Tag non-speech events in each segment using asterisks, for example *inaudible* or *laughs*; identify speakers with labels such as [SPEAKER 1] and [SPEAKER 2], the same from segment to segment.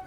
[SPEAKER 1] All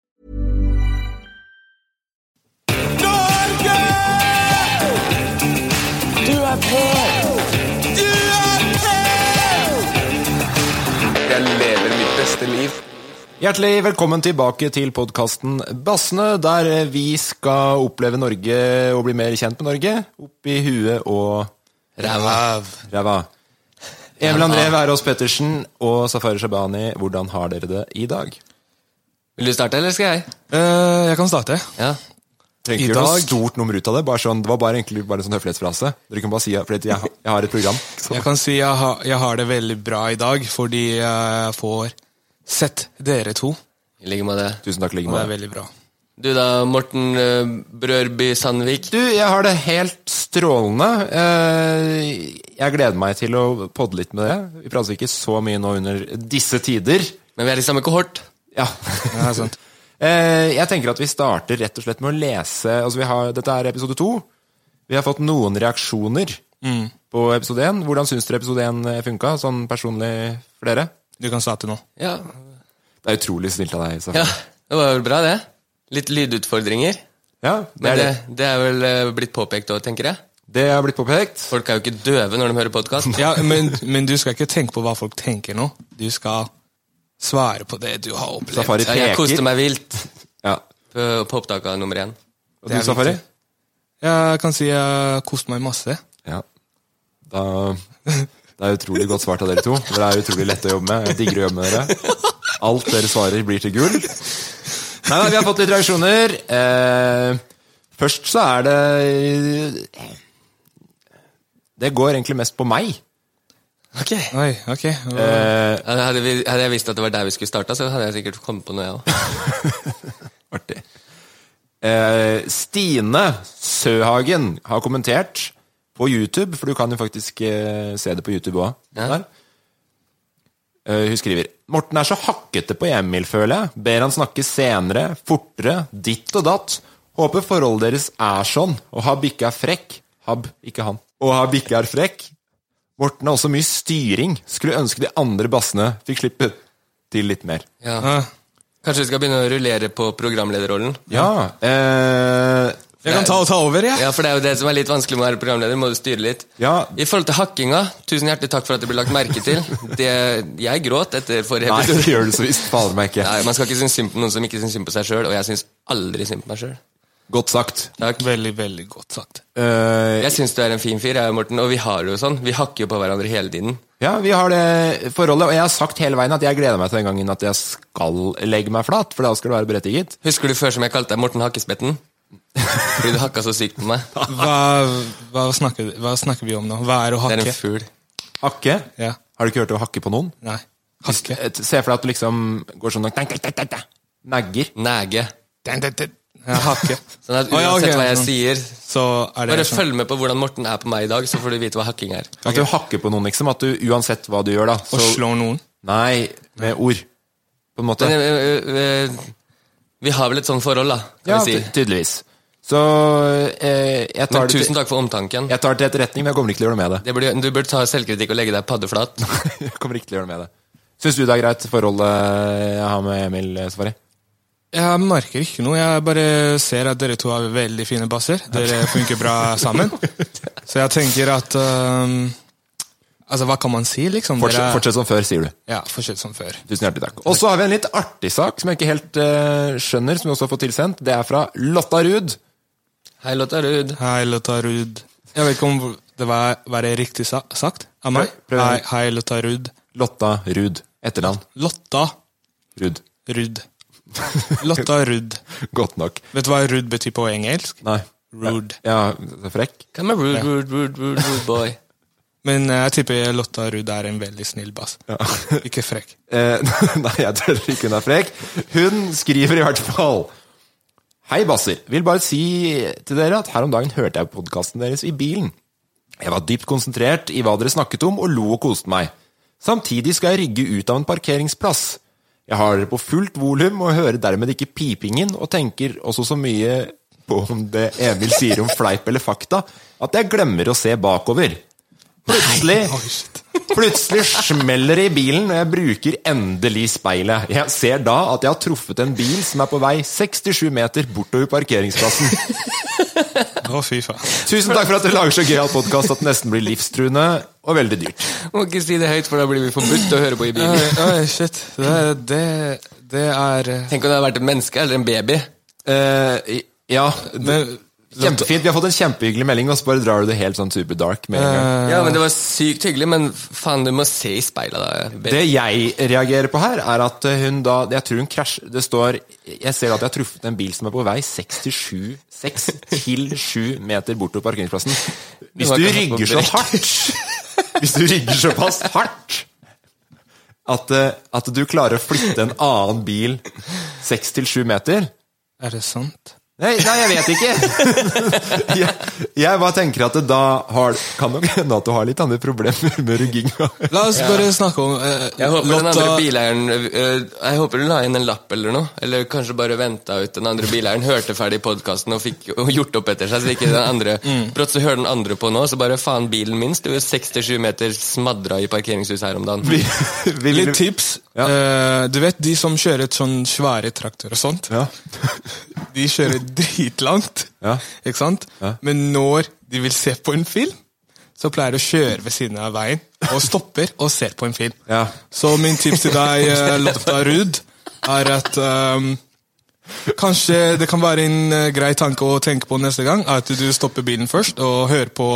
[SPEAKER 2] Du er på! Du er på!
[SPEAKER 3] Jeg lever mitt beste liv.
[SPEAKER 4] Hjertelig velkommen tilbake til podkasten Bassene, der vi skal oppleve Norge og bli mer kjent med Norge. Oppi huet og ræva. Emil André Wærås Pettersen og Safari Shabani, hvordan har dere det i dag?
[SPEAKER 3] Vil du starte, eller skal jeg?
[SPEAKER 5] Eh, jeg kan starte.
[SPEAKER 3] Ja.
[SPEAKER 4] Trenger
[SPEAKER 5] I
[SPEAKER 4] ikke gjøre noe
[SPEAKER 5] dag-
[SPEAKER 4] stort nummer ut av det. Bare sånn, det var bare egentlig bare en sånn høflighetsfrase. Dere kan bare si at fordi jeg, har- jeg har et
[SPEAKER 5] *laughs*
[SPEAKER 4] program.
[SPEAKER 5] Jeg kan si jeg, har- jeg har det veldig bra i dag, fordi jeg får sett dere to.
[SPEAKER 3] I like med det.
[SPEAKER 4] Tusen takk,
[SPEAKER 5] Og det er
[SPEAKER 4] Ligma.
[SPEAKER 5] veldig bra.
[SPEAKER 3] Du da, Morten eh, Brørby Sandvik.
[SPEAKER 4] Du, jeg har det helt strålende. Eh, Jeg gleder meg til å podde litt med dere. Vi prater ikke så mye nå under disse tider.
[SPEAKER 3] Men vi er i samme kohort.
[SPEAKER 4] Ja,
[SPEAKER 5] Ja, sant.
[SPEAKER 4] *laughs* Eh, Jeg tenker at vi starter rett og slett med å lese altså vi har, Dette er episode to. Vi har fått noen reaksjoner på episode én. Hvordan syns dere episode én funka, sånn personlig for dere?
[SPEAKER 5] Du kan starte nå.
[SPEAKER 3] Ja.
[SPEAKER 4] Det er utrolig snilt av deg. Safari.
[SPEAKER 3] ja. Det var vel bra, det. Litt lydutfordringer.
[SPEAKER 4] Ja, det,
[SPEAKER 3] Men
[SPEAKER 4] er
[SPEAKER 3] det,
[SPEAKER 4] det.
[SPEAKER 3] det er vel eh, blitt påpekt òg, tenker jeg.
[SPEAKER 4] det har blitt påpekt.
[SPEAKER 3] Folk er jo ikke døve når de hører podkast.
[SPEAKER 5] Ja, men, men du skal ikke tenke på hva folk tenker nå. Du skal svare på det du har opplevd.
[SPEAKER 4] Safari
[SPEAKER 3] Ja, jeg koste
[SPEAKER 4] peker.
[SPEAKER 3] meg vilt
[SPEAKER 4] Ja.
[SPEAKER 3] på, på opptaket av nummer én.
[SPEAKER 4] Og
[SPEAKER 5] Det
[SPEAKER 4] du,
[SPEAKER 5] er
[SPEAKER 4] Safari?
[SPEAKER 5] viktig. Jeg kan si jeg koste meg masse.
[SPEAKER 4] Ja. Da, det er utrolig godt svart av dere to. Dere er utrolig lette å jobbe med. Jeg digger å jobbe med dere. Alt dere svarer, blir til gull. Nei da, vi har fått litt reaksjoner. Eh, først så er det Det går egentlig mest på meg.
[SPEAKER 5] Oi, ok.
[SPEAKER 4] Eh,
[SPEAKER 3] Ja, Hadde, vi, hadde jeg visst at det var der vi skulle starta, så hadde jeg sikkert kommet på noe, jeg òg.
[SPEAKER 4] artig. Eh, Stine Søhagen har kommentert på YouTube, for du kan jo faktisk eh, se det på YouTube òg.
[SPEAKER 3] Ja.
[SPEAKER 4] Eh, Hun skriver Morten er så hakkete på Emil, føler jeg. Ber han snakke senere, fortere, ditt og datt. Håper forholdet deres er sånn, og har bikka er frekk. Hab, ikke han. Og har bikka er frekk. Morten har også mye styring. Skulle ønske de andre bassene fikk slippe til litt mer.
[SPEAKER 3] Ja.
[SPEAKER 5] Eh,
[SPEAKER 3] Kanskje vi skal begynne å rullere på programlederrollen?
[SPEAKER 4] Ja, eh,
[SPEAKER 5] Jeg kan ta, ta over, jeg.
[SPEAKER 3] Ja, for det er jo det som er litt vanskelig med å være programleder. Må du styre litt.
[SPEAKER 4] Ja.
[SPEAKER 3] I forhold til hakkinga, tusen hjertelig takk for at det ble lagt merke til. Det, jeg gråt etter forrige
[SPEAKER 4] Nei, *laughs* det
[SPEAKER 3] episode.
[SPEAKER 4] gjør det så visst. Fader meg ikke.
[SPEAKER 3] Nei, Man skal ikke synes synd på noen som ikke synes synd på seg sjøl, og jeg syns aldri synd på meg sjøl.
[SPEAKER 4] Godt sagt.
[SPEAKER 3] Takk.
[SPEAKER 5] Veldig, veldig godt sagt.
[SPEAKER 4] Eh,
[SPEAKER 3] Jeg syns du er en fin fyr, jeg og Morten, og vi har det jo sånn. Vi hakker jo på hverandre hele tiden.
[SPEAKER 4] ja, vi har det forholdet, og jeg har sagt hele veien at jeg gleder meg til den gangen at jeg skal legge meg flat, for da skal det være berettiget.
[SPEAKER 3] Husker du før som jeg kalte deg Morten Hakkespetten? Fordi du hakka så sykt på meg.
[SPEAKER 5] Hva, hva, snakker, hva snakker vi om nå? Hva er å
[SPEAKER 3] Det er
[SPEAKER 5] hakke?
[SPEAKER 3] en fugl.
[SPEAKER 4] Hakke?
[SPEAKER 5] Ja.
[SPEAKER 4] Har du ikke hørt å hakke på noen?
[SPEAKER 5] Nei. Hakke.
[SPEAKER 4] Et- Se for deg at du liksom går sånn og tenk, tenk, tenk, tenk, tenk, negger.
[SPEAKER 3] Næge.
[SPEAKER 5] Ja, Mm. *laughs* hakke.
[SPEAKER 3] Sånn at
[SPEAKER 5] Å, ja, ok.
[SPEAKER 3] uansett hva jeg sier,
[SPEAKER 5] Så er det
[SPEAKER 3] bare
[SPEAKER 5] sånn.
[SPEAKER 3] følg med på hvordan Morten er på meg i dag, så får du vite hva hakking er.
[SPEAKER 4] At du hakker på noen, liksom. At du uansett hva du gjør, da.
[SPEAKER 5] Å slå noen.
[SPEAKER 4] Nei, med ord. På en måte.
[SPEAKER 3] Men, ø, ø, ø, eh, Vi har vel et sånt forhold, da. kan
[SPEAKER 4] Ja,
[SPEAKER 3] vi
[SPEAKER 4] ty-
[SPEAKER 3] si.
[SPEAKER 4] tydeligvis. Så eh, jeg, tar
[SPEAKER 3] Men
[SPEAKER 4] det
[SPEAKER 3] tusen
[SPEAKER 4] til,
[SPEAKER 3] takk for omtanken.
[SPEAKER 4] jeg tar det til etterretning, men jeg kommer ikke til å gjøre noe med det.
[SPEAKER 3] Det burde, du burde ta selvkritikk og legge deg paddeflat.
[SPEAKER 4] *laughs* Jeg kommer ikke til å gjøre noe med det. Syns du det er greit forholdet jeg har med Emil eh, Safari?
[SPEAKER 5] Jeg merker ikke noe. Jeg bare ser at dere to har veldig fine basser. Dere funker bra *laughs* sammen. Så jeg tenker at øhm, Altså, hva kan man si, liksom?
[SPEAKER 4] Fortsett,
[SPEAKER 5] Dere-
[SPEAKER 4] fortsett som før, sier du.
[SPEAKER 5] Ja, fortsett som før.
[SPEAKER 4] Tusen hjertelig takk. Og så har vi en litt artig sak som jeg ikke helt eh, skjønner, som vi også har fått tilsendt. Det er fra Lotta Ruud.
[SPEAKER 3] Hei, Lotta Ruud.
[SPEAKER 5] Hei, Lotta Ruud. Jeg vet ikke om det var, var det riktig sa sagt av meg.
[SPEAKER 4] Prøv- prøv igjen.
[SPEAKER 5] Hei, hei, Lotta Ruud.
[SPEAKER 4] Lotta Ruud. Etternavn.
[SPEAKER 5] Lotta
[SPEAKER 4] Ruud.
[SPEAKER 5] *laughs* Ruud. Lotta Ruud.
[SPEAKER 4] Godt nok.
[SPEAKER 5] Vet du hva Ruud betyr på engelsk?
[SPEAKER 4] Nei.
[SPEAKER 5] Rude.
[SPEAKER 4] Ja, så frekk.
[SPEAKER 3] Come on, rude, rude, rude, rude, rude boy.
[SPEAKER 5] Men eh, jeg tipper Lotta Ruud er en veldig snill bass. *laughs* Ikke frekk.
[SPEAKER 4] Eh, *laughs* nei, jeg tror ikke hun er frekk. Hun skriver i hvert fall Hei, basser. Vil bare si til dere at her om dagen hørte jeg podkasten deres i bilen. Jeg var dypt konsentrert i hva dere snakket om, og lo og koste meg. Samtidig skal jeg rygge ut av en parkeringsplass. Jeg har dere på fullt volum og hører dermed ikke pipingen, og tenker også så mye på om det Emil sier om fleip eller fakta, at jeg glemmer å se bakover. Plutselig Plutselig smeller det i bilen, og jeg bruker endelig speilet. Jeg ser da at jeg har truffet en bil som er på vei 67 meter bortover parkeringsplassen.
[SPEAKER 5] Å, fy faen.
[SPEAKER 4] Tusen takk for at dere lager så gøyal podkast at det nesten blir livstruende og veldig dyrt.
[SPEAKER 3] Må ikke si det høyt, for da blir vi forbudt å høre på i
[SPEAKER 5] Oi,
[SPEAKER 3] bilen.
[SPEAKER 5] oi, shit. Det, det, det er eh,
[SPEAKER 3] Tenk om det hadde vært et menneske eller en baby.
[SPEAKER 4] Eh, ja, det,
[SPEAKER 5] Men-
[SPEAKER 4] kjempefint. Vi har fått en kjempehyggelig melding, og så bare drar du det helt sånn super dark med en
[SPEAKER 5] Eh,
[SPEAKER 4] gang.
[SPEAKER 3] Ja, men Det var sykt hyggelig, men faen, du må se i speilet, da. baby.
[SPEAKER 4] Det jeg reagerer på her, er at hun da Jeg tror hun krasjer Det står Jeg ser at jeg har truffet en bil som er på vei 67 6 til 7 meter bort til parkeringsplassen. Hvis
[SPEAKER 3] var
[SPEAKER 4] du
[SPEAKER 3] ikke satt på
[SPEAKER 4] rygger så
[SPEAKER 3] brekk.
[SPEAKER 4] hardt Hvis du rygger såpass hardt at, eh, at du klarer å flytte en annen bil 6 til 7 meter
[SPEAKER 5] Er det sant?
[SPEAKER 4] Nei, nei, jeg vet ikke. *laughs* jeg, jeg bare tenker at det da har, kan nok hende at du har litt andre problemer med rygginga.
[SPEAKER 5] La oss bare snakke om eh,
[SPEAKER 3] Jeg håper den
[SPEAKER 5] Lotta-
[SPEAKER 3] andre bileieren øh, Jeg håper hun la inn en lapp eller noe. Eller kanskje bare venta ut den andre bileieren, hørte ferdig podkasten og fikk og gjort opp etter seg. Så ikke den andre Brått så hører den andre på nå, så bare faen, bilen min sto jo 67 meter smadra i parkeringshuset her om dagen.
[SPEAKER 4] Vil- vil du-
[SPEAKER 5] Litt tips.
[SPEAKER 4] Ja.
[SPEAKER 5] Eh, du vet de som kjører et sånn svære traktor og sånt?
[SPEAKER 4] Ja.
[SPEAKER 5] De kjører dritlangt,
[SPEAKER 4] Ja.
[SPEAKER 5] ikke sant?
[SPEAKER 4] Ja.
[SPEAKER 5] Men når de vil se på en film, så pleier de å kjøre ved siden av veien og stopper og ser på en film.
[SPEAKER 4] Ja.
[SPEAKER 5] Så min tips til deg, eh, Lotta Ruud, er at ehm, Kanskje det kan være en eh, grei tanke å tenke på neste gang, at du stopper bilen først og hører på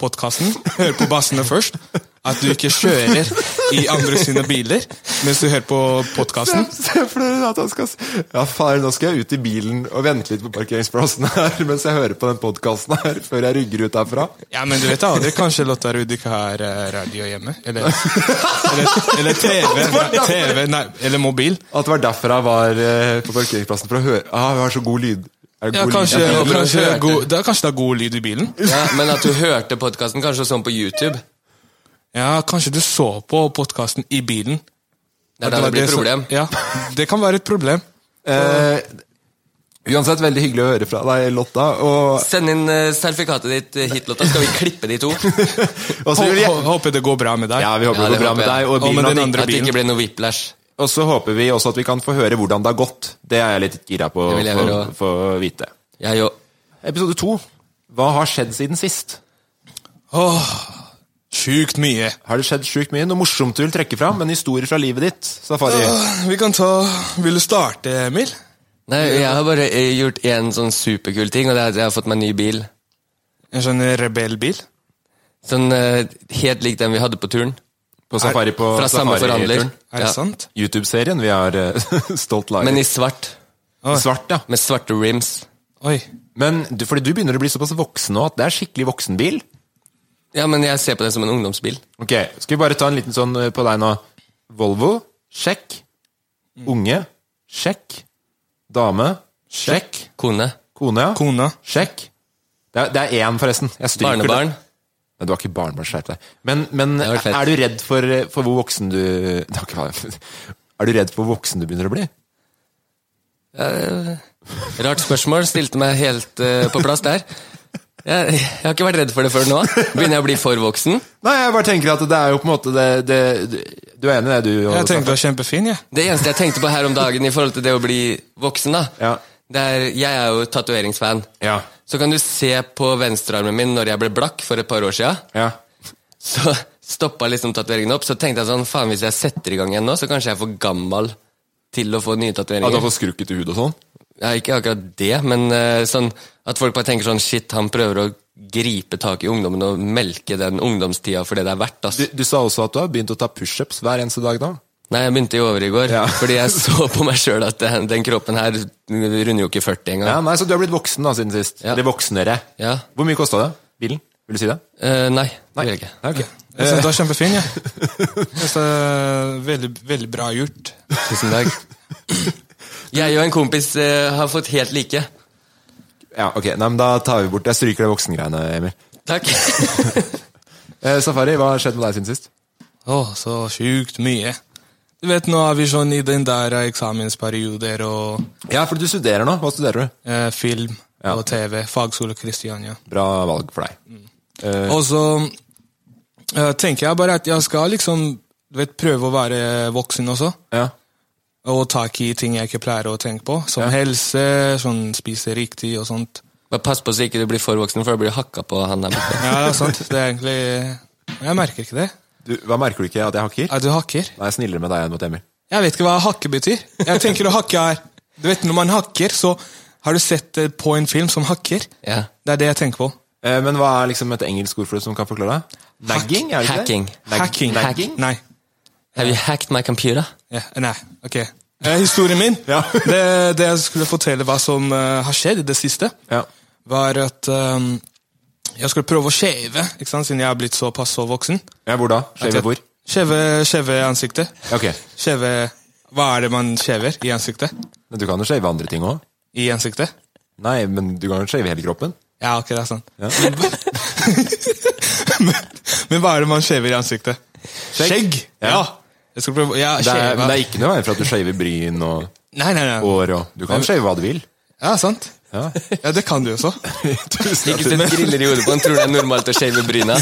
[SPEAKER 5] podkasten. Hører på bassene først. At du ikke kjører i andre sine biler mens du hører på podkasten. *laughs*
[SPEAKER 4] Se for dere at han skal s- Ja, far, nå skal jeg ut i bilen og vente litt på parkeringsplassen her *laughs* mens jeg hører på den podkasten her, før jeg rygger ut herfra.
[SPEAKER 5] Ja, men du vet aldri. Kanskje Lotta Ruud ikke har eh, radio hjemme. Eller, eller, eller TV. Nei, TV nei, eller mobil.
[SPEAKER 4] At det var derfor jeg var eh, på parkeringsplassen, for å høre Ah, vi har så god lyd. Er det
[SPEAKER 5] Ja,
[SPEAKER 4] god
[SPEAKER 5] kanskje,
[SPEAKER 4] lyd?
[SPEAKER 5] kanskje, god, det er, kanskje det er god lyd i bilen?
[SPEAKER 3] Ja, men at du hørte podkasten kanskje sånn på YouTube.
[SPEAKER 5] Ja, Kanskje du så på podkasten i bilen?
[SPEAKER 3] Det er da det blir et
[SPEAKER 5] som-
[SPEAKER 3] problem.
[SPEAKER 5] Ja, det kan være et problem.
[SPEAKER 4] Eh, uansett, veldig hyggelig å høre fra deg, Lotta. Og,
[SPEAKER 3] Send inn eh, sertifikatet ditt eh, hit, Lotta. Skal vi klippe de
[SPEAKER 4] *laughs*
[SPEAKER 3] to? At
[SPEAKER 4] og så
[SPEAKER 5] Hå-
[SPEAKER 4] vil vi
[SPEAKER 5] hå- Håper det går bra med deg.
[SPEAKER 4] Ja, vi håper
[SPEAKER 3] Ja,
[SPEAKER 4] det går
[SPEAKER 3] det
[SPEAKER 4] bra
[SPEAKER 3] håper
[SPEAKER 4] med
[SPEAKER 3] jeg.
[SPEAKER 4] deg og
[SPEAKER 5] Og med
[SPEAKER 4] bilen.
[SPEAKER 5] den
[SPEAKER 4] Og,
[SPEAKER 5] andre
[SPEAKER 3] det
[SPEAKER 5] bilen.
[SPEAKER 3] ikke ble noe whiplash.
[SPEAKER 4] og så håper vi også at vi kan få høre hvordan det har gått. Det er jeg litt gira på
[SPEAKER 3] Det vil jeg
[SPEAKER 4] å
[SPEAKER 3] høre også.
[SPEAKER 4] få vite.
[SPEAKER 3] Jeg jo.
[SPEAKER 4] Episode to. Hva har skjedd siden sist?
[SPEAKER 5] Åh, sjukt mye.
[SPEAKER 4] Har det skjedd sjukt mye? Noe morsomt du vil trekke fram? En historie fra livet ditt? Safari?
[SPEAKER 5] Vi kan ta Vil du starte, Emil?
[SPEAKER 3] Nei, jeg har bare eh, gjort én sånn superkul ting, og det er at jeg har fått meg ny bil.
[SPEAKER 5] En sånn rebellbil?
[SPEAKER 3] Sånn eh, helt lik den vi hadde på turen.
[SPEAKER 4] På safari på
[SPEAKER 3] Fra samme
[SPEAKER 4] safari-turen.
[SPEAKER 3] forhandler.
[SPEAKER 5] Er det
[SPEAKER 3] Ja.
[SPEAKER 5] sant?
[SPEAKER 4] YouTube-serien vi har eh, *laughs* stolt laget.
[SPEAKER 3] Men i svart.
[SPEAKER 5] Oi.
[SPEAKER 4] svart, ja.
[SPEAKER 3] Med svarte rims.
[SPEAKER 5] Oi.
[SPEAKER 4] Men du, fordi du begynner å bli såpass voksen nå at det er skikkelig voksenbil.
[SPEAKER 3] Ja, men jeg ser på den som en ungdomsbil.
[SPEAKER 4] Ok, Skal vi bare ta en liten sånn eh, på deg nå? Volvo, sjekk. Unge, sjekk. Dame, sjekk.
[SPEAKER 3] Kone.
[SPEAKER 4] Kone, ja.
[SPEAKER 5] Kona.
[SPEAKER 4] Sjekk. Det er- det er én, forresten. Jeg stryker det.
[SPEAKER 3] Barnebarn.
[SPEAKER 4] Nei, du har ikke barnebarn, skjerp deg. Men, men
[SPEAKER 3] Det hadde vært fett.
[SPEAKER 4] er du redd for, *laughs* for hvor voksen du det har ikke vært- Er du redd for hvor voksen du begynner å bli?
[SPEAKER 3] Eh, Rart spørsmål. Stilte meg helt eh, på plass der. Jeg, jeg har ikke vært redd for det før nå. Begynner jeg å bli for voksen?
[SPEAKER 4] Nei, jeg bare tenker at det er jo på en måte det, det, det Du er enig i det, du?
[SPEAKER 5] Jeg tenkte det var kjempefin, jeg.
[SPEAKER 3] Det eneste jeg tenkte på her om dagen i forhold til det å bli voksen, da,
[SPEAKER 4] Ja.
[SPEAKER 3] det er Jeg er jo tatoveringsfan.
[SPEAKER 4] Ja.
[SPEAKER 3] Så kan du se på venstrearmen min når jeg ble blakk for et par år sia.
[SPEAKER 4] ja.
[SPEAKER 3] Så stoppa liksom tatoveringen opp. Så tenkte jeg sånn, faen hvis jeg setter i gang igjen nå, så kanskje jeg er for gammel til å få nye
[SPEAKER 4] At du har
[SPEAKER 3] tatoveringer.
[SPEAKER 4] fått skrukket hud og sånn?
[SPEAKER 3] Ja, ikke akkurat det, men eh, sånn at folk bare tenker sånn shit, han prøver å gripe tak i ungdommen og melke den ungdomstida for det det er verdt. ass.
[SPEAKER 4] Du, du sa også at du har begynt å ta pushups hver eneste dag nå?
[SPEAKER 3] Nei, jeg begynte i over i går,
[SPEAKER 4] Ja.
[SPEAKER 3] *laughs* fordi jeg så på meg sjøl at den, den kroppen her runder jo ikke 40 engang.
[SPEAKER 4] Ja, nei, Så du har blitt voksen da siden sist?
[SPEAKER 3] Ja.
[SPEAKER 4] Eller voksnere.
[SPEAKER 3] Ja.
[SPEAKER 4] Hvor mye kosta det? Bilen? Vil du si det?
[SPEAKER 3] Eh, nei, det gjør jeg ikke.
[SPEAKER 4] Nei, ok.
[SPEAKER 5] Jeg synes det var kjempefin, *laughs* jeg. Jeg synes det er veldig, veldig bra gjort.
[SPEAKER 3] Tusen takk.
[SPEAKER 4] *laughs*
[SPEAKER 3] Jeg og en kompis eh, har fått helt like.
[SPEAKER 4] Ja, ok, nei, men Da tar vi bort Jeg stryker det voksengreiene, Emil.
[SPEAKER 3] Takk.
[SPEAKER 4] Eh, Safari, hva har skjedd med deg siden sist?
[SPEAKER 5] Å, så sjukt mye. Du vet, nå er vi sånn i den der eksamensperioder og
[SPEAKER 4] Ja, for du studerer nå. Hva studerer du?
[SPEAKER 5] eh, film
[SPEAKER 4] Ja.
[SPEAKER 5] og TV. Fagskole Kristiania.
[SPEAKER 4] Bra valg for deg. Eh,
[SPEAKER 5] Og så eh, tenker jeg bare at jeg skal liksom du vet, prøve å være voksen også.
[SPEAKER 4] ja.
[SPEAKER 5] Og tak i ting jeg ikke pleier å tenke på. Som
[SPEAKER 4] Ja.
[SPEAKER 5] helse, sånn spise riktig og sånt.
[SPEAKER 3] *laughs* Bare pass på så ikke du blir for voksen, for da blir du hakka på han der borte.
[SPEAKER 5] Ja, det er *laughs* sant. Det er egentlig Jeg merker ikke det.
[SPEAKER 4] Du, hva Merker du ikke at jeg hakker?
[SPEAKER 5] At du hakker.
[SPEAKER 4] Nei, jeg er snillere med deg enn mot Emil.
[SPEAKER 5] Jeg vet ikke hva hakke betyr. Jeg tenker å hakke er Du vet, Når man hakker, så har du sett det på en film som hakker.
[SPEAKER 3] Ja.
[SPEAKER 5] Det er det jeg tenker på.
[SPEAKER 4] Eh, men hva er liksom et engelsk ord for det som kan forklare det? Nagging? er det ikke det?
[SPEAKER 3] Hacking.
[SPEAKER 4] Nag-
[SPEAKER 5] Hacking.
[SPEAKER 4] Nagging?
[SPEAKER 5] Nei.
[SPEAKER 3] Have you hacked my computer?
[SPEAKER 5] Ja, nei, ok. Eh, historien min,
[SPEAKER 4] Ja.
[SPEAKER 5] *laughs* det, det jeg skulle fortelle hva som eh, har skjedd i det siste,
[SPEAKER 4] Ja.
[SPEAKER 5] var at ehm, jeg skulle prøve å skjeve, ikke sant, siden jeg er blitt såpass så voksen.
[SPEAKER 4] ja, hvor da? Skjeve bord?
[SPEAKER 5] Skjeve, skjeve ansiktet.
[SPEAKER 4] Ok,
[SPEAKER 5] Skjeve Hva er det man skjever i ansiktet?
[SPEAKER 4] men Du kan jo shave andre ting òg.
[SPEAKER 5] I ansiktet?
[SPEAKER 4] Nei, men du kan jo shave hele kroppen.
[SPEAKER 5] Ja, ok, det er sant. *laughs* men, men hva er det man skjever i ansiktet? Skjegg! Ja. Jeg skal prøve ja,
[SPEAKER 4] Det er,
[SPEAKER 5] skjeva.
[SPEAKER 4] men det er ikke noe veien for at du shaver bryn og
[SPEAKER 5] Nei, nei, nei.
[SPEAKER 4] hår og Du kan shave hva du vil.
[SPEAKER 5] Ja, sant.
[SPEAKER 4] Ja.
[SPEAKER 5] *laughs* Ja, det kan du
[SPEAKER 4] *laughs*
[SPEAKER 5] også.
[SPEAKER 4] Tusen
[SPEAKER 3] Ikke sett griller i hodet på han, tror det er normalt å shave bryna.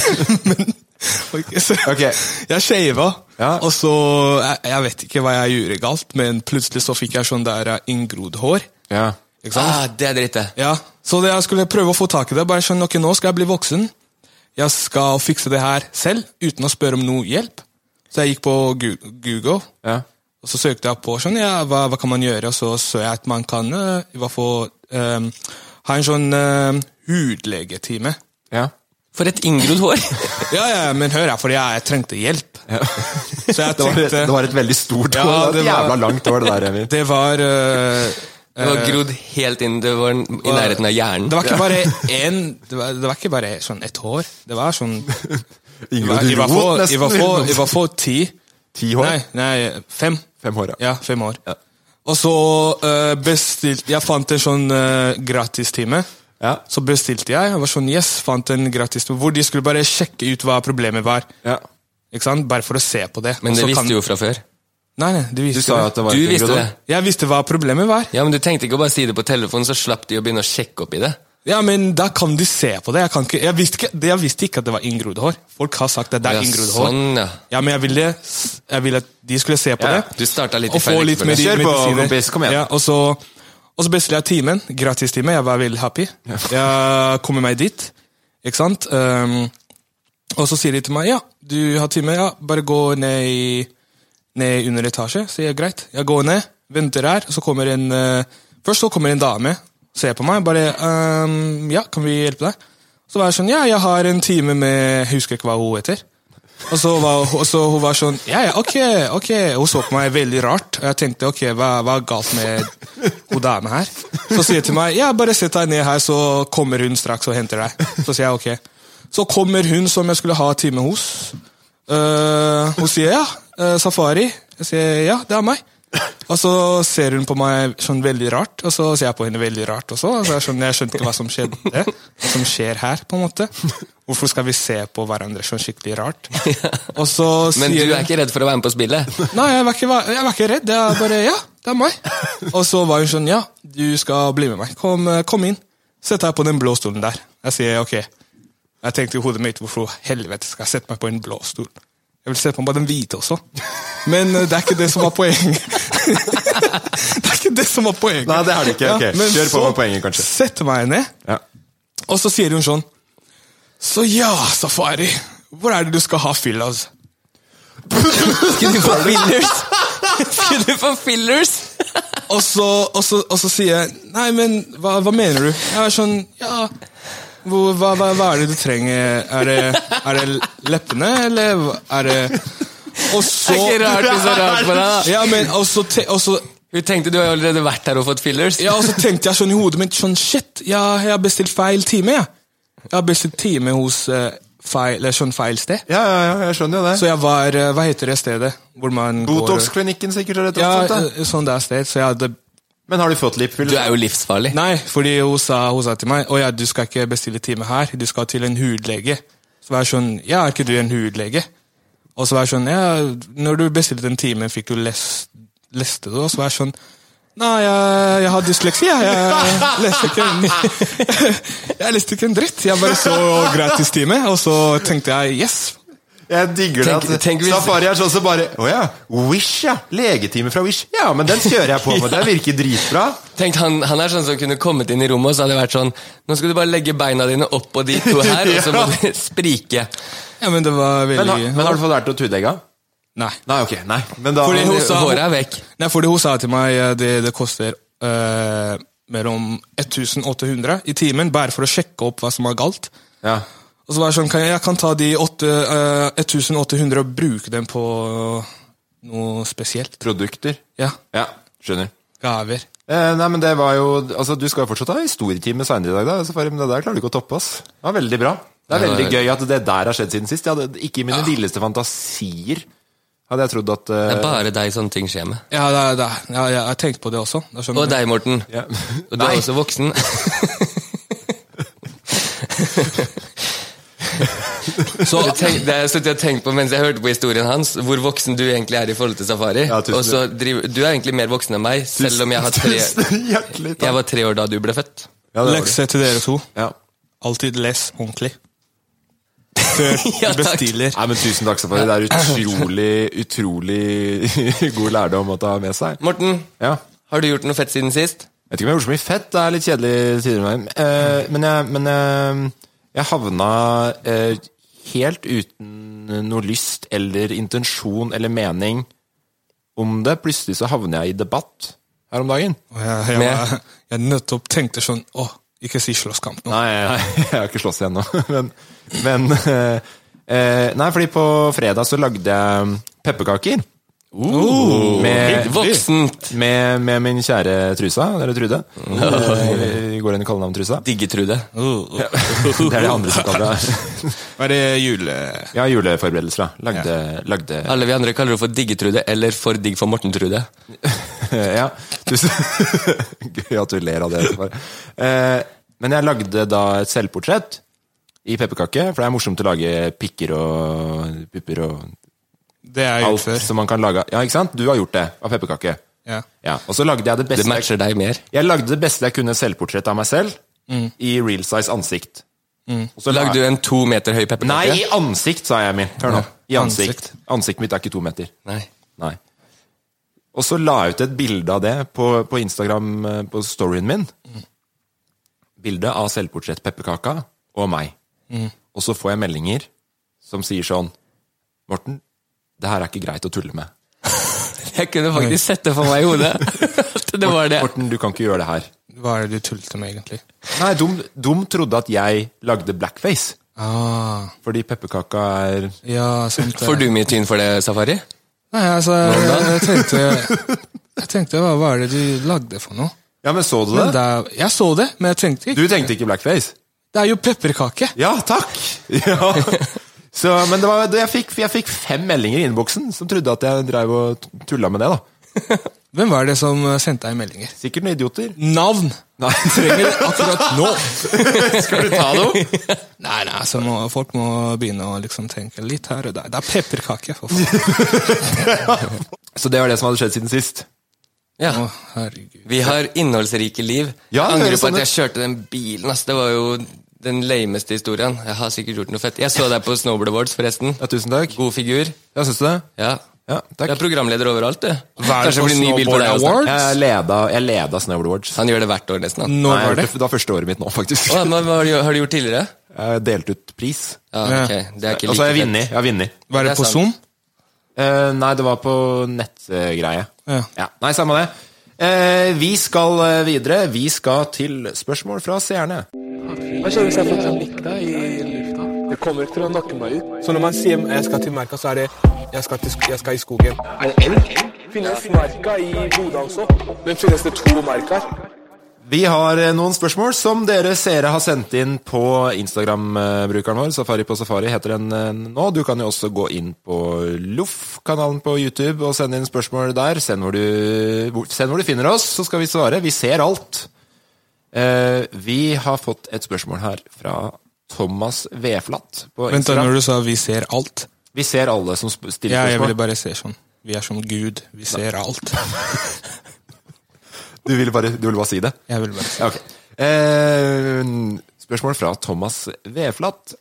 [SPEAKER 5] Ok, så-
[SPEAKER 4] *laughs* Ok.
[SPEAKER 5] Jeg skjeva,
[SPEAKER 4] Ja.
[SPEAKER 5] og så jeg, jeg vet ikke hva jeg gjorde galt, men plutselig så fikk jeg sånn der eh, inngrodd hår.
[SPEAKER 4] Ja.
[SPEAKER 5] Ikke sant?
[SPEAKER 3] Ah, det er dritt, det.
[SPEAKER 5] Ja, så det jeg skulle prøve å få tak i det. Bare skjønn, ok, nå skal jeg bli voksen. Jeg skal fikse det her selv, uten å spørre om noe hjelp. Så jeg gikk på Gu- Google,
[SPEAKER 4] Ja.
[SPEAKER 5] og så søkte jeg på sånn, ja, hva, hva kan man gjøre, og så så jeg at man kan eh, i hvert fall eh, ha en sånn eh, hudlegetime.
[SPEAKER 4] ja.
[SPEAKER 3] For et inngrodd hår!
[SPEAKER 4] *laughs*
[SPEAKER 5] Ja, ja, men hør her, for jeg trengte hjelp. Så jeg
[SPEAKER 4] *laughs* Det var,
[SPEAKER 5] tenkte,
[SPEAKER 4] det var et veldig stort hår.
[SPEAKER 5] Ja,
[SPEAKER 4] det var et
[SPEAKER 5] det var-
[SPEAKER 4] jævla langt hår, det der, Emil.
[SPEAKER 5] det var... eh,
[SPEAKER 3] Det var grodd helt inn, det var i nærheten av hjernen.
[SPEAKER 5] det var ikke bare en, det var, det var ikke bare sånn et hår, det var sånn, i
[SPEAKER 4] Ingrid
[SPEAKER 5] hvert
[SPEAKER 4] Roth,
[SPEAKER 5] fall- i
[SPEAKER 4] nesten.
[SPEAKER 5] hvert fall- i hvert fall ti,
[SPEAKER 4] Ti hår?
[SPEAKER 5] Nei, nei, fem.
[SPEAKER 4] Fem hår, ja.
[SPEAKER 5] Ja, fem år. Og så eh, bestilte Jeg fant en sånn eh, gratistime.
[SPEAKER 4] Ja.
[SPEAKER 5] Så bestilte jeg. Jeg var sånn, yes, fant en gratistime Hvor de skulle bare sjekke ut hva problemet var.
[SPEAKER 4] Ja.
[SPEAKER 5] Ikke sant? Bare for å se på det. Og
[SPEAKER 3] Men det
[SPEAKER 5] så
[SPEAKER 3] visste
[SPEAKER 5] kan-
[SPEAKER 3] du jo fra før.
[SPEAKER 5] Nei, nei, de
[SPEAKER 4] Du
[SPEAKER 5] visste
[SPEAKER 4] sa jo at det var
[SPEAKER 3] Du
[SPEAKER 4] et
[SPEAKER 3] visste
[SPEAKER 4] Ingrid
[SPEAKER 3] det.
[SPEAKER 4] Roth.
[SPEAKER 5] Jeg visste hva problemet var.
[SPEAKER 3] Ja, men du tenkte ikke å bare si det på telefonen, så slapp de å begynne å sjekke opp i det.
[SPEAKER 5] Ja, men da kan de se på det. Jeg, kan ikke, jeg, visste, ikke, jeg visste ikke at det var inngrodd hår. Folk har sagt at det er
[SPEAKER 3] Ja,
[SPEAKER 5] inngrodd hår.
[SPEAKER 3] sånn, ja.
[SPEAKER 5] Ja, men jeg ville, jeg ville at de skulle se på
[SPEAKER 4] Ja,
[SPEAKER 5] det.
[SPEAKER 3] du startet litt i
[SPEAKER 5] Og få
[SPEAKER 3] feil
[SPEAKER 5] litt med de
[SPEAKER 4] rekkefølge. Kjør på,
[SPEAKER 5] medisiner.
[SPEAKER 4] kompis, kom igjen.
[SPEAKER 5] Ja, og så, og så bestilte jeg timen. Gratistime. Jeg var veldig happy. Jeg kommer meg dit, ikke sant? Ehm, og så sier de til meg ja, du har time, ja, bare gå ned, i, ned under etasje. Sier jeg greit. Jeg går ned, venter her, så kommer en eh, Først så kommer en dame, ser på meg, bare ehm, ja, kan vi hjelpe deg? Så var jeg sånn ja, jeg har en time med Jeg husker ikke hva hun heter. Og så var og så hun var sånn Ja, ja, ok, ok. Hun så på meg veldig rart. Og jeg tenkte ok, hva, hva er galt med hun dame her? Så sier hun til meg ja, bare sett deg ned her, så kommer hun straks og henter deg. Så sier jeg ok. Så kommer hun som jeg skulle ha time hos. Eh, hun sier ja, eh, safari. Jeg sier ja, det er meg. Og så ser hun på meg sånn veldig rart, og så ser jeg på henne veldig rart også. Og så er jeg, sånn, jeg skjønte ikke hva som skjedde, hva som skjer her, på en måte. Hvorfor skal vi se på hverandre sånn skikkelig
[SPEAKER 3] *laughs*
[SPEAKER 5] rart? Og så sier
[SPEAKER 3] Men du
[SPEAKER 5] hun-
[SPEAKER 3] er ikke redd for å være med på spillet?
[SPEAKER 5] Nei, jeg var ikke, jeg var ikke redd. Jeg bare, ja, det er meg. Og så var hun sånn, ja, du skal bli med meg. Kom, eh, kom inn. Sett deg på den blå stolen der. Jeg sier, ok. Jeg tenkte i hodet mitt, hvorfor helvete skal jeg sette meg på en blå stol? Jeg vil sette meg på den hvite også. Men eh, det er ikke det som var poenget. *laughs* det er ikke det som var poenget.
[SPEAKER 4] Nei, det er det ikke. Ok,
[SPEAKER 5] men
[SPEAKER 4] kjør på
[SPEAKER 5] så
[SPEAKER 4] med poenget, kanskje.
[SPEAKER 5] setter jeg meg ned,
[SPEAKER 4] *laughs* Ja.
[SPEAKER 5] og så sier hun sånn Så ja, Safari, hvor er det du skal ha fyllas?
[SPEAKER 3] Skulle du få
[SPEAKER 5] *laughs*
[SPEAKER 3] fillers?
[SPEAKER 5] Ah!
[SPEAKER 3] Skulle *laughs* du få fillers?
[SPEAKER 5] Og så, og, så, og så sier jeg Nei, men hva, hva mener du? Jeg er sånn Ja, hvor, hva, hva, hva er det du trenger? Er det, er det leppene, eller hva- er det Og så
[SPEAKER 3] Det er ikke rart du så rart på deg. da.
[SPEAKER 5] Ja, men og så, te, og så
[SPEAKER 3] Hun tenkte du har jo allerede vært her og fått fillers.
[SPEAKER 5] Ja, og så tenkte jeg sånn i hodet mitt sånn, Shit, ja, jeg har bestilt feil time, jeg. Jeg har bestilt time hos eh, feil, eller sånn feil sted.
[SPEAKER 4] Ja, ja, ja, jeg skjønner jo det.
[SPEAKER 5] Så jeg var eh, Hva heter det stedet? Hvor man går
[SPEAKER 4] Botox-klinikken sikkert eller et
[SPEAKER 5] Ja,
[SPEAKER 4] eller annet sånt.
[SPEAKER 5] eh, sånn der sted. Så jeg hadde
[SPEAKER 4] da. Men har du fått lipfyll?
[SPEAKER 3] øh, Du er jo livsfarlig.
[SPEAKER 5] Nei, fordi hun sa, hun sa til meg Å ja, du skal ikke bestille time her, du skal til en hudlege. Så var jeg sånn Ja, er ikke du en hudlege? Og så var jeg sånn Ja, når du bestilte en time, fikk du les, leste det? Og så var jeg sånn Nei, jeg, jeg har dysleksi, jeg. Jeg leste ikke en, *laughs* jeg leste ikke en dritt. Jeg bare så gratis time, og så tenkte jeg yes.
[SPEAKER 4] Jeg digger
[SPEAKER 3] Tenk-
[SPEAKER 4] det at
[SPEAKER 3] tenk hvis-
[SPEAKER 4] Safari er sånn som bare Å ja, Wish, ja. Legetime fra Wish. Ja, men den kjører
[SPEAKER 3] *laughs*
[SPEAKER 4] jeg på med. Den virker dritbra.
[SPEAKER 3] Tenk, han, han er sånn som kunne kommet inn i rommet, og så hadde det vært sånn Nå skal du bare legge beina dine oppå de to
[SPEAKER 5] *laughs*
[SPEAKER 3] her, og så må du *laughs* sprike.
[SPEAKER 5] Ja, men det var
[SPEAKER 4] Men, har-
[SPEAKER 5] veldig
[SPEAKER 4] men har du fått lært å tuddelegge?
[SPEAKER 5] Nei.
[SPEAKER 4] Nei, ok. Nei. Men da
[SPEAKER 5] Fordi hun sa-
[SPEAKER 3] Håret er vekk.
[SPEAKER 5] Nei, fordi hun sa til meg eh, det, det koster eh, mellom 1800 i timen, bare for å sjekke opp hva som er galt.
[SPEAKER 4] ja.
[SPEAKER 5] Og så var jeg sånn, kan jeg, jeg kan ta de åtte, eh, 1800 og bruke dem på noe spesielt.
[SPEAKER 4] Produkter.
[SPEAKER 5] Ja,
[SPEAKER 4] Ja, skjønner.
[SPEAKER 5] gaver.
[SPEAKER 4] Eh, nei, men det var jo Altså, du skal jo fortsatt ha historietime seinere i dag, da. Safari, men det der klarer du ikke å toppe, ass. Det var veldig bra. Det er
[SPEAKER 3] Ja,
[SPEAKER 4] veldig
[SPEAKER 3] det er-
[SPEAKER 4] gøy at det der har skjedd siden sist. Jeg hadde ikke i mine villeste fantasier hadde jeg trodd at
[SPEAKER 3] Det
[SPEAKER 4] eh,
[SPEAKER 3] er bare deg sånne ting skjer med.
[SPEAKER 5] Ja, det, er- det, er- ja, jeg har tenkt på det også. Da skjønner
[SPEAKER 3] Og deg, Morten.
[SPEAKER 4] ja.
[SPEAKER 3] Og du
[SPEAKER 4] Nei.
[SPEAKER 3] er også
[SPEAKER 4] *laughs*
[SPEAKER 3] voksen. Så tenk, det er sluttet å tenke på mens jeg hørte på historien hans, hvor voksen du egentlig er i forhold til Safari.
[SPEAKER 4] Ja, tusen
[SPEAKER 3] og så driver, du er egentlig mer voksen enn meg, *laughs* selv om jeg, har tre,
[SPEAKER 4] Tusen hjertelig
[SPEAKER 3] jeg
[SPEAKER 4] takk.
[SPEAKER 3] var tre år da du ble født.
[SPEAKER 4] Ja, det var det.
[SPEAKER 5] Lekse til dere to.
[SPEAKER 4] Ja.
[SPEAKER 5] Alltid les ordentlig. Før
[SPEAKER 3] Ja,
[SPEAKER 5] du
[SPEAKER 3] takk.
[SPEAKER 5] bestiller.
[SPEAKER 4] Nei, men Tusen takk, Safari. Det er utrolig utrolig *laughs* god lærdom å ta med seg.
[SPEAKER 3] Morten,
[SPEAKER 4] Ja.
[SPEAKER 3] har du gjort noe fett siden sist?
[SPEAKER 4] Jeg vet ikke om jeg har gjort så mye fett. Det er litt kjedelig tider med meg. Eh, Men jeg, men eh, jeg havna eh, helt uten noe lyst eller intensjon eller mening om det. Plutselig så havner jeg i debatt her om dagen.
[SPEAKER 5] Og jeg, jeg, var- jeg nettopp tenkte sånn, åh, ikke si slåsskamp nå.
[SPEAKER 4] Nei, nei, *laughs* jeg har ikke slåss igjen nå. *laughs* Men, men eh, eh, Nei, fordi på fredag så lagde jeg pepperkaker. Oh, med,
[SPEAKER 3] Voksent!
[SPEAKER 4] med, med min kjære Trusa, eller Trude. Vi går inn i kallenavn Trusa. Det
[SPEAKER 3] Digger Trude.
[SPEAKER 4] er det andre som kaller det.
[SPEAKER 5] *laughs* Var det jule...
[SPEAKER 4] Ja, juleforberedelser, da. Lagde, lagde *laughs*
[SPEAKER 3] Alle vi andre kaller henne for Digge-Trude eller For digg for Morten-Trude.
[SPEAKER 4] Ja. *laughs* Tusen Gøy at du ler av det. Svar. Eh, Men jeg lagde da et selvportrett i pepperkake, for det er morsomt å lage pikker og pupper og
[SPEAKER 5] Det er jeg gjort
[SPEAKER 4] alt
[SPEAKER 5] før.
[SPEAKER 4] som man kan lage. av- Ja, ikke sant? Du har gjort det av pepperkake.
[SPEAKER 5] Ja.
[SPEAKER 4] Ja, og så lagde jeg det beste
[SPEAKER 3] Det matcher deg mer.
[SPEAKER 4] Jeg lagde det beste jeg kunne selvportrett av meg selv,
[SPEAKER 5] Mm.
[SPEAKER 4] i real size ansikt. Og så
[SPEAKER 3] Lagde du en to meter høy
[SPEAKER 4] Nei, i
[SPEAKER 3] pepperkake?
[SPEAKER 4] ansikt, sa jeg, Emil. Hør nå. I ansikt.
[SPEAKER 5] Ansikt.
[SPEAKER 4] Ansiktet mitt er ikke to meter.
[SPEAKER 3] Nei.
[SPEAKER 4] Nei. Og så la jeg ut et bilde av det på, på Instagram, eh, på storyen min.
[SPEAKER 5] Mm.
[SPEAKER 4] Bilde av selvportrett pepperkaka og meg.
[SPEAKER 5] Mm.
[SPEAKER 4] Og så får jeg meldinger som sier sånn Morten, det her er ikke greit å tulle med.
[SPEAKER 3] Jeg kunne faktisk sett det for meg i *laughs* hodet. At det var det.
[SPEAKER 4] Morten, du kan ikke gjøre det her.
[SPEAKER 5] Hva er det du tullte med, egentlig?
[SPEAKER 4] Nei, de, de trodde at jeg lagde blackface.
[SPEAKER 5] Ah,
[SPEAKER 4] Fordi pepperkaka er
[SPEAKER 5] ja, sant det.
[SPEAKER 3] Får du mye tyn for det, Safari?
[SPEAKER 5] Nei, altså, jeg, jeg tenkte, jeg tenkte hva var det du lagde for noe?
[SPEAKER 4] Ja, men så du
[SPEAKER 5] Men
[SPEAKER 4] det?
[SPEAKER 5] da, jeg så det, men jeg tenkte
[SPEAKER 4] Du
[SPEAKER 5] ikke.
[SPEAKER 4] tenkte ikke blackface?
[SPEAKER 5] Det er jo pepperkake.
[SPEAKER 4] Ja, takk! *laughs* Ja. Så, men det var, det jeg, fikk, jeg fikk fem meldinger i innboksen som trodde at jeg drev og tulla med det. da.
[SPEAKER 5] Hvem var det som eh, sendte deg meldinger?
[SPEAKER 4] Sikkert noen idioter.
[SPEAKER 5] Navn!
[SPEAKER 4] Nei,
[SPEAKER 5] Trenger det akkurat nå!
[SPEAKER 4] *laughs* Skal du ta noe?
[SPEAKER 5] Nei, nei, så må, folk må begynne å liksom tenke litt her og der. Det er pepperkake, for faen.
[SPEAKER 4] Så det var det som hadde skjedd siden sist.
[SPEAKER 3] Ja.
[SPEAKER 5] Å, herregud.
[SPEAKER 3] Vi har innholdsrike liv.
[SPEAKER 4] Ja,
[SPEAKER 3] jeg
[SPEAKER 4] det
[SPEAKER 3] angrer
[SPEAKER 4] høres
[SPEAKER 3] på at
[SPEAKER 4] sånn
[SPEAKER 3] jeg kjørte den bilen. Ass. Det var jo den lameste historien. Jeg har sikkert gjort noe fett. Jeg så deg på snowboardboards, forresten.
[SPEAKER 4] Ja, tusen takk.
[SPEAKER 3] God figur.
[SPEAKER 4] *laughs* Ja, syns du det?
[SPEAKER 3] Ja.
[SPEAKER 4] Ja,
[SPEAKER 3] Du
[SPEAKER 4] takk.
[SPEAKER 3] er programleder overalt, du.
[SPEAKER 5] Hva er det
[SPEAKER 3] Kanskje
[SPEAKER 5] for
[SPEAKER 3] blir ny bil
[SPEAKER 5] snowboard
[SPEAKER 3] for deg også.
[SPEAKER 5] award?
[SPEAKER 4] Jeg leda, jeg leda Snowboard Awards.
[SPEAKER 3] Han gjør det hvert år, nesten. Han.
[SPEAKER 5] Når
[SPEAKER 4] Nei,
[SPEAKER 5] var det?
[SPEAKER 4] Det var første året mitt nå, faktisk.
[SPEAKER 3] Å, men hva har, du, har du gjort tidligere?
[SPEAKER 4] *laughs* Jeg delte ut pris.
[SPEAKER 3] Ja,
[SPEAKER 5] Ja.
[SPEAKER 3] ok. Det er ikke
[SPEAKER 4] Og så har jeg
[SPEAKER 3] like
[SPEAKER 4] vunnet.
[SPEAKER 3] fett.
[SPEAKER 4] Jeg har vunnet.
[SPEAKER 5] Var
[SPEAKER 3] Det
[SPEAKER 5] det
[SPEAKER 3] er
[SPEAKER 5] på
[SPEAKER 3] sant.
[SPEAKER 5] Zoom?
[SPEAKER 4] Eh, nei, det var på nettgreie.
[SPEAKER 5] Ja.
[SPEAKER 4] Nei, samme det. Eh, vi skal eh, videre. Vi skal til spørsmål fra seerne.
[SPEAKER 6] Så når man sier jeg skal til merka, så er det jeg skal, til, sk- jeg skal i skogen. Er det elg? Finnes merka i Bodø også? Men finnes det to merker?
[SPEAKER 4] Vi har eh, noen spørsmål som dere seere har sendt inn på Instagram-brukeren vår. Safari på safari heter den eh, nå. Du kan jo også gå inn på Loff-kanalen på YouTube og sende inn spørsmål der. Send hvor, du, hvor- send hvor du finner oss, så skal vi svare. Vi ser alt. Eh, vi har fått et spørsmål her fra Thomas Veflat på
[SPEAKER 5] Vent da,
[SPEAKER 4] Instagram.
[SPEAKER 5] når du sa 'vi ser alt'
[SPEAKER 4] Vi ser alle som sp- stiller
[SPEAKER 5] Ja, jeg ville
[SPEAKER 4] spørsmål.
[SPEAKER 5] bare se sånn. Vi er som Gud. Vi ser alt.
[SPEAKER 4] Du ville bare, du ville bare si det?
[SPEAKER 5] Jeg ville bare se.
[SPEAKER 4] Ja, ok. Eh, spørsmål fra Thomas Veflat.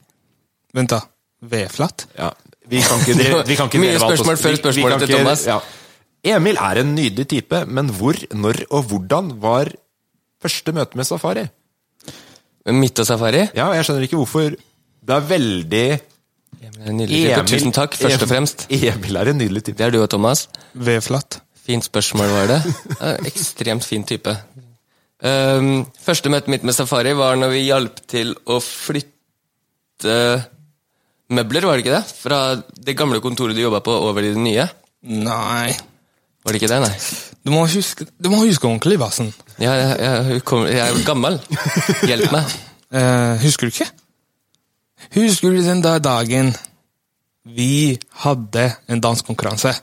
[SPEAKER 5] Vent, da. V-flatt?
[SPEAKER 4] Ja, vi kan ikke, drive- vi kan
[SPEAKER 3] *laughs*
[SPEAKER 4] ikke
[SPEAKER 3] Mye
[SPEAKER 4] drive alt
[SPEAKER 3] spørsmål
[SPEAKER 4] oss-
[SPEAKER 3] før
[SPEAKER 4] vi- vi
[SPEAKER 3] spørsmålet
[SPEAKER 4] kan
[SPEAKER 3] til
[SPEAKER 4] ikke-
[SPEAKER 3] Thomas.
[SPEAKER 4] Ja. Emil er en nydelig type, men hvor, når og hvordan var første møte med safari?
[SPEAKER 3] Midt og safari?
[SPEAKER 4] Ja, jeg skjønner ikke hvorfor det er veldig
[SPEAKER 3] Nydelig. type. Tusen takk, først og fremst.
[SPEAKER 4] Emil er en nydelig type.
[SPEAKER 3] Det er du og Thomas.
[SPEAKER 5] V-flatt?
[SPEAKER 3] Fint spørsmål var det. Ja, Ekstremt fin type. Ehm, første møtet mitt med Safari var når vi hjalp til å flytte møbler, var det ikke det? Fra det gamle kontoret du jobba på, over i det nye.
[SPEAKER 5] Nei
[SPEAKER 3] Var det ikke det? Nei.
[SPEAKER 5] Du må huske, du må huske ordentlig, Bassen.
[SPEAKER 3] Ja, jeg, jeg, kommer- jeg er gammel. Hjelp meg.
[SPEAKER 5] Eh, husker du ikke? Husker du den der dagen vi hadde en dansekonkurranse?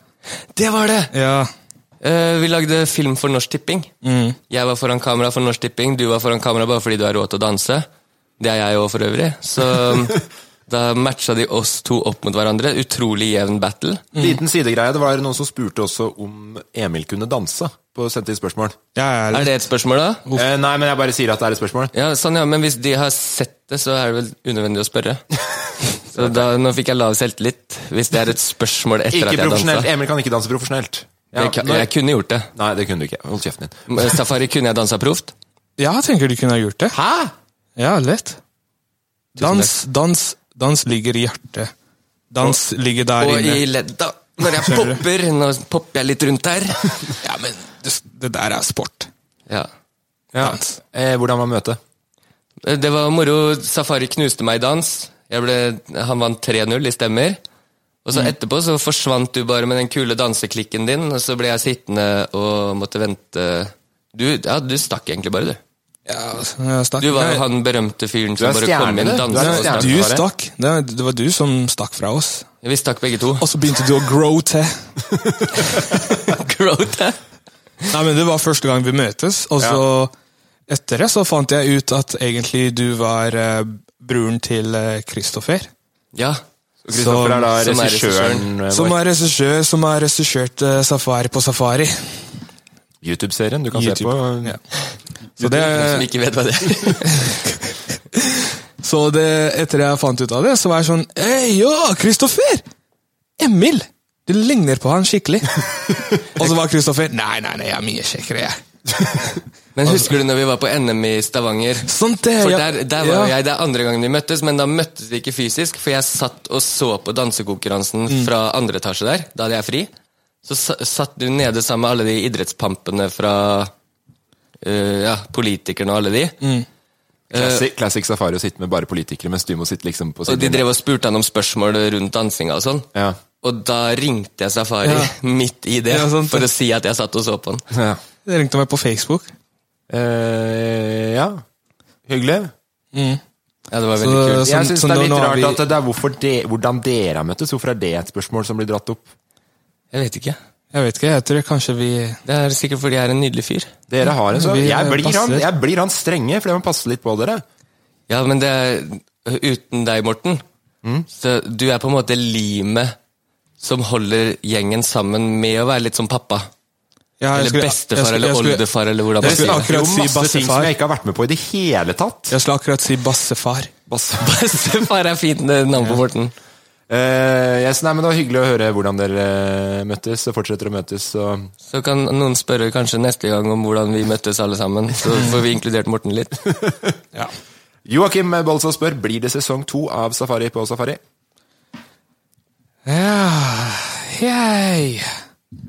[SPEAKER 3] Det var det!
[SPEAKER 5] Ja.
[SPEAKER 3] Eh, vi lagde film for Norsk Tipping. Jeg var foran kamera for Norsk Tipping, du var foran kamera bare fordi du har råd til å danse. Det er jeg òg, for øvrig. Så da matcha de oss to opp mot hverandre. Utrolig jevn battle.
[SPEAKER 4] Liten sidegreie, det var noen som spurte også om Emil kunne danse, på sendte inn spørsmål.
[SPEAKER 5] Jeg er
[SPEAKER 3] Er
[SPEAKER 5] litt
[SPEAKER 3] det et spørsmål, da?
[SPEAKER 4] Eh, nei, men jeg bare sier at det er et spørsmål.
[SPEAKER 3] Ja, sånn, ja, Men hvis de har sett det, så er det vel unødvendig å
[SPEAKER 5] *laughs*
[SPEAKER 3] spørre. Så da, Nå fikk jeg lav selvtillit, hvis det er et spørsmål etter
[SPEAKER 4] Ikke
[SPEAKER 3] at jeg
[SPEAKER 4] profesjonelt.
[SPEAKER 3] dansa.
[SPEAKER 4] Emil kan ikke danse profesjonelt. Ja,
[SPEAKER 3] Jeg, kan-
[SPEAKER 4] når-
[SPEAKER 3] jeg kunne gjort det.
[SPEAKER 4] Nei, det kunne du ikke. Hold kjeften din.
[SPEAKER 3] Men Safari, kunne jeg dansa proft?
[SPEAKER 5] Ja, jeg tenker du kunne ha gjort det.
[SPEAKER 4] Hæ?
[SPEAKER 5] Ja, lett. Dans, dans, dans ligger i hjertet. Dans ligger der
[SPEAKER 3] Og i
[SPEAKER 5] inne.
[SPEAKER 3] ledda. Når jeg popper. Nå popper jeg litt rundt her.
[SPEAKER 5] *laughs* Ja, men det, det der er sport.
[SPEAKER 3] Ja.
[SPEAKER 5] Dans.
[SPEAKER 4] Eh, hvordan var møtet?
[SPEAKER 3] Eh, Det var moro. Safari knuste meg i dans. Jeg ble, han vant 3-0 i stemmer. Og
[SPEAKER 4] Mm.
[SPEAKER 3] så etterpå så forsvant du bare med den kule danseklikken din, og så ble jeg sittende og måtte vente. Du, ja, du stakk egentlig bare, du.
[SPEAKER 5] Ja, altså, jeg stakk.
[SPEAKER 3] Du var jo
[SPEAKER 5] Nei,
[SPEAKER 3] han berømte fyren som
[SPEAKER 4] er
[SPEAKER 3] bare
[SPEAKER 4] stjerne,
[SPEAKER 3] kom
[SPEAKER 4] du.
[SPEAKER 3] inn,
[SPEAKER 4] Du er
[SPEAKER 3] dansa og
[SPEAKER 4] stjerne.
[SPEAKER 5] Du
[SPEAKER 3] stakk.
[SPEAKER 4] Var det?
[SPEAKER 5] stakk. Det, var- det var du som stakk fra oss.
[SPEAKER 3] Vi stakk begge
[SPEAKER 4] *laughs*
[SPEAKER 3] to.
[SPEAKER 5] Og så begynte du å grow til.
[SPEAKER 3] Grote.
[SPEAKER 5] Nei, men Det var første gang vi møtes, og så etter det så fant jeg ut at egentlig du var eh, broren til eh, Kristoffer.
[SPEAKER 3] Ja.
[SPEAKER 4] Kristoffer er da
[SPEAKER 3] som er
[SPEAKER 4] regissøren eh, vår.
[SPEAKER 5] Som er regissør, som har regissert eh, Safari på Safari.
[SPEAKER 4] YouTube-serien du kan se
[SPEAKER 5] YouTube.
[SPEAKER 4] på.
[SPEAKER 5] Ja. Så, det,
[SPEAKER 3] Som ikke vet hva det
[SPEAKER 4] *laughs*
[SPEAKER 3] er.
[SPEAKER 5] så det, etter jeg fant ut av det, så var jeg sånn Hei, ja, Kristoffer! Emil! Du ligner på han
[SPEAKER 4] *laughs*
[SPEAKER 5] skikkelig. og så var Kristoffer Nei, nei, nei, jeg er mye kjekkere, jeg.
[SPEAKER 3] Men husker du når vi var på NM i
[SPEAKER 4] *laughs*
[SPEAKER 3] Stavanger?
[SPEAKER 5] Sånn, det,
[SPEAKER 3] For
[SPEAKER 5] ja.
[SPEAKER 3] der, der var
[SPEAKER 5] Ja.
[SPEAKER 3] jo jeg, det er andre gangen vi møttes, men da møttes vi ikke fysisk, for jeg satt og så på dansekonkurransen
[SPEAKER 5] Mm.
[SPEAKER 3] fra andre etasje der, da hadde jeg fri. Så sa- satt du nede sammen med alle de idrettspampene fra eh, ja, politikerne og alle de.
[SPEAKER 5] Mm. Eh,
[SPEAKER 4] Classic, classic Safari å sitte med bare politikere, mens du må sitte liksom på
[SPEAKER 3] Og de
[SPEAKER 4] siden.
[SPEAKER 3] drev og spurte han om spørsmål rundt dansinga og sånn.
[SPEAKER 4] Ja.
[SPEAKER 3] Og da ringte jeg Safari *laughs* midt i det,
[SPEAKER 5] Ja, sant.
[SPEAKER 3] for å si at jeg satt og så på han.
[SPEAKER 4] Ja.
[SPEAKER 5] Det ringte meg på Facebook.
[SPEAKER 4] Eh, ja. Hyggelig.
[SPEAKER 3] Ja, det var
[SPEAKER 5] Så-
[SPEAKER 3] veldig kult.
[SPEAKER 5] Eh, Som-
[SPEAKER 4] jeg syns
[SPEAKER 5] som
[SPEAKER 4] det er
[SPEAKER 5] nå-
[SPEAKER 4] litt
[SPEAKER 5] nå har
[SPEAKER 4] rart
[SPEAKER 5] vi-
[SPEAKER 4] at det er hvorfor de, hvordan dere har møttes. Hvorfor er det et spørsmål som blir dratt opp?
[SPEAKER 3] Jeg vet ikke.
[SPEAKER 5] Jeg vet ikke, jeg tror kanskje vi
[SPEAKER 3] Det er sikkert fordi jeg er en nydelig fyr.
[SPEAKER 4] Dere har en sånn
[SPEAKER 5] Vi
[SPEAKER 4] jeg, blir han-
[SPEAKER 5] passer.
[SPEAKER 4] jeg blir han strenge, fordi man passer litt på dere.
[SPEAKER 3] Ja, men det er eh, uten deg, Morten. Så du er på en måte limet som holder gjengen sammen med å være litt som pappa. *laughs*
[SPEAKER 5] Ja, jeg
[SPEAKER 3] Eller
[SPEAKER 5] skulle- jeg
[SPEAKER 3] bestefar
[SPEAKER 5] skulle-
[SPEAKER 3] eller
[SPEAKER 5] jeg skulle-
[SPEAKER 3] oldefar, eller hvordan
[SPEAKER 5] jeg
[SPEAKER 3] man
[SPEAKER 5] skulle
[SPEAKER 4] Det
[SPEAKER 3] sier det.
[SPEAKER 4] er
[SPEAKER 5] akkurat
[SPEAKER 4] jo
[SPEAKER 5] si
[SPEAKER 4] masse ting som
[SPEAKER 5] bassefar.
[SPEAKER 4] jeg ikke har vært med på i det hele tatt.
[SPEAKER 5] *laughs* Jeg skulle akkurat si bassefar.
[SPEAKER 3] Bestefar er fint eh, navn på Morten.
[SPEAKER 4] Eh, yes, nei, men Det var hyggelig å høre hvordan dere eh, møttes og fortsetter å møtes. Og
[SPEAKER 3] Så kan noen spørre kanskje neste gang om hvordan vi møttes alle sammen. Så får vi inkludert Morten *laughs* litt.
[SPEAKER 5] Ja.
[SPEAKER 4] Joakim Bolsa spør blir det sesong to av Safari på Safari.
[SPEAKER 5] Ja, yay.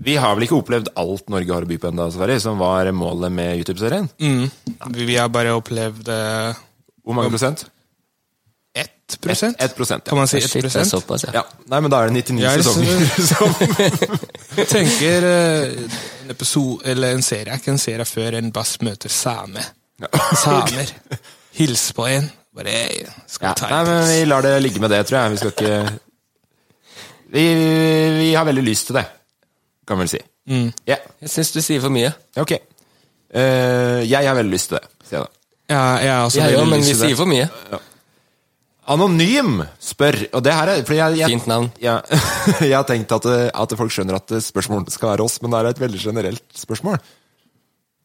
[SPEAKER 4] Vi har vel ikke opplevd alt Norge har å by på ennå, Safari, som var målet med YouTube-serien?
[SPEAKER 5] Vi vi har bare opplevd eh,
[SPEAKER 4] Hvor mange prosent?
[SPEAKER 5] 1
[SPEAKER 4] Ett- ett prosent, ja.
[SPEAKER 5] Kan man si 1
[SPEAKER 3] Shit, det er såpass, ja.
[SPEAKER 4] Ja. Nei, men da er det 99
[SPEAKER 5] Jeg er
[SPEAKER 4] sesonger. *laughs*
[SPEAKER 5] Jeg tenker eh, en episode, eller en serie er ikke en serie før en bass møter same. Samer. Hils på en. Bare «Ei, skal
[SPEAKER 4] Ja.
[SPEAKER 5] vi ta
[SPEAKER 4] Nei,
[SPEAKER 5] en
[SPEAKER 4] men
[SPEAKER 5] pils?»
[SPEAKER 4] vi lar det ligge med det, tror jeg. Vi skal ikke Vi, vi har veldig lyst til det, kan vi vel si. Ja,
[SPEAKER 3] Jeg syns du sier for mye.
[SPEAKER 4] ok. Eh, jeg har veldig lyst til det, sier jeg da.
[SPEAKER 5] Ja, jeg er også
[SPEAKER 3] Jeg
[SPEAKER 5] veldig
[SPEAKER 3] òg, men
[SPEAKER 5] lyst
[SPEAKER 3] vi
[SPEAKER 5] til det.
[SPEAKER 3] sier for mye.
[SPEAKER 4] Anonym spør, og det her er fordi jeg, jeg,
[SPEAKER 3] Fint navn.
[SPEAKER 4] Ja, *laughs* jeg har tenkt at, eh, at folk skjønner at eh, spørsmålet skal være oss, men det er et veldig generelt spørsmål.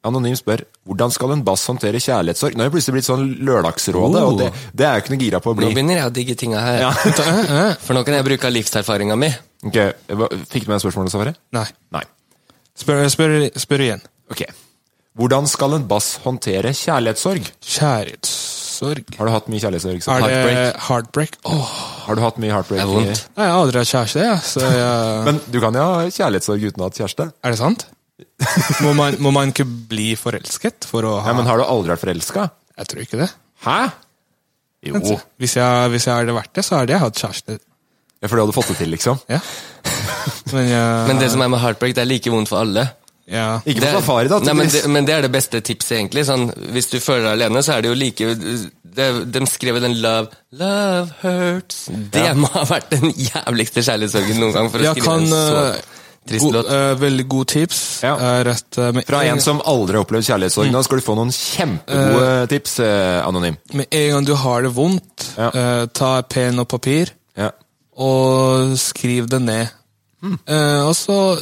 [SPEAKER 4] Anonym spør hvordan skal en bass håndtere kjærlighetssorg? Nå har jeg plutselig blitt sånn Lørdagsrådet, og det, det er jeg ikke noe gira på å
[SPEAKER 3] Nå
[SPEAKER 4] bli.
[SPEAKER 3] begynner jeg å digge tinga her. *laughs*
[SPEAKER 5] Eh,
[SPEAKER 3] For nå kan jeg bruke av livserfaringa mi.
[SPEAKER 4] *laughs* Ok, hva- Fikk du med deg spørsmålet, Safari?
[SPEAKER 5] Nei.
[SPEAKER 4] Nei.
[SPEAKER 5] Spør, spør, spør igjen.
[SPEAKER 4] Ok. Hvordan skal en bass håndtere kjærlighetssorg?
[SPEAKER 5] Kjærlighetssorg.
[SPEAKER 4] Har du hatt mye kjærlighetssorg? så-
[SPEAKER 5] Er det
[SPEAKER 4] Heartbreak?
[SPEAKER 5] heartbreak? Åh,
[SPEAKER 4] Har du hatt mye heartbreak?
[SPEAKER 3] Det er vondt.
[SPEAKER 5] jeg har aldri hatt kjæreste, jeg. Så jeg
[SPEAKER 4] *laughs* Men du kan jo ha kjærlighetssorg uten å ha hatt kjæreste.
[SPEAKER 5] er det
[SPEAKER 4] *laughs*
[SPEAKER 5] sant? Må man, må man ikke bli forelsket for å ha
[SPEAKER 4] Ja, men har du aldri vært forelska?
[SPEAKER 5] Jeg tror ikke det.
[SPEAKER 4] Hæ? Jo.
[SPEAKER 5] Hvis jeg, hvis jeg hadde vært det, så hadde jeg hatt kjæreste.
[SPEAKER 4] Ja, for det hadde du fått det til, liksom. *laughs*
[SPEAKER 5] Ja. Men, jeg,
[SPEAKER 3] Men det som er med heartbreak, det er like vondt for alle.
[SPEAKER 5] ja.
[SPEAKER 4] Ikke
[SPEAKER 3] Det
[SPEAKER 4] på
[SPEAKER 3] er-
[SPEAKER 4] safari, da.
[SPEAKER 3] Nei, men, det,
[SPEAKER 4] tydeligvis.
[SPEAKER 3] men det er det beste tipset, egentlig. Sånn, hvis du føler deg alene, så er det jo like det, De skrev jo den love Love hurts. Det må ha vært den jævligste kjærlighetssorgen noen gang, for å
[SPEAKER 5] Jeg
[SPEAKER 3] skrive
[SPEAKER 5] kan
[SPEAKER 3] en så
[SPEAKER 5] eh,
[SPEAKER 3] trist
[SPEAKER 5] god-
[SPEAKER 3] låt.
[SPEAKER 5] eh, Veldig god tips.
[SPEAKER 4] Ja.
[SPEAKER 5] er at, eh, med
[SPEAKER 4] Fra en som aldri har opplevd kjærlighetssorg. Nå skal du få noen kjempegode tips, Mm. eh, Anonym.
[SPEAKER 5] Med en gang du har det vondt,
[SPEAKER 4] Ja.
[SPEAKER 5] eh, ta penn og papir
[SPEAKER 4] Ja.
[SPEAKER 5] og skriv det ned.
[SPEAKER 4] Hmm.
[SPEAKER 5] Eh, og så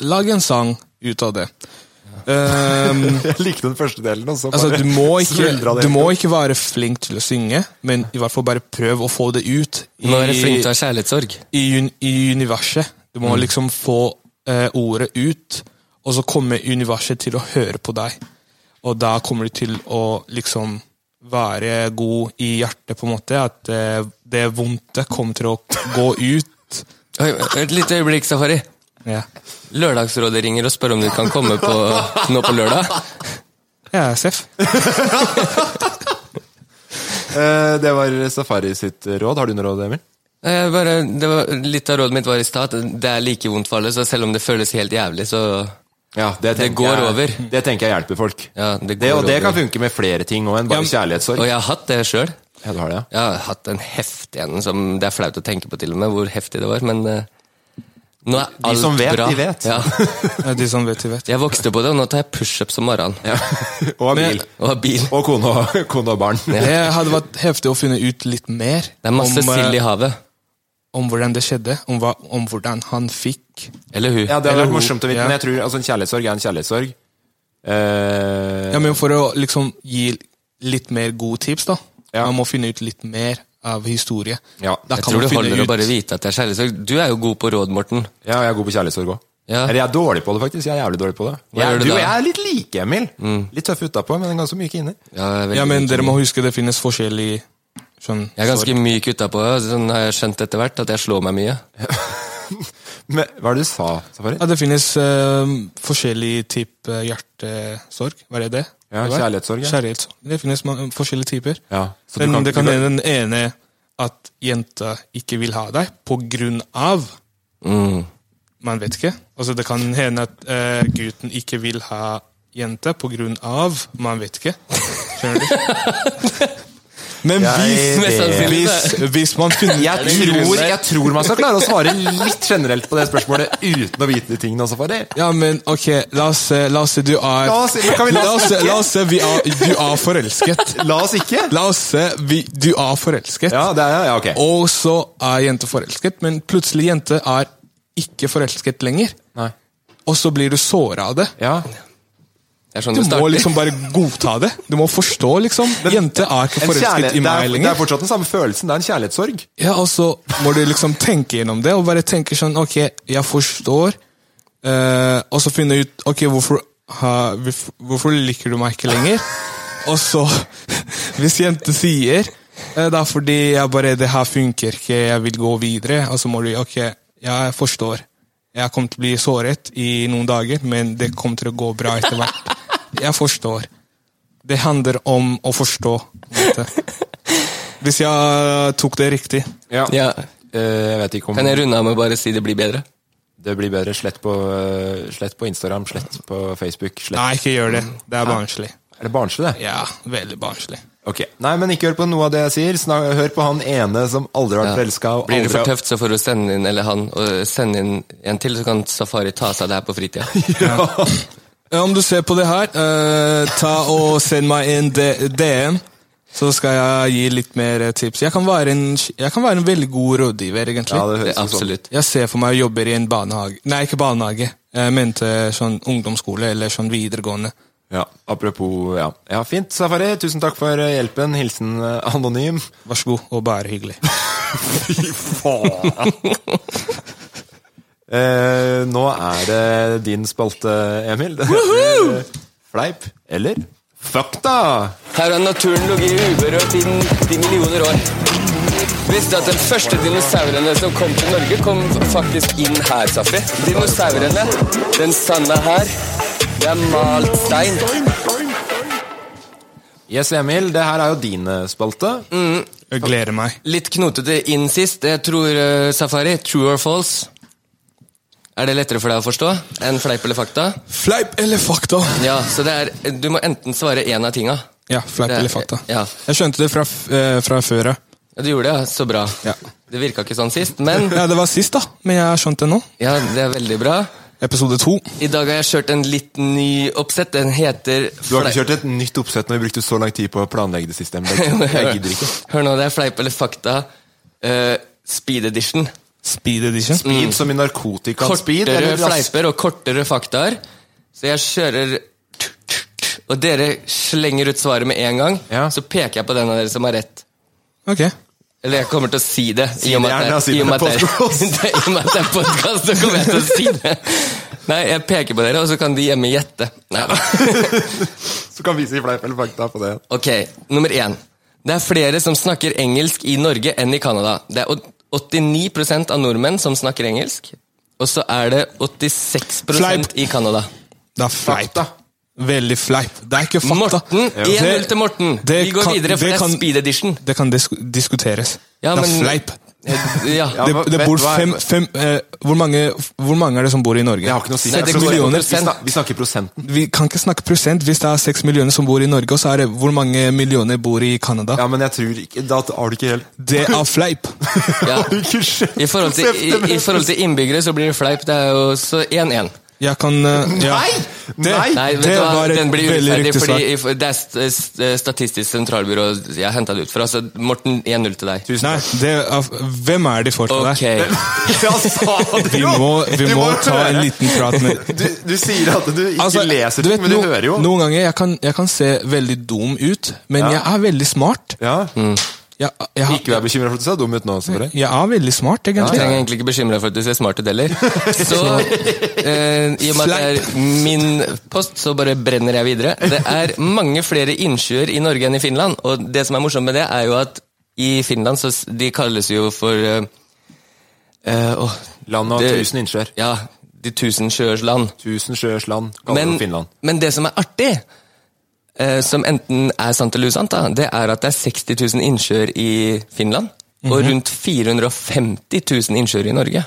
[SPEAKER 5] lag en sang ut av det.
[SPEAKER 4] *laughs*
[SPEAKER 5] Ehm,
[SPEAKER 4] Jeg likte den første delen, og så
[SPEAKER 5] altså,
[SPEAKER 4] bare
[SPEAKER 5] du, må ikke,
[SPEAKER 4] smuldra det.
[SPEAKER 5] du må ikke være flink til å synge, men i hvert fall bare prøv å få det ut
[SPEAKER 3] Du må være flink til å
[SPEAKER 5] i,
[SPEAKER 3] Hmm. ha kjærlighetssorg.
[SPEAKER 5] i, un, i universet. Du må liksom få eh, ordet ut, og så kommer universet til å høre på deg. Og da kommer du til å liksom være god i hjertet, på en måte. At eh, det vondte kommer til å gå ut.
[SPEAKER 3] Oi, et lite øyeblikk, Safari.
[SPEAKER 5] Ja,
[SPEAKER 3] Lørdagsrådet ringer og spør om du kan komme på, nå på lørdag.
[SPEAKER 5] ja Seff.
[SPEAKER 4] Eh, Det var Safari sitt råd. Har du noe råd, Emil?
[SPEAKER 3] Jeg Eh, bare, det var, litt av rådet mitt var i stad at det er like vondt for alle, så selv om det føles helt jævlig, så
[SPEAKER 4] Ja, det,
[SPEAKER 3] Det
[SPEAKER 4] tenker
[SPEAKER 3] går
[SPEAKER 4] jeg,
[SPEAKER 3] over.
[SPEAKER 4] Det tenker jeg hjelper folk.
[SPEAKER 3] ja, det går
[SPEAKER 4] Det, og det kan
[SPEAKER 3] over.
[SPEAKER 4] funke med flere ting òg enn bare
[SPEAKER 5] Ja,
[SPEAKER 4] kjærlighetssorg.
[SPEAKER 3] Og jeg har hatt det sjøl.
[SPEAKER 4] Ja, du har det, ja.
[SPEAKER 3] Jeg har hatt en heftig en som det er flaut å tenke på, til og med, hvor heftig det var, men eh, nå er
[SPEAKER 4] De
[SPEAKER 3] alt
[SPEAKER 4] som vet,
[SPEAKER 3] bra.
[SPEAKER 4] de vet.
[SPEAKER 3] Ja.
[SPEAKER 5] Ja, De som vet, de vet.
[SPEAKER 3] Jeg vokste på det, og nå tar jeg pushups om morgenen.
[SPEAKER 4] Og har bil.
[SPEAKER 3] Og har bil.
[SPEAKER 4] Og kone og, *laughs* kone og barn.
[SPEAKER 5] Det hadde vært heftig å finne ut litt mer
[SPEAKER 3] Det er masse
[SPEAKER 5] om, eh,
[SPEAKER 3] sild i havet.
[SPEAKER 5] om hvordan det skjedde. Om, hva, om hvordan han fikk
[SPEAKER 3] Eller hun.
[SPEAKER 4] Ja, det hadde
[SPEAKER 5] Eller
[SPEAKER 4] vært
[SPEAKER 5] hun,
[SPEAKER 4] morsomt å vite,
[SPEAKER 5] ja.
[SPEAKER 4] men jeg tror altså, en kjærlighetssorg er en kjærlighetssorg. Eh,
[SPEAKER 5] Ja, men for å liksom gi litt mer gode tips, da.
[SPEAKER 4] Ja.
[SPEAKER 5] Man må finne ut litt mer av historie.
[SPEAKER 4] Ja,
[SPEAKER 5] Da
[SPEAKER 3] jeg
[SPEAKER 5] kan
[SPEAKER 3] tror
[SPEAKER 5] man
[SPEAKER 3] det
[SPEAKER 5] finne
[SPEAKER 3] holder
[SPEAKER 5] ut-
[SPEAKER 3] å bare vite at det er kjærlighetssorg. Du er jo god på råd, Morten.
[SPEAKER 4] ja, jeg er god på kjærlighetssorg òg.
[SPEAKER 3] Ja.
[SPEAKER 4] Eller jeg er dårlig på det, faktisk. Jeg er jævlig dårlig på det.
[SPEAKER 3] gjør
[SPEAKER 4] Jeg, du
[SPEAKER 3] du
[SPEAKER 4] Mm. og
[SPEAKER 3] da?
[SPEAKER 4] jeg er litt like, Emil. Litt tøff utapå, men ganske myk inni.
[SPEAKER 3] Ja, jeg er veldig
[SPEAKER 5] Ja, men
[SPEAKER 3] myk.
[SPEAKER 5] dere må huske det finnes forskjell i sånn
[SPEAKER 3] Jeg er ganske myk utapå, sånn har jeg skjønt etter hvert, at jeg slår meg mye.
[SPEAKER 4] Men hva er det du sa, Safari?
[SPEAKER 5] Ja, det finnes eh, forskjellig type hjertesorg. Hva er det?
[SPEAKER 4] Ja,
[SPEAKER 5] Det var?
[SPEAKER 4] kjærlighetssorg, ja.
[SPEAKER 5] Kjærlighetssorg. Det finnes man, forskjellige typer.
[SPEAKER 4] Ja, så du
[SPEAKER 5] Men
[SPEAKER 4] kan-
[SPEAKER 5] det kan
[SPEAKER 4] du
[SPEAKER 5] hende
[SPEAKER 4] kan-
[SPEAKER 5] den ene at jenta ikke vil ha deg på grunn av
[SPEAKER 4] Mm.
[SPEAKER 5] Man vet ikke. Altså, det kan hende at eh, gutten ikke vil ha jente på grunn av Man vet ikke. Skjønner du?
[SPEAKER 4] *laughs*
[SPEAKER 5] Men
[SPEAKER 4] Jeg-
[SPEAKER 5] hvis,
[SPEAKER 3] Mest sannsynlig så
[SPEAKER 5] hvis, hvis man finner
[SPEAKER 4] Jeg tror, jeg tror man skal klare å svare litt generelt på det spørsmålet uten å vite de tingene, altså, Safari.
[SPEAKER 5] Ja, men ok, la oss se, la oss se du er
[SPEAKER 4] La oss se, men kan vi la oss
[SPEAKER 5] se,
[SPEAKER 4] snakke?
[SPEAKER 5] la oss se vi er, du er forelsket.
[SPEAKER 4] La oss ikke.
[SPEAKER 5] La oss se, vi, du er forelsket.
[SPEAKER 4] Ja, det er, ja, ok.
[SPEAKER 5] Og så er jente forelsket, men plutselig jente er ikke forelsket lenger.
[SPEAKER 4] Nei.
[SPEAKER 5] og så blir du såra av det.
[SPEAKER 4] Ja.
[SPEAKER 3] Det er sånn
[SPEAKER 5] Du
[SPEAKER 3] det
[SPEAKER 5] må
[SPEAKER 3] starter.
[SPEAKER 5] liksom bare godta det. Du må forstå, liksom. Den jente er ikke
[SPEAKER 4] En kjærlighet-
[SPEAKER 5] forelsket i
[SPEAKER 4] det,
[SPEAKER 5] meg
[SPEAKER 4] er, det er
[SPEAKER 5] lenger.
[SPEAKER 4] fortsatt den samme følelsen. Det er en kjærlighetssorg.
[SPEAKER 5] Ja, og så må du liksom tenke gjennom det, og bare tenke sånn Ok, jeg forstår, eh, og så finne ut Ok, hvorfor, ha, hvorf- hvorfor liker du meg ikke lenger? Og så, *laughs* hvis jente sier eh, Det er fordi jeg bare Det her funker ikke, jeg vil gå videre, og så må du Ok, jeg forstår. Jeg kommer til å bli såret i noen dager, men det kommer til å gå bra etter hvert. Jeg forstår. Det handler om å forstå. Dette. Hvis jeg tok det riktig.
[SPEAKER 3] Ja.
[SPEAKER 4] Eh, jeg vet ikke om
[SPEAKER 3] Kan jeg runde av med å bare si det blir bedre?
[SPEAKER 4] det blir bedre. Slett på, eh, slett på Instagram, slett på Facebook. Slett.
[SPEAKER 5] Nei, ikke gjør det. Det er barnslig.
[SPEAKER 4] Er det barnslig, det?
[SPEAKER 5] Ja, veldig barnslig.
[SPEAKER 4] Ok. Nei, men ikke hør på noe av det jeg sier. Snak, hør på han ene som aldri har vært forelska. og
[SPEAKER 3] Blir det
[SPEAKER 4] aldri
[SPEAKER 3] for
[SPEAKER 4] har-
[SPEAKER 3] tøft, så får du sende inn eller han, og sende inn en til, så kan Safari ta seg det her på fritida.
[SPEAKER 4] *laughs*
[SPEAKER 5] Ja, Om du ser på det her, eh, ta og send meg en D- DM, så skal jeg gi litt mer eh, tips. Jeg kan være en, jeg kan være en veldig god rådgiver, egentlig.
[SPEAKER 4] Ja, det høres
[SPEAKER 3] Det er
[SPEAKER 4] jo sånn.
[SPEAKER 3] Absolutt.
[SPEAKER 5] Jeg ser for meg jeg jobber i en barnehage. Nei, ikke barnehage. Jeg mente sånn ungdomsskole eller sånn videregående.
[SPEAKER 4] Ja, apropos ja. ja, fint, Safari. Tusen takk for eh, hjelpen. Hilsen eh, anonym.
[SPEAKER 5] Vær så god, og bare hyggelig.
[SPEAKER 4] Fy faen! eh, nå er det din spalte, Emil. Det heter, eh, Fleip eller fakta?
[SPEAKER 3] Her har naturen ligget uberørt i 90 millioner år. Visste at den første dinosaurene som kom til Norge, kom faktisk inn her, Safri. Dinosaurene, den sanda her, det er malt stein.
[SPEAKER 4] Yes, Emil, det her er jo din eh, spalte.
[SPEAKER 3] Mm,
[SPEAKER 5] Jeg gleder meg.
[SPEAKER 3] Litt knotete inn sist. Jeg tror, eh, Safari, true or false? Er det lettere for deg å forstå enn fleip eller fakta?
[SPEAKER 5] Fleip eller fakta?
[SPEAKER 3] Ja, så det er, Du må enten svare én av tinga.
[SPEAKER 5] Ja, fleip
[SPEAKER 3] Det-
[SPEAKER 5] eller fakta.
[SPEAKER 3] ja.
[SPEAKER 5] Jeg skjønte det fra, f- eh, fra før av.
[SPEAKER 3] Ja, du gjorde det, ja. Så bra.
[SPEAKER 5] Ja.
[SPEAKER 3] Det virka ikke sånn
[SPEAKER 4] *laughs*
[SPEAKER 3] sist, men
[SPEAKER 5] Ja, det var sist, da, men jeg har skjønt det nå.
[SPEAKER 3] ja, det er veldig bra.
[SPEAKER 5] Episode to.
[SPEAKER 3] I dag har jeg kjørt en litt ny oppsett. Den heter
[SPEAKER 4] Du har ikke kjørt et nytt oppsett når vi brukte så lang tid på å planlegge det siste. Emil.
[SPEAKER 3] *laughs*
[SPEAKER 4] Jeg gidder ikke.
[SPEAKER 3] Hør nå, det er fleip eller fakta. Eh, speed edition.
[SPEAKER 5] Speed edition.
[SPEAKER 4] Speed som i narkotika. Speed
[SPEAKER 3] Kortere
[SPEAKER 4] eller rask-
[SPEAKER 3] fleiper og kortere faktaer. Så jeg kjører Og dere slenger ut svaret med en gang.
[SPEAKER 4] Ja.
[SPEAKER 3] Så peker jeg på den av dere som har rett.
[SPEAKER 5] Ok.
[SPEAKER 3] Eller jeg kommer til å si det. I og med
[SPEAKER 4] det
[SPEAKER 3] at
[SPEAKER 4] gjerne, da,
[SPEAKER 3] det,
[SPEAKER 4] siden
[SPEAKER 3] i og med
[SPEAKER 4] det er
[SPEAKER 3] *laughs* at det,
[SPEAKER 4] podcast.
[SPEAKER 3] det, i og med at det er podkast, så kommer jeg til å si det. Nei, jeg peker på dere, og så kan de hjemme gjette. Nei.
[SPEAKER 5] *laughs*
[SPEAKER 4] Så kan vi si fleip eller fakta på det.
[SPEAKER 3] Ok, nummer én. Det er flere som snakker engelsk i Norge enn i Canada. Det er åt- 89 av nordmenn som snakker engelsk. Og så er det 86
[SPEAKER 5] Fleip.
[SPEAKER 3] i Canada.
[SPEAKER 5] Det er fleip.
[SPEAKER 4] Fakta.
[SPEAKER 5] Veldig fleip. Det er ikke fakta.
[SPEAKER 3] Morten, 1-0 til Morten.
[SPEAKER 5] det
[SPEAKER 3] Vi går
[SPEAKER 5] kan-
[SPEAKER 3] videre, for
[SPEAKER 5] det
[SPEAKER 3] det, er
[SPEAKER 5] kan-
[SPEAKER 3] speed edition.
[SPEAKER 5] Det kan disk diskuteres.
[SPEAKER 3] Ja,
[SPEAKER 5] det er
[SPEAKER 3] men-
[SPEAKER 5] fleip.
[SPEAKER 3] Ja.
[SPEAKER 4] Ja,
[SPEAKER 5] *laughs* Det,
[SPEAKER 4] hva-
[SPEAKER 5] det
[SPEAKER 4] vet-
[SPEAKER 5] bor
[SPEAKER 4] hva er-
[SPEAKER 5] fem, fem eh, hvor, mange, hvor mange er det som bor i Norge?
[SPEAKER 4] Det har ikke noe å si.
[SPEAKER 3] Nei, det
[SPEAKER 4] Vi
[SPEAKER 3] går
[SPEAKER 4] snakker-
[SPEAKER 3] jo under
[SPEAKER 4] vi
[SPEAKER 3] prosent.
[SPEAKER 4] snak- Vi snakker prosenten.
[SPEAKER 5] Vi kan ikke snakke prosent. Hvis det er seks millioner som bor i Norge, og så er det hvor mange millioner bor i Canada?
[SPEAKER 4] Ja, men jeg tror ikke Da har du ikke helt
[SPEAKER 5] Det er fleip.
[SPEAKER 3] Ja.
[SPEAKER 4] Har du *laughs* ikke skjønt
[SPEAKER 3] I forhold, til, i, I forhold til innbyggere så blir det fleip. Det er jo så 1-1.
[SPEAKER 5] Jeg kan eh, ja.
[SPEAKER 4] Nei!
[SPEAKER 5] Det,
[SPEAKER 4] Nei!
[SPEAKER 3] Nei, vet
[SPEAKER 5] det
[SPEAKER 3] du hva?
[SPEAKER 5] var et
[SPEAKER 3] Den blir
[SPEAKER 5] veldig
[SPEAKER 3] urettferdig,
[SPEAKER 5] riktig
[SPEAKER 3] fordi
[SPEAKER 5] svar.
[SPEAKER 3] i for- det er st- st- Statistisk sentralbyrå jeg henta det ut fra. Så Morten, 1-0 til deg.
[SPEAKER 5] Nei, det er, hvem er de folka
[SPEAKER 3] Ok.
[SPEAKER 5] der? *laughs*
[SPEAKER 4] Ja, sa du
[SPEAKER 5] Vi
[SPEAKER 4] jo!
[SPEAKER 5] må, vi
[SPEAKER 4] Du
[SPEAKER 5] må ta
[SPEAKER 4] høre.
[SPEAKER 5] en liten prat
[SPEAKER 4] *laughs*
[SPEAKER 5] med
[SPEAKER 4] du, du sier at du ikke
[SPEAKER 5] Altså,
[SPEAKER 4] leser
[SPEAKER 5] du
[SPEAKER 4] ting,
[SPEAKER 5] vet,
[SPEAKER 4] men du
[SPEAKER 5] no-
[SPEAKER 4] hører jo.
[SPEAKER 5] Noen ganger jeg kan jeg kan se veldig dum ut, men
[SPEAKER 4] Ja.
[SPEAKER 5] jeg er veldig smart.
[SPEAKER 4] Ja.
[SPEAKER 5] Mm. Jeg, jeg, har-
[SPEAKER 4] Ikke vær bekymra for at du ser dum ut nå. Safari.
[SPEAKER 5] jeg er veldig smart,
[SPEAKER 3] Du
[SPEAKER 5] egentlig.
[SPEAKER 3] trenger egentlig ikke bekymre deg for at du ser smart
[SPEAKER 5] *laughs*
[SPEAKER 3] ut heller. Så eh, i og med at det er min post, så bare brenner jeg videre. Det er mange flere innsjøer i Norge enn i Finland, og det som er morsomt med det, er jo at i Finland så s- de kalles jo for eh, eh, åh,
[SPEAKER 4] Land av
[SPEAKER 3] det-
[SPEAKER 4] tusen innsjøer.
[SPEAKER 3] Ja, de tusen sjøers land.
[SPEAKER 4] Tusen sjøers land, kaller
[SPEAKER 3] Men,
[SPEAKER 4] det Finland.
[SPEAKER 3] men det som er artig, eh, som enten er sant eller usant, da, det er at det er 60 000 innsjøer i Finland, og rundt 450 000 innsjøer i Norge.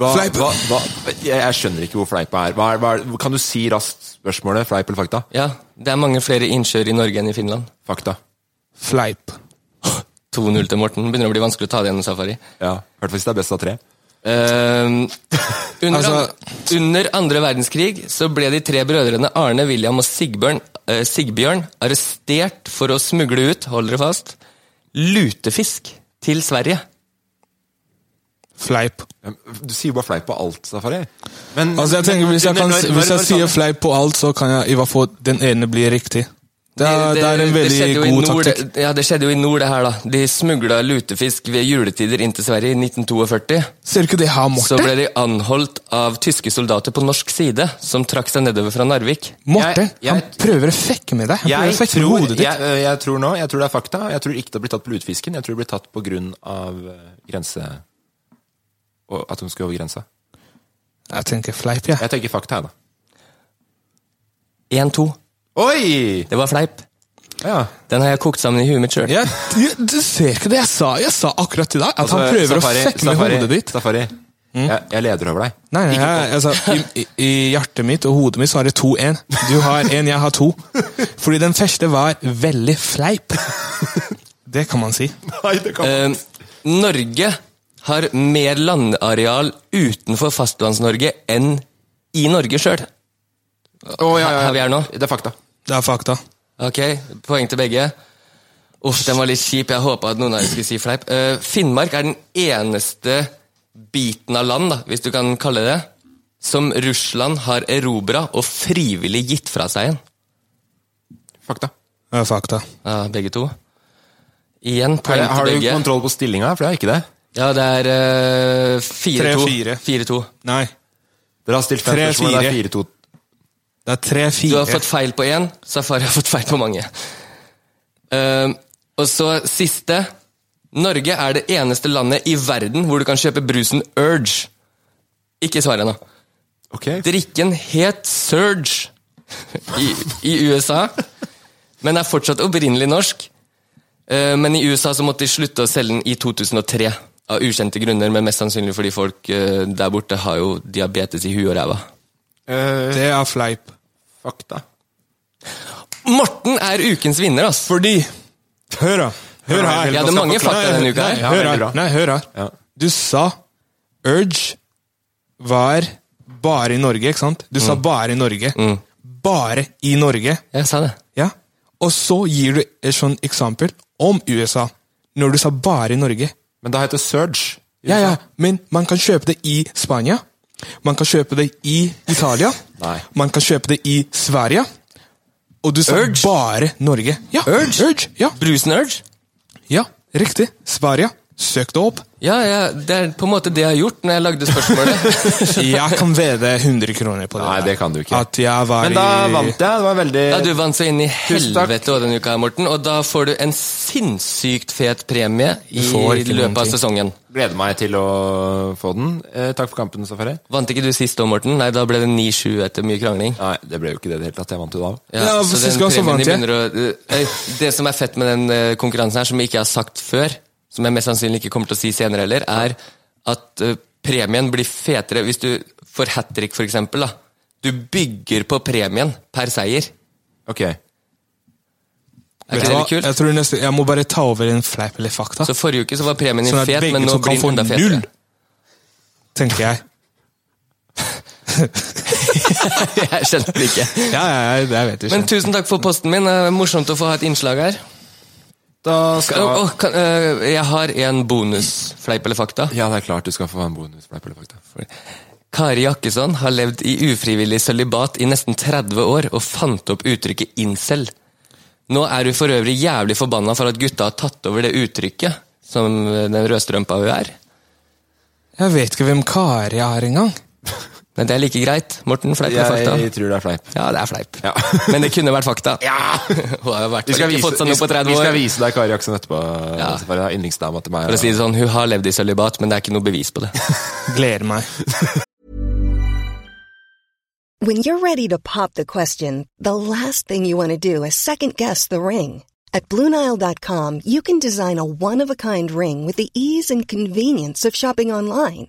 [SPEAKER 4] Hva,
[SPEAKER 5] Fleip.
[SPEAKER 4] Hva, hva, jeg, jeg skjønner ikke hvor fleipa er. Hva er, hva er. Kan du si raskt spørsmålet? Fleip eller fakta?
[SPEAKER 3] Ja, det er mange flere innsjøer i Norge enn i Finland.
[SPEAKER 4] Fakta.
[SPEAKER 5] Fleip.
[SPEAKER 3] 2-0 til Morten. Begynner å bli vanskelig å ta det gjennom safari.
[SPEAKER 4] Ja, I hvert fall hvis det er best av tre.
[SPEAKER 3] Ehm, under,
[SPEAKER 5] Altså-
[SPEAKER 3] under andre verdenskrig så ble de tre brødrene Arne, William og Sigbjørn, eh, Sigbjørn arrestert for å smugle ut, hold dere fast, lutefisk til Sverige.
[SPEAKER 5] Fleip.
[SPEAKER 4] Mm. Du sier jo bare fleip på alt, Safari. Men,
[SPEAKER 5] Altså jeg tenker Hvis jeg,
[SPEAKER 4] men
[SPEAKER 5] kan,
[SPEAKER 4] når-
[SPEAKER 5] hvis
[SPEAKER 4] når-
[SPEAKER 5] jeg
[SPEAKER 4] når-
[SPEAKER 5] sier fleip på alt, så kan jeg i hvert fall den ene bli riktig. Det er, Eh, det er en veldig
[SPEAKER 3] skjedde jo i
[SPEAKER 5] god
[SPEAKER 3] nord,
[SPEAKER 5] taktikk.
[SPEAKER 3] det- Ja, det skjedde jo i nord, det her, da. De smugla lutefisk ved juletider inn til Sverige i 1942.
[SPEAKER 5] Ser du ikke det her,
[SPEAKER 3] Så
[SPEAKER 5] Morten?
[SPEAKER 3] ble de anholdt av tyske soldater på norsk side, som trakk seg nedover fra Narvik.
[SPEAKER 5] Morten,
[SPEAKER 4] Jeg- jeg-
[SPEAKER 5] han prøver å fekke med deg. Han prøver
[SPEAKER 4] Jeg
[SPEAKER 5] å fekke med
[SPEAKER 4] tror,
[SPEAKER 5] hodet ditt.
[SPEAKER 4] jeg, øh, jeg tror nå, jeg tror det er fakta. Jeg tror ikke det blir tatt på lutefisken. Jeg tror det blir tatt på grunn av øh, grense... Og at hun skulle over grensa.
[SPEAKER 5] Jeg tenker fleip, jeg.
[SPEAKER 4] Jeg tenker fakta her, da.
[SPEAKER 3] 1-2.
[SPEAKER 4] Oi!
[SPEAKER 3] Det var fleip.
[SPEAKER 4] Ja.
[SPEAKER 3] Den har jeg kokt sammen i huet mitt sjøl.
[SPEAKER 5] Jeg, jeg, du ser ikke det jeg sa Jeg sa akkurat til deg? At han
[SPEAKER 4] Så,
[SPEAKER 5] prøver
[SPEAKER 4] altså, Safari-
[SPEAKER 5] å fekke med
[SPEAKER 4] Safari-
[SPEAKER 5] hodet ditt? Mm.
[SPEAKER 4] Safari, jeg, jeg leder over deg.
[SPEAKER 5] Nei, nei jeg, altså, i, i i hjertet mitt og hodet mitt så har jeg 2-1. Du har 1, jeg har 2. Fordi den første var veldig fleip. Det kan man si.
[SPEAKER 4] Nei, det kan
[SPEAKER 3] Eh, Norge har mer landareal utenfor Fastlands-Norge enn i Norge sjøl.
[SPEAKER 4] ja, ja,
[SPEAKER 3] Her vi
[SPEAKER 4] ja.
[SPEAKER 3] er nå.
[SPEAKER 4] Det er fakta.
[SPEAKER 5] Det er fakta.
[SPEAKER 3] Ok, poeng til begge. Uff, den var litt kjip. Jeg håpa at noen av dere skulle si fleip. Eh, Finnmark er den eneste biten av land, da, hvis du kan kalle det det, som Russland har erobra og frivillig gitt fra seg igjen.
[SPEAKER 4] Fakta.
[SPEAKER 5] Det er fakta.
[SPEAKER 3] Ja, begge to. Igjen poeng
[SPEAKER 4] har
[SPEAKER 3] til
[SPEAKER 4] du
[SPEAKER 3] begge.
[SPEAKER 4] kontroll på stillinga? For jeg har ikke det.
[SPEAKER 3] Ja, det er eh, 4-2.
[SPEAKER 5] Tre, fire.
[SPEAKER 3] 4-2.
[SPEAKER 5] Nei,
[SPEAKER 4] Dere har stilt fem
[SPEAKER 5] Tre,
[SPEAKER 4] spørsmål, det er
[SPEAKER 5] fire.
[SPEAKER 4] fire-to.
[SPEAKER 5] det er
[SPEAKER 3] Du
[SPEAKER 5] 3-4.
[SPEAKER 3] har fått feil på én, Safari har fått feil på mange. Ehm, og så siste. Norge er det eneste landet i verden hvor du kan kjøpe brusen Urge. Ikke svar ennå.
[SPEAKER 4] Ok.
[SPEAKER 3] Drikken het Surge i, i USA, men er fortsatt opprinnelig norsk. Eh, Men i USA så måtte de slutte å selge den i 2003, av ukjente grunner, men mest sannsynlig fordi folk eh, der borte har jo diabetes i huet og ræva.
[SPEAKER 4] Eh,
[SPEAKER 5] Det er fleip.
[SPEAKER 4] fakta.
[SPEAKER 3] Morten er ukens vinner, ass!
[SPEAKER 5] Fordi Hør, da. Hør her.
[SPEAKER 3] Jeg hadde mange fakta denne uka
[SPEAKER 5] Nei,
[SPEAKER 3] her.
[SPEAKER 4] Ja,
[SPEAKER 5] hør
[SPEAKER 4] veldig
[SPEAKER 5] her.
[SPEAKER 4] bra.
[SPEAKER 5] Nei, hør
[SPEAKER 4] Ja.
[SPEAKER 5] her. Du sa Urge var bare i Norge, ikke sant? Du sa
[SPEAKER 3] Mm.
[SPEAKER 5] bare i Norge. Bare i Norge.
[SPEAKER 3] Jeg sa det.
[SPEAKER 5] Ja. Og så gir du et sånt eksempel om USA, når du sa bare i Norge.
[SPEAKER 4] Men da heter det Surge.
[SPEAKER 5] Ja, ja, men man kan kjøpe det i Spania. Man kan kjøpe det i Italia.
[SPEAKER 4] Nei.
[SPEAKER 5] Man kan kjøpe det i Sverige. Og du sa
[SPEAKER 3] Urge?
[SPEAKER 5] bare Norge. Ja,
[SPEAKER 3] Urge?
[SPEAKER 5] Urge? Ja,
[SPEAKER 3] Brusen Urge?
[SPEAKER 5] ja, riktig. Sverige. Søk det opp.
[SPEAKER 3] Ja, ja, det er på en måte det jeg har gjort når jeg lagde
[SPEAKER 4] *laughs*
[SPEAKER 3] spørsmålet.
[SPEAKER 5] Jeg kan vede 100 kroner på det.
[SPEAKER 4] Nei,
[SPEAKER 5] der.
[SPEAKER 4] det kan du ikke.
[SPEAKER 5] At jeg var
[SPEAKER 4] Men da
[SPEAKER 5] i
[SPEAKER 4] vant jeg. Det var veldig
[SPEAKER 3] Ja, du vant så inn i
[SPEAKER 4] Tusen takk.
[SPEAKER 3] helvete også denne uka, her, Morten, og da får du en sinnssykt fet premie i
[SPEAKER 5] får ikke noen
[SPEAKER 3] løpet av
[SPEAKER 5] ting.
[SPEAKER 3] sesongen.
[SPEAKER 4] Gleder meg til å få den. Eh, takk for kampen, Safari.
[SPEAKER 3] Vant ikke du sist da, Morten? Nei, da ble det 9-7 etter mye krangling.
[SPEAKER 4] Nei, det ble jo ikke det i det hele tatt. Jeg vant jo da.
[SPEAKER 5] Ja,
[SPEAKER 3] så
[SPEAKER 5] sist
[SPEAKER 3] den
[SPEAKER 5] gang så
[SPEAKER 3] premien
[SPEAKER 5] vant
[SPEAKER 3] de
[SPEAKER 5] jeg.
[SPEAKER 3] begynner å- eh, Det som er fett med den eh, konkurransen her, som jeg ikke har sagt før, som jeg mest sannsynlig ikke kommer til å si senere heller, er at eh, premien blir fetere hvis du får hat trick, for eksempel. Da. Du bygger på premien per seier.
[SPEAKER 4] Ok.
[SPEAKER 3] Er
[SPEAKER 5] Vet du
[SPEAKER 3] ikke det
[SPEAKER 5] hva?
[SPEAKER 3] litt kult?
[SPEAKER 5] Jeg, tror neste, jeg må bare ta over en fleip eller fakta.
[SPEAKER 3] Så forrige uke så var premien din
[SPEAKER 5] Sånn at
[SPEAKER 3] fet,
[SPEAKER 5] begge
[SPEAKER 3] men nå
[SPEAKER 5] som kan
[SPEAKER 3] blir
[SPEAKER 5] få
[SPEAKER 3] den enda
[SPEAKER 5] null,
[SPEAKER 3] *laughs* fetere.
[SPEAKER 5] tenker jeg.
[SPEAKER 3] Jeg skjønte det ikke.
[SPEAKER 5] Ja, ja, ja, det vet jeg
[SPEAKER 3] Men
[SPEAKER 5] ikke.
[SPEAKER 3] tusen takk for posten min. Det er Morsomt å få ha et innslag her.
[SPEAKER 4] Da skal
[SPEAKER 3] Å, å, kan, eh, jeg har en bonus. Fleip eller fakta?
[SPEAKER 4] Ja, det er klart du skal få en bonusfleip eller fakta.
[SPEAKER 3] Kari Jakkesson har levd i ufrivillig sølibat i nesten 30 år og fant opp uttrykket incel. Nå er hun for øvrig jævlig forbanna for at gutta har tatt over det uttrykket, som eh, den rødstrømpa hun er.
[SPEAKER 5] Jeg vet ikke hvem Kari er engang.
[SPEAKER 3] Men det er like greit. Morten, fleip eller fakta?
[SPEAKER 4] Jeg tror det er fleip.
[SPEAKER 3] Ja, det er fleip.
[SPEAKER 4] Ja.
[SPEAKER 3] *laughs* Men det kunne vært fakta. *laughs* Hun har i hvert
[SPEAKER 4] Vi skal,
[SPEAKER 3] fall ikke
[SPEAKER 4] vise,
[SPEAKER 3] fått seg
[SPEAKER 4] vi,
[SPEAKER 3] noe på
[SPEAKER 4] skal,
[SPEAKER 3] 30
[SPEAKER 4] vi skal
[SPEAKER 3] år.
[SPEAKER 4] vise deg Kari Aksen etterpå.
[SPEAKER 3] Ja.
[SPEAKER 4] Safari. Det er Yndlingsdama til meg.
[SPEAKER 3] For å si det sånn, Hun har levd i sølibat, men det er ikke noe bevis
[SPEAKER 4] *laughs*
[SPEAKER 3] på det.
[SPEAKER 5] Gleder meg.
[SPEAKER 7] When you're ready to pop the question, the last thing you want to do is second guess the ring. At Bluenile.com, you can design a one of a kind ring with the ease and convenience of shopping online.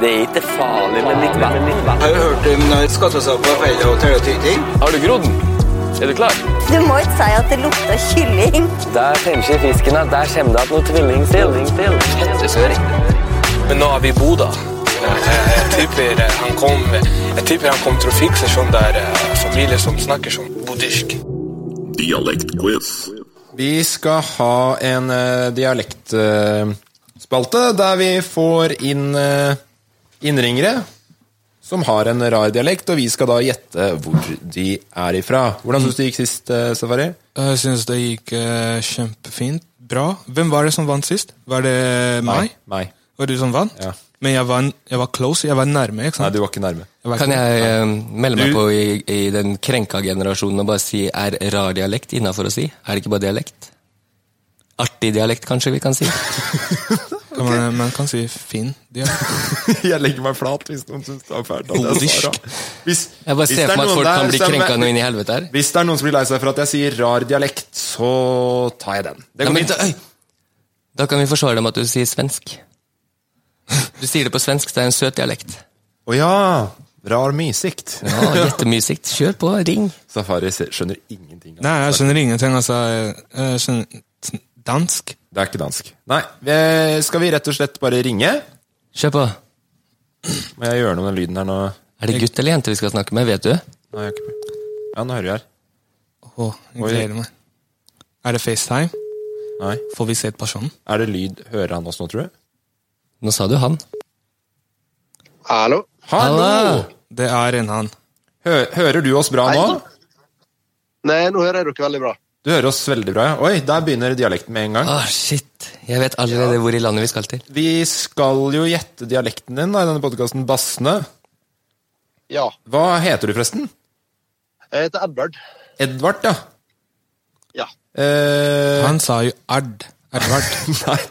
[SPEAKER 2] Det er ikke farlig, men litt verre.
[SPEAKER 6] Har du hørt om når skattesapa feiler og teller tyting?
[SPEAKER 2] Har du grodd den? Er du klar?
[SPEAKER 8] Du må ikke si at det lukter kylling.
[SPEAKER 2] Der tenker fisken at der kommer det at noe tvilling til. Fettesøring.
[SPEAKER 6] Men nå er vi i Bodø. Jeg tipper eh, han kom Jeg tipper han kom til å fikse sånn der eh, familie som snakker sånn bodilsk.
[SPEAKER 4] Vi skal ha en dialektspalte der vi får inn eh, innringere som har en rar dialekt, og vi skal da gjette hvor de er ifra. Hvordan syns du det gikk sist, eh, Safari?
[SPEAKER 5] Jeg synes det gikk eh, kjempefint. Bra. Hvem var det som vant sist? Var det meg?
[SPEAKER 4] Meg.
[SPEAKER 5] Var det du som vant?
[SPEAKER 4] Ja.
[SPEAKER 5] Men jeg var, jeg var close, jeg var nærme, ikke
[SPEAKER 4] Nei,
[SPEAKER 5] sant?
[SPEAKER 4] du var ikke nærme.
[SPEAKER 5] var
[SPEAKER 3] Kan
[SPEAKER 5] ikke-
[SPEAKER 3] jeg eh, melde meg
[SPEAKER 4] Du-
[SPEAKER 3] på i, i den krenka generasjonen og bare si er rar dialekt innafor å si? Er det ikke bare dialekt? Artig dialekt, kanskje vi kan si.
[SPEAKER 5] Kan man, man kan si fin dialekt.
[SPEAKER 4] Jeg legger meg flat hvis noen syns det er fælt. at jeg
[SPEAKER 5] Bodilsk.
[SPEAKER 4] svarer. Hvis,
[SPEAKER 3] Jeg bare
[SPEAKER 4] hvis det
[SPEAKER 3] ser
[SPEAKER 4] er
[SPEAKER 3] for meg at
[SPEAKER 4] noen
[SPEAKER 3] folk
[SPEAKER 4] der
[SPEAKER 3] kan bli
[SPEAKER 4] som-
[SPEAKER 3] krenka noe inn i helvete her.
[SPEAKER 4] Hvis det er noen som blir lei seg for at jeg sier rar dialekt, så tar jeg den. Det
[SPEAKER 3] Ja,
[SPEAKER 4] går
[SPEAKER 3] men,
[SPEAKER 4] fint.
[SPEAKER 3] da, øy, da kan vi forsvare dem at du sier svensk. Du sier det på svensk, det er en søt dialekt.
[SPEAKER 4] Å ja! Rar mysikt.
[SPEAKER 3] Ja,
[SPEAKER 4] *laughs*
[SPEAKER 3] Jettemye sikt. Kjør på, ring.
[SPEAKER 4] Safari ser- skjønner ingenting. av
[SPEAKER 5] Nei, jeg
[SPEAKER 4] det.
[SPEAKER 5] skjønner ingenting, altså. Jeg skjønner dansk.
[SPEAKER 4] Det er ikke dansk. Nei, eh, skal vi rett og slett bare ringe?
[SPEAKER 3] Kjør på.
[SPEAKER 4] Må jeg gjøre noe med den lyden her nå?
[SPEAKER 3] Er det gutt eller jente vi skal snakke med, vet du?
[SPEAKER 4] Nei, jeg har ikke... Ja, nå hører vi her.
[SPEAKER 5] Å, jeg
[SPEAKER 4] Oi.
[SPEAKER 5] gleder meg. Er det FaceTime?
[SPEAKER 4] Nei.
[SPEAKER 5] Får vi sett personen?
[SPEAKER 4] Er det lyd Hører han oss nå, tror du?
[SPEAKER 3] Nå sa du han.
[SPEAKER 9] Hallo?
[SPEAKER 4] Hallo!
[SPEAKER 5] Det er en han.
[SPEAKER 4] Hø hører du oss bra nå?
[SPEAKER 9] Nei, nå hører jeg dere veldig bra.
[SPEAKER 4] Du hører oss veldig bra. ja. Oi, der begynner dialekten med en gang.
[SPEAKER 3] Å, Ah, shit. Jeg vet allerede hvor i landet vi skal til.
[SPEAKER 4] Vi skal jo gjette dialekten din da, i denne podkasten, Bassene.
[SPEAKER 9] Ja,
[SPEAKER 4] Hva heter du, forresten?
[SPEAKER 9] jeg heter Edvard.
[SPEAKER 4] Edvard, ja.
[SPEAKER 9] Ja.
[SPEAKER 4] Eh,
[SPEAKER 5] Han sa jo Erd. Edvard.
[SPEAKER 4] *laughs* Nei.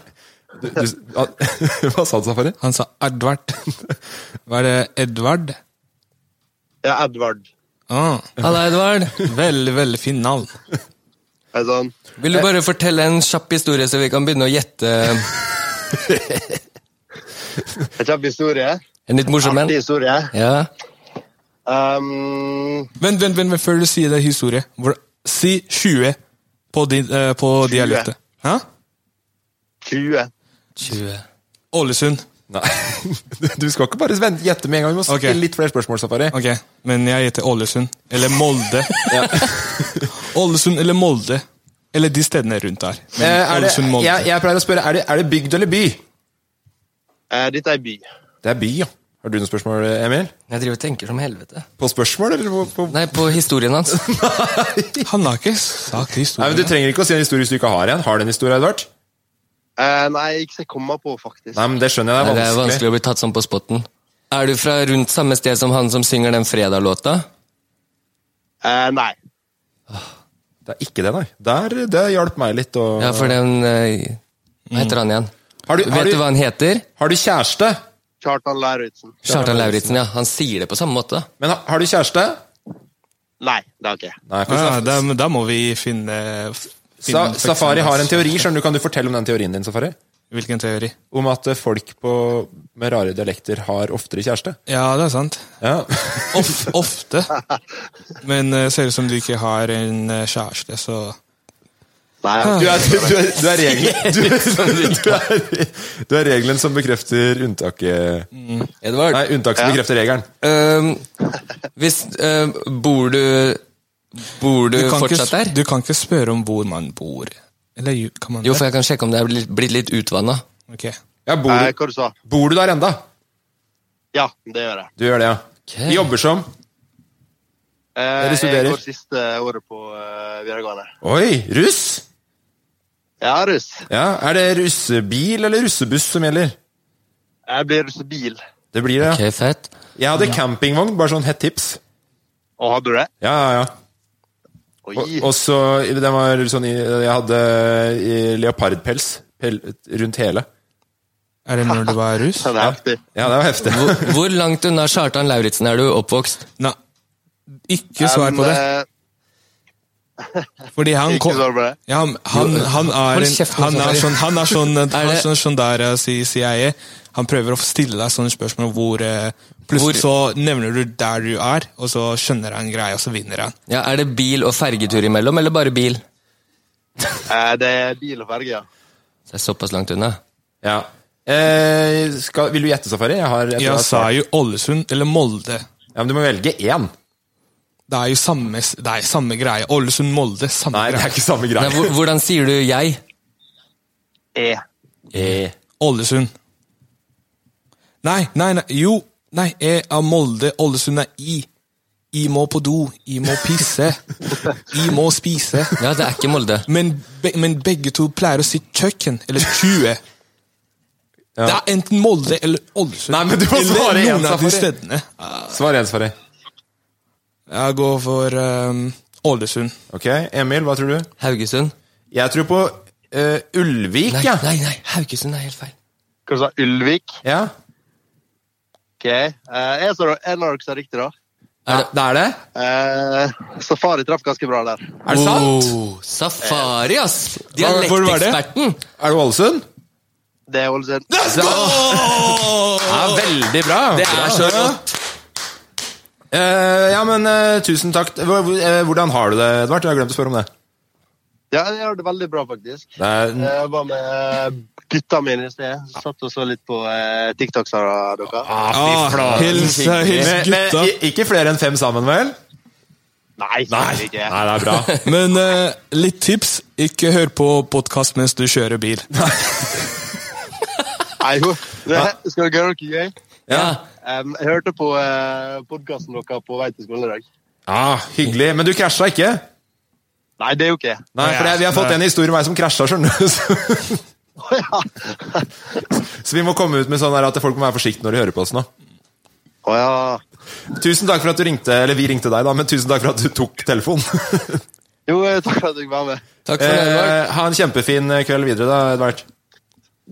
[SPEAKER 4] Du, du, ah, *laughs* hva sa du, Safari?
[SPEAKER 5] Han sa Edvard. Var det Edvard?
[SPEAKER 9] Jeg er Edvard.
[SPEAKER 5] Ah,
[SPEAKER 3] Halla, Edvard.
[SPEAKER 5] veldig, veldig fin navn.
[SPEAKER 9] Er det sånn?
[SPEAKER 3] Vil du bare fortelle en kjapp historie, så vi kan begynne å gjette eh,
[SPEAKER 9] En kjempe historie.
[SPEAKER 3] en litt morsom en?
[SPEAKER 9] Artig historie.
[SPEAKER 3] Ja.
[SPEAKER 9] Um,
[SPEAKER 5] Vent, vent, vent, vent, før du sier det historie. Hvor, si 20 på, din, eh, på dialektet. Hæ?
[SPEAKER 9] 20.
[SPEAKER 3] 20.
[SPEAKER 5] Ålesund.
[SPEAKER 4] Nei. *laughs* Du, du skal ikke bare vente, gjette med en gang. Du må
[SPEAKER 5] Ok.
[SPEAKER 4] stille litt flere spørsmål, Safari.
[SPEAKER 5] Ok, men jeg heter Ålesund. Eller Molde. *laughs* Ålesund eller Molde. Eller de stedene rundt der. Men
[SPEAKER 4] Eh, er det,
[SPEAKER 5] Ålesund, Molde.
[SPEAKER 4] jeg, jeg pleier å spørre, er det, er det bygd eller by?
[SPEAKER 9] Eh, dette er by.
[SPEAKER 4] Det er by, ja. Har du noen spørsmål, Emil?
[SPEAKER 3] Jeg driver og tenker som helvete.
[SPEAKER 4] På spørsmål, eller på, på... Nei.
[SPEAKER 3] Nei, på historien
[SPEAKER 5] *laughs*
[SPEAKER 3] hans.
[SPEAKER 5] Han har ikke sagt historien.
[SPEAKER 4] men Du trenger ikke å si en historie hvis du ikke har en. Har du en historie, Edvard?
[SPEAKER 9] Eh, nei, ikke så jeg kommer på, faktisk.
[SPEAKER 4] Nei, men Det skjønner jeg.
[SPEAKER 3] Nei,
[SPEAKER 4] Det
[SPEAKER 3] det
[SPEAKER 4] er
[SPEAKER 3] er
[SPEAKER 4] vanskelig.
[SPEAKER 3] vanskelig å bli tatt sånn på spotten. Er du fra rundt samme sted som han som synger den fredag-låta?
[SPEAKER 9] Eh, nei.
[SPEAKER 4] Det er ikke det, nei. Der, det hjalp meg litt. å-
[SPEAKER 5] Ah. Mm.
[SPEAKER 3] Ja, for den eh, Hva heter han igjen? Vet du hva han heter?
[SPEAKER 4] Har du kjæreste?
[SPEAKER 9] Kjartan Lauritzen.
[SPEAKER 3] Kjartan Lauritzen, ja. Han sier det på samme måte.
[SPEAKER 4] Men har, har du kjæreste?
[SPEAKER 9] Nei, det har ikke jeg.
[SPEAKER 4] Nei,
[SPEAKER 5] ja, da, da må vi finne,
[SPEAKER 4] Sa,
[SPEAKER 5] finne
[SPEAKER 4] Safari har en teori, skjønner du. Kan du fortelle om den teorien din, Safari?
[SPEAKER 5] Hvilken teori?
[SPEAKER 4] Om at eh, folk på, med rare dialekter har oftere kjæreste.
[SPEAKER 5] Ja, det er sant.
[SPEAKER 4] Ja.
[SPEAKER 5] Of, ofte. Men eh, ser ut som du ikke har en eh, kjæreste, så
[SPEAKER 9] Nei,
[SPEAKER 4] Du er, du,
[SPEAKER 9] jeg-
[SPEAKER 4] er, du, er regelen,
[SPEAKER 3] *laughs*
[SPEAKER 4] du, du, er, du er regelen som bekrefter unntaket
[SPEAKER 3] Edvard.
[SPEAKER 4] Nei, unntaket som
[SPEAKER 3] Ja.
[SPEAKER 4] bekrefter regelen.
[SPEAKER 3] Øhm, ehm, hvis øhm, Bor du Bor du,
[SPEAKER 5] kan ikke,
[SPEAKER 3] fortsatt der?
[SPEAKER 5] Du kan ikke spørre om hvor man bor. Eller jo, kan man
[SPEAKER 3] Jo,
[SPEAKER 5] det?
[SPEAKER 3] for jeg kan sjekke om det er blitt- blitt litt utvanna.
[SPEAKER 5] Ok.
[SPEAKER 4] Ja, bor,
[SPEAKER 9] Nei, Eh, hva du sa?
[SPEAKER 4] bor du der enda?
[SPEAKER 9] Ja, det gjør jeg.
[SPEAKER 4] Du gjør det, ja. Jobber som
[SPEAKER 9] Eh,
[SPEAKER 4] Dere studerer?
[SPEAKER 9] Jeg går siste året på eh, videregående.
[SPEAKER 4] Oi, russ!
[SPEAKER 9] Jeg er russ.
[SPEAKER 4] Ja, Er det russebil eller russebuss som gjelder?
[SPEAKER 9] Jeg blir russebil.
[SPEAKER 4] Det blir det, ja.
[SPEAKER 3] Ok, fett.
[SPEAKER 4] Jeg hadde campingvogn, bare sånn hett tips.
[SPEAKER 9] Og hadde du det?
[SPEAKER 4] Ja, ja, ja.
[SPEAKER 9] Oi.
[SPEAKER 4] Og, og så den var sånn i- Jeg hadde i leopardpels pel, rundt hele.
[SPEAKER 5] Er det når du var russ?
[SPEAKER 9] det er heftig.
[SPEAKER 4] Ja, det var heftig.
[SPEAKER 3] Hvor, hvor langt unna Kjartan Lauritzen er du oppvokst?
[SPEAKER 5] Nei. Ikke svar på det.
[SPEAKER 9] Eh,
[SPEAKER 5] Fordi han
[SPEAKER 9] ikke
[SPEAKER 5] kom...
[SPEAKER 9] svar på det.
[SPEAKER 5] Ja, han, han, han,
[SPEAKER 3] Hold
[SPEAKER 5] er en,
[SPEAKER 3] kjeft nå,
[SPEAKER 5] han er
[SPEAKER 3] Safari.
[SPEAKER 5] sånn Han er
[SPEAKER 3] *laughs*
[SPEAKER 5] sånn, han er
[SPEAKER 3] det-
[SPEAKER 5] sånn, sånn der eh, si- CIA. Han prøver å stille deg sånne spørsmål hvor eh, Plutselig så nevner du der du er, og så skjønner han greia, og så vinner han.
[SPEAKER 3] Ja, Er det bil og fergetur imellom, eller bare bil?
[SPEAKER 9] *laughs* Eh, det er bil og ferge, ja.
[SPEAKER 3] Det er såpass langt unna.
[SPEAKER 4] Ja. Eh, skal, vil du gjette, Safari? Jeg, har, jeg tror
[SPEAKER 5] Jeg
[SPEAKER 4] har
[SPEAKER 5] sa
[SPEAKER 4] svart.
[SPEAKER 5] jo Ålesund eller Molde.
[SPEAKER 4] Ja, men Du må velge én.
[SPEAKER 5] Det er jo samme, s- det er samme greie. Ålesund-Molde, samme
[SPEAKER 4] Nei, det er
[SPEAKER 5] greie.
[SPEAKER 4] ikke samme
[SPEAKER 3] Nei,
[SPEAKER 4] greie.
[SPEAKER 3] hvor- hvordan sier du jeg?
[SPEAKER 9] E.
[SPEAKER 3] Eh.
[SPEAKER 5] Ålesund. Nei, nei, nei, jo. Nei, jeg er Molde, Ålesund er I. I må på do, I Oh, må pisse, I må spise.
[SPEAKER 3] Ja, det er ikke Molde.
[SPEAKER 5] Men, be, men begge to pleier å si kjøkken, eller tjue. Det er enten Molde eller Ålesund.
[SPEAKER 4] Nei, men du må svare
[SPEAKER 5] eller
[SPEAKER 4] igjen,
[SPEAKER 5] noen av de
[SPEAKER 4] Safari.
[SPEAKER 5] stedene.
[SPEAKER 4] Svar én, Safari.
[SPEAKER 5] Jeg går for ehm, Ålesund.
[SPEAKER 4] Ok, Emil, hva tror du?
[SPEAKER 3] Haugesund?
[SPEAKER 4] Jeg tror på eh, Ulvik,
[SPEAKER 3] Nei,
[SPEAKER 4] ja.
[SPEAKER 3] nei, nei, Haugesund er helt feil.
[SPEAKER 9] Hva du sa Ulvik?
[SPEAKER 4] ja.
[SPEAKER 9] Ok. Eh, jeg sa en av dere sa riktig, da.
[SPEAKER 3] Er det, er det?
[SPEAKER 9] Eh, safari traff ganske bra der.
[SPEAKER 4] Er det sant?
[SPEAKER 3] Oh, safari, ass!
[SPEAKER 4] Hva- hvor var det?
[SPEAKER 3] Dialekteksperten!
[SPEAKER 4] Er det Ålesund?
[SPEAKER 9] Det er altså Ålesund.
[SPEAKER 4] Ja, veldig bra.
[SPEAKER 3] Det er så rått!
[SPEAKER 4] Eh, ja, men eh, tusen takk. Hvor- hvor- eh, Hvordan har du det, Edvard? Jeg har glemt å spørre om det.
[SPEAKER 9] Ja, jeg gjør det veldig bra, faktisk.
[SPEAKER 4] Det er,
[SPEAKER 9] Jeg var med eh, gutta mine i sted. Satt og så litt på eh, TikToks av dere.
[SPEAKER 4] Ah, fy flate.
[SPEAKER 5] hils, eh, hils
[SPEAKER 4] Men- men
[SPEAKER 5] gutta.
[SPEAKER 4] i- ikke flere enn fem sammen, vel? Nei,
[SPEAKER 9] Nei, selvfølgelig ikke.
[SPEAKER 4] det er bra.
[SPEAKER 5] Men eh, litt tips, ikke hør på podkast mens du kjører
[SPEAKER 4] *laughs*
[SPEAKER 5] bil.
[SPEAKER 9] Nei, jo. Det- Skal dere gjøre noe gøy?
[SPEAKER 3] Ja.
[SPEAKER 9] Em, jeg hørte på uh, podkasten deres på vei til skolen i dag.
[SPEAKER 4] Ah, hyggelig. Men du krasja ikke?
[SPEAKER 9] Nei, det er jo *laughs* ikke.
[SPEAKER 4] Nei, for det, vi har
[SPEAKER 3] altså,
[SPEAKER 4] fått en historie om meg som krasja, skjønner du. *laughs* Så, så vi må komme ut med sånn her at folk må være forsiktige når de hører på oss nå.
[SPEAKER 9] Å ja.
[SPEAKER 4] Tusen takk for at du ringte, eller vi ringte deg da, men tusen takk for at du tok
[SPEAKER 3] *laughs*
[SPEAKER 4] telefonen.
[SPEAKER 9] Jo, eh, takk for at jeg fikk være med.
[SPEAKER 3] Takk for det, Edvard.
[SPEAKER 4] eh, ha en kjempefin kveld videre da, Edvard.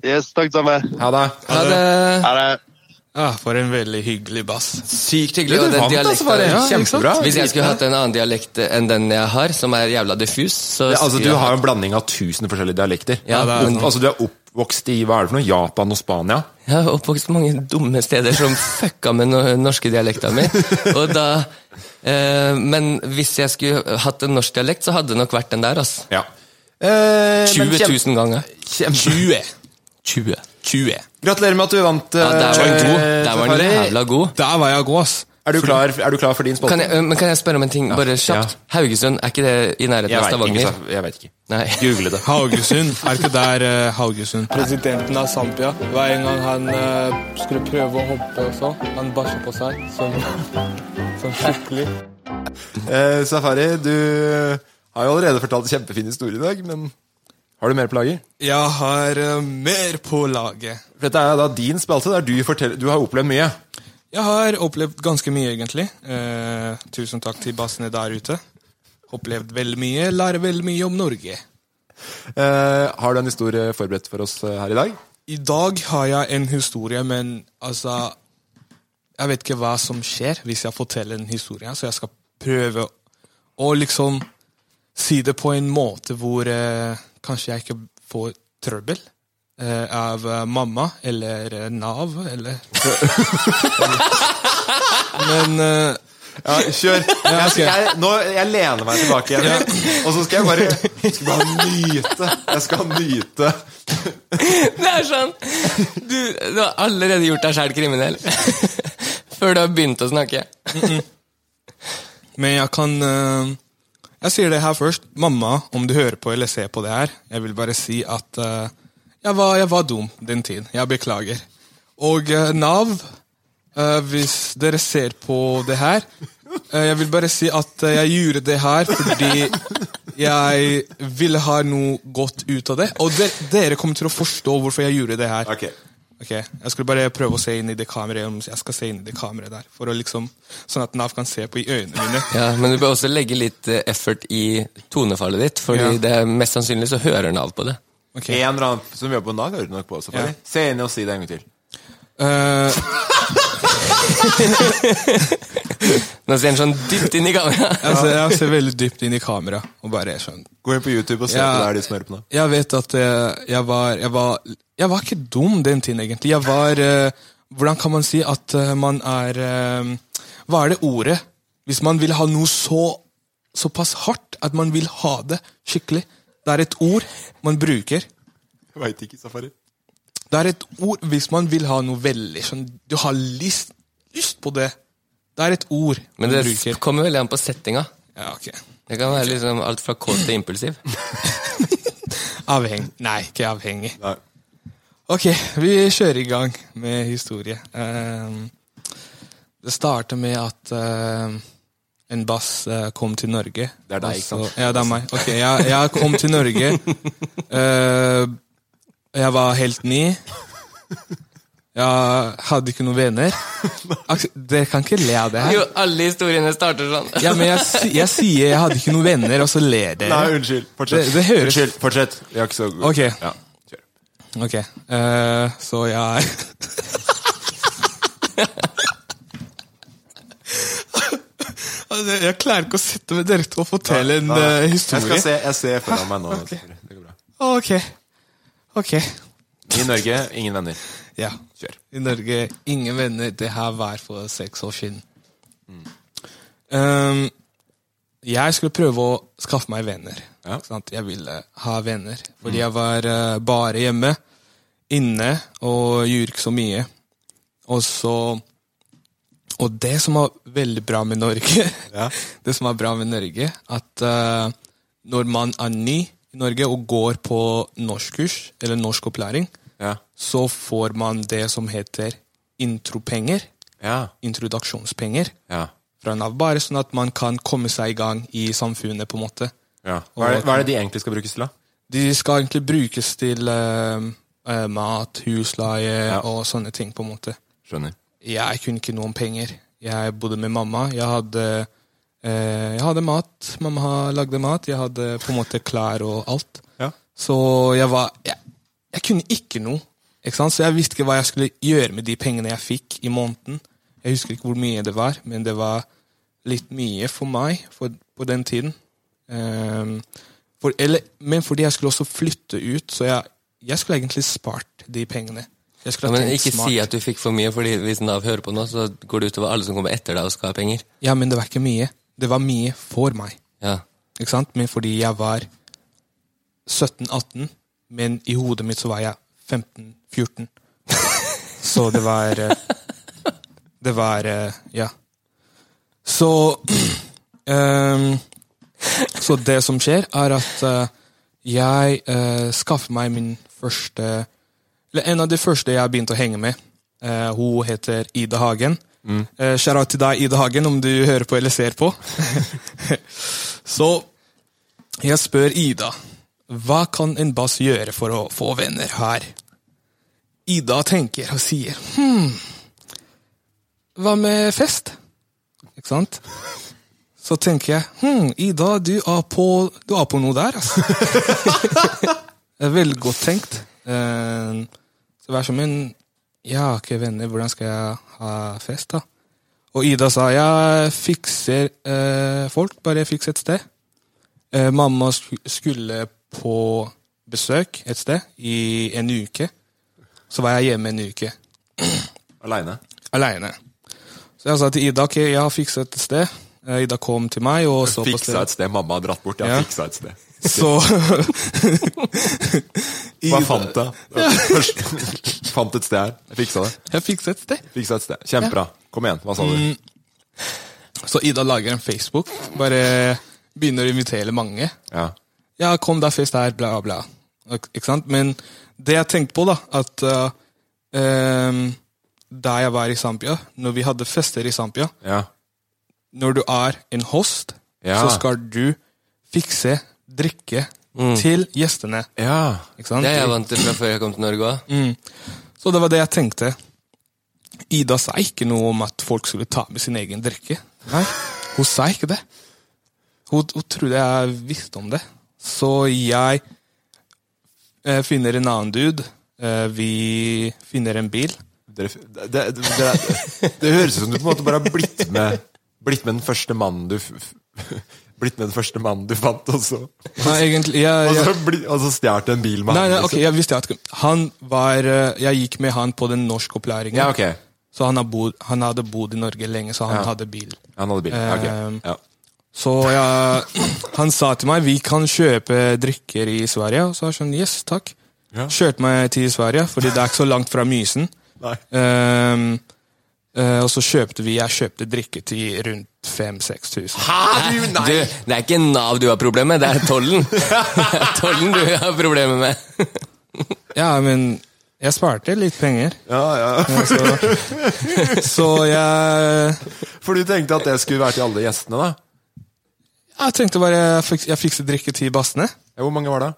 [SPEAKER 9] Yes, takk sammen.
[SPEAKER 4] Ha det.
[SPEAKER 3] Ha det.
[SPEAKER 9] Ha det.
[SPEAKER 5] Ah, for en veldig hyggelig bass.
[SPEAKER 3] Sykt
[SPEAKER 4] Du,
[SPEAKER 3] hyggelig.
[SPEAKER 4] du
[SPEAKER 3] og den
[SPEAKER 4] vant altså,
[SPEAKER 3] dialekten-
[SPEAKER 4] bare.
[SPEAKER 3] Ja, ikke sant?
[SPEAKER 4] Kjempebra.
[SPEAKER 3] Hvis jeg skulle hatt en annen dialekt eh, enn den jeg har, som er jævla diffus så
[SPEAKER 4] Ja, altså,
[SPEAKER 3] skulle
[SPEAKER 4] du
[SPEAKER 3] jeg
[SPEAKER 4] har jo
[SPEAKER 3] hatt-
[SPEAKER 4] en blanding av tusen forskjellige dialekter.
[SPEAKER 3] Ja, det er
[SPEAKER 4] Opp-
[SPEAKER 3] sant.
[SPEAKER 4] altså, du er oppvokst i, hva er det for noe, Japan og Spania?
[SPEAKER 3] Jeg har oppvokst på mange dumme steder
[SPEAKER 4] *laughs*
[SPEAKER 3] som fucka med no norske dialekta mi. Og da, eh, men hvis jeg skulle hatt en norsk dialekt, så hadde det nok vært den der. ass.
[SPEAKER 4] Ja. Eh, men
[SPEAKER 3] 20
[SPEAKER 4] kjem-
[SPEAKER 3] 000 ganger.
[SPEAKER 4] kjempe-
[SPEAKER 5] 20.
[SPEAKER 3] 20.
[SPEAKER 5] 20.
[SPEAKER 4] Gratulerer med at du vant.
[SPEAKER 3] Ja, der var den
[SPEAKER 4] eh,
[SPEAKER 3] god. Der var den
[SPEAKER 4] Safari.
[SPEAKER 3] jævla god.
[SPEAKER 5] Der var jeg god, ass.
[SPEAKER 4] Er du klar, er du klar for din spalte?
[SPEAKER 3] Kan jeg, eh, men kan jeg spørre om en ting, bare kjapt? Haugesund, er ikke det i nærheten av
[SPEAKER 4] vet
[SPEAKER 3] Stavanger?
[SPEAKER 4] Saf- jeg vet ikke.
[SPEAKER 3] Nei.
[SPEAKER 4] Google det.
[SPEAKER 5] Haugesund. Er ikke der eh, Haugesund? Presidenten av Zampia. Hver en gang han eh, skulle prøve å hoppe og så, han bæsja på seg. Som, skikkelig.
[SPEAKER 4] Eh, Safari, du har jo allerede fortalt en kjempefin historie i dag, men har du mer plager?
[SPEAKER 5] Jeg har eh, mer på laget.
[SPEAKER 4] For dette er jo da din spalte, der du forteller Du har opplevd mye.
[SPEAKER 5] Jeg har opplevd ganske mye, egentlig. Eh, tusen takk til bassene der ute. Opplevd veldig mye, lærer veldig mye om Norge.
[SPEAKER 4] Eh, har du en historie forberedt for oss eh, her i dag?
[SPEAKER 5] I dag har jeg en historie, men altså Jeg vet ikke hva som skjer hvis jeg forteller en historie, så jeg skal prøve å liksom si det på en måte hvor eh, kanskje jeg ikke får trøbbel eh, av eh, mamma eller eh, Nav eller Men eh,
[SPEAKER 4] *laughs* Ja, kjør.
[SPEAKER 5] Ja,
[SPEAKER 4] Jeg,
[SPEAKER 5] ok.
[SPEAKER 4] jeg, nå, jeg lener meg tilbake igjen, og så skal jeg bare, skal bare nyte. Jeg skal nyte.
[SPEAKER 3] *laughs* Det er sånn Du, du har allerede gjort deg sjæl kriminell *laughs* før du har begynt å snakke.
[SPEAKER 5] Men jeg kan eh, Jeg sier det her først. Mamma, om du hører på eller ser på det her, jeg vil bare si at eh, jeg, var, jeg var dum den tiden. Jeg beklager. Og eh, Nav, eh, hvis dere ser på det her eh, Jeg vil bare si at eh, jeg gjorde det her fordi jeg ville ha noe godt ut av det. Og de, dere kommer til å forstå hvorfor jeg gjorde det her. Ok, Jeg skulle bare prøve å se inn i det kameraet om jeg skal se inn i det kameraet der. For å liksom, Sånn at Nav kan se på i øynene mine.
[SPEAKER 3] Ja, Men du bør også legge litt eh, effort i tonefallet ditt, Fordi
[SPEAKER 5] Ja.
[SPEAKER 3] det er mest sannsynlig så hører Nav på det.
[SPEAKER 4] En eller annen som jobber på Nav, hører du nok på. Safari.
[SPEAKER 3] Ja.
[SPEAKER 4] Se inn og si det en gang til.
[SPEAKER 5] Eh,
[SPEAKER 3] Nå ser han sånn dypt inn i *laughs* kameraet.
[SPEAKER 5] jeg, ser, jeg ser veldig dypt inn i kamera og bare er sånn
[SPEAKER 4] Gå inn på YouTube og se
[SPEAKER 5] Ja.
[SPEAKER 4] på det her, de som hører på nå.
[SPEAKER 5] Jeg vet at eh, jeg var Jeg var, jeg var ikke dum den tiden, egentlig. Jeg var eh, Hvordan kan man si at eh, man er eh, Hva er det ordet? Hvis man vil ha noe så såpass hardt at man vil ha det skikkelig. Det er et ord man bruker.
[SPEAKER 4] Jeg veit ikke, Safari.
[SPEAKER 5] Det er et ord hvis man vil ha noe veldig sånn Du har lyst, lyst på det. Det er et ord
[SPEAKER 3] Men
[SPEAKER 5] man
[SPEAKER 3] det
[SPEAKER 5] bruker.
[SPEAKER 3] kommer veldig an på settinga.
[SPEAKER 5] Ja, ok.
[SPEAKER 3] Det kan være liksom alt fra kåt til impulsiv.
[SPEAKER 5] Avhengig. Nei, ikke avhengig. Ok, vi kjører i gang med historie. Ehm, det starter med at ehm, en bass eh, kom til Norge.
[SPEAKER 4] Det er deg,
[SPEAKER 5] Og
[SPEAKER 4] ikke sant?
[SPEAKER 5] så- Ja, det er meg. Ok, jeg, jeg kom til Norge.
[SPEAKER 4] *laughs*
[SPEAKER 5] Eh, jeg var helt ny. Jeg hadde ikke noen
[SPEAKER 4] *laughs*
[SPEAKER 5] venner. Aks- Dere kan ikke le av det her.
[SPEAKER 3] *laughs* Jo, alle historiene starter sånn.
[SPEAKER 5] Ja, men jeg, si- jeg sier jeg hadde ikke noen venner, og så ler dere.
[SPEAKER 4] Nei, unnskyld. Fortsett.
[SPEAKER 5] Det, det høres
[SPEAKER 4] Unnskyld, fortsett. Vi har ikke så god
[SPEAKER 5] Ok.
[SPEAKER 4] Ja.
[SPEAKER 5] Ok, eh, så jeg Altså, Jeg klarer ikke å sitte med dere to og fortelle en
[SPEAKER 4] Nei, nei.
[SPEAKER 5] eh, historie.
[SPEAKER 4] Jeg, skal se, jeg ser foran meg nå.
[SPEAKER 5] Ok.
[SPEAKER 4] Safari. Det går bra.
[SPEAKER 5] Ok. Ok.
[SPEAKER 4] I Norge, ingen venner.
[SPEAKER 5] Ja.
[SPEAKER 4] Kjør.
[SPEAKER 5] I Norge, ingen venner. Det her var for seks år siden.
[SPEAKER 4] Mm.
[SPEAKER 5] Um, jeg skulle prøve å skaffe meg venner. Ikke Sant? Jeg ville ha venner. Fordi
[SPEAKER 4] Mm.
[SPEAKER 5] jeg var eh, bare hjemme, inne, og gjorde ikke så mye. Og så Og det som var veldig bra med Norge, *laughs* det som var bra med Norge, at eh, når man er ny i Norge og går på norskkurs, eller norskopplæring, så får man det som heter intropenger. Introduksjonspenger. Fra Nav, bare sånn at man kan komme seg i gang i samfunnet, på en måte.
[SPEAKER 4] Ja. Hva, er det, hva er det de egentlig skal brukes til, da?
[SPEAKER 5] De skal egentlig brukes til eh, eh, mat, husleie og sånne ting, på en måte.
[SPEAKER 4] Skjønner.
[SPEAKER 5] Jeg kunne ikke noe om penger. Jeg bodde med mamma. Jeg hadde, eh, jeg hadde mat. Mamma ha- lagde mat. Jeg hadde på en måte klær og alt. Så jeg var jeg, jeg kunne ikke noe. Ikke sant? Så jeg visste ikke hva jeg skulle gjøre med de pengene jeg fikk i måneden. Jeg husker ikke hvor mye det var, men det var litt mye for meg for, på den tiden. Ehm, for, eller, men fordi jeg skulle også flytte ut, så jeg, jeg skulle egentlig spart de pengene. Jeg
[SPEAKER 3] Ja,
[SPEAKER 5] skulle ha
[SPEAKER 3] men
[SPEAKER 5] tenkt
[SPEAKER 3] ikke
[SPEAKER 5] smart.
[SPEAKER 3] si at du fikk for mye, Fordi hvis Nav hører på nå, så går det utover alle som kommer etter deg og skal ha penger.
[SPEAKER 5] Ja, men det var ikke mye. Det var mye for meg.
[SPEAKER 3] Ja.
[SPEAKER 5] Ikke sant? Men fordi jeg var 17-18, men i hodet mitt så var jeg 15-14. *laughs* Så det var eh, Det var eh, Ja. Så *clears throat* ehm, Så det som skjer, er at eh, jeg eh, skaffer meg min første Eller en av de første jeg begynte å henge med. Eh, hun heter Ida Hagen. Mm. Eh, Shout out til deg, Ida Hagen, om du hører på eller ser på. så jeg spør Ida hva kan en bass gjøre for å få venner her. Ida tenker og sier hm, hva med fest? Ikke sant? Så tenker jeg hm, Ida, du er på, du er på noe der, altså. Det er Veldig godt tenkt. Eh, Så Så vær så men jeg har ikke venner, hvordan skal jeg ha fest, da? Og Ida sa jeg fikser eh, folk, bare fiks et sted. Eh, mamma sku- skulle på besøk et sted i en uke. Så var jeg hjemme en uke.
[SPEAKER 4] Aleine?
[SPEAKER 5] Aleine. Så jeg sa til Ida ok, jeg har fiksa et sted. Eh, Ida kom til meg og så på
[SPEAKER 4] Fiksa et sted mamma har dratt bort. Ja,
[SPEAKER 5] Ja.
[SPEAKER 4] fiksa et
[SPEAKER 5] *laughs*
[SPEAKER 4] sted.
[SPEAKER 5] Så
[SPEAKER 4] Hva
[SPEAKER 5] Ida-
[SPEAKER 4] fant jeg? Først, fant et sted her. Jeg fiksa det.
[SPEAKER 5] Jeg fiksa et sted.
[SPEAKER 4] Fiksa et sted. Kjempebra. Kom igjen, hva sa du?
[SPEAKER 5] Mm. Så Ida lager en Facebook. Bare begynner å invitere mange.
[SPEAKER 4] Ja.
[SPEAKER 5] Ja, kom da, fest her, bla, bla. Ok, Ikke sant? Men det jeg tenkte på, da, at eh, em, da jeg var i Zampia, når vi hadde fester i Zampia
[SPEAKER 4] Ja.
[SPEAKER 5] Når du er en host,
[SPEAKER 4] Ja.
[SPEAKER 5] så skal du fikse drikke til gjestene. Ikke sant?
[SPEAKER 3] Mm. Det er jeg vant til fra før jeg kom til Norge
[SPEAKER 5] *laughs*
[SPEAKER 3] òg.
[SPEAKER 5] Mm. Så det var det jeg tenkte. Ida sa ikke noe om at folk skulle ta med sin egen drikke. Nei, Hun sa ikke det. Hun, hun trodde jeg visste om det. Så jeg eh, finner en annen dude. Eh, vi finner en bil.
[SPEAKER 4] Dere, det, det, det, det høres ut som du på en måte bare har blitt med Blitt med den første mannen du f- f- *laughs* Blitt med den første mannen du fant, og så
[SPEAKER 5] Nei, egentlig jeg,
[SPEAKER 4] Og så,
[SPEAKER 5] jeg,
[SPEAKER 4] Altså, bli- og så stjal du en bil med
[SPEAKER 5] Eh, nei, nei,
[SPEAKER 4] liksom.
[SPEAKER 5] ok, jeg visste at han var eh, Jeg gikk med han på den norskopplæringen.
[SPEAKER 4] Ja, ok.
[SPEAKER 5] Så han, har bod, han hadde bodd i Norge lenge, så han
[SPEAKER 4] Ja.
[SPEAKER 5] hadde bil.
[SPEAKER 4] Han hadde bil. ja, ok.
[SPEAKER 5] Ehm,
[SPEAKER 4] Ja.
[SPEAKER 5] Så jeg, han sa til meg vi kan kjøpe drikker i Sverige. Og så var jeg sånn, yes, takk. Kjørte meg til Sverige, fordi det er ikke så langt fra Mysen.
[SPEAKER 4] Nei.
[SPEAKER 5] Ehm, eh, og så kjøpte vi jeg kjøpte drikke til rundt 5000-6000. tusen.
[SPEAKER 3] Du, det er ikke Nav du har problemer med, det er
[SPEAKER 5] *laughs*
[SPEAKER 3] tollen. Det er tollen du har problemer med.
[SPEAKER 5] Ja, men jeg sparte litt penger.
[SPEAKER 4] Ja,
[SPEAKER 5] Eh.
[SPEAKER 4] ja.
[SPEAKER 5] så, så jeg
[SPEAKER 4] *laughs* For du tenkte at det skulle være til alle gjestene, da?
[SPEAKER 5] Jeg tenkte bare jeg, fiks, jeg fikset drikke til bassene.
[SPEAKER 4] Ja, hvor mange var det?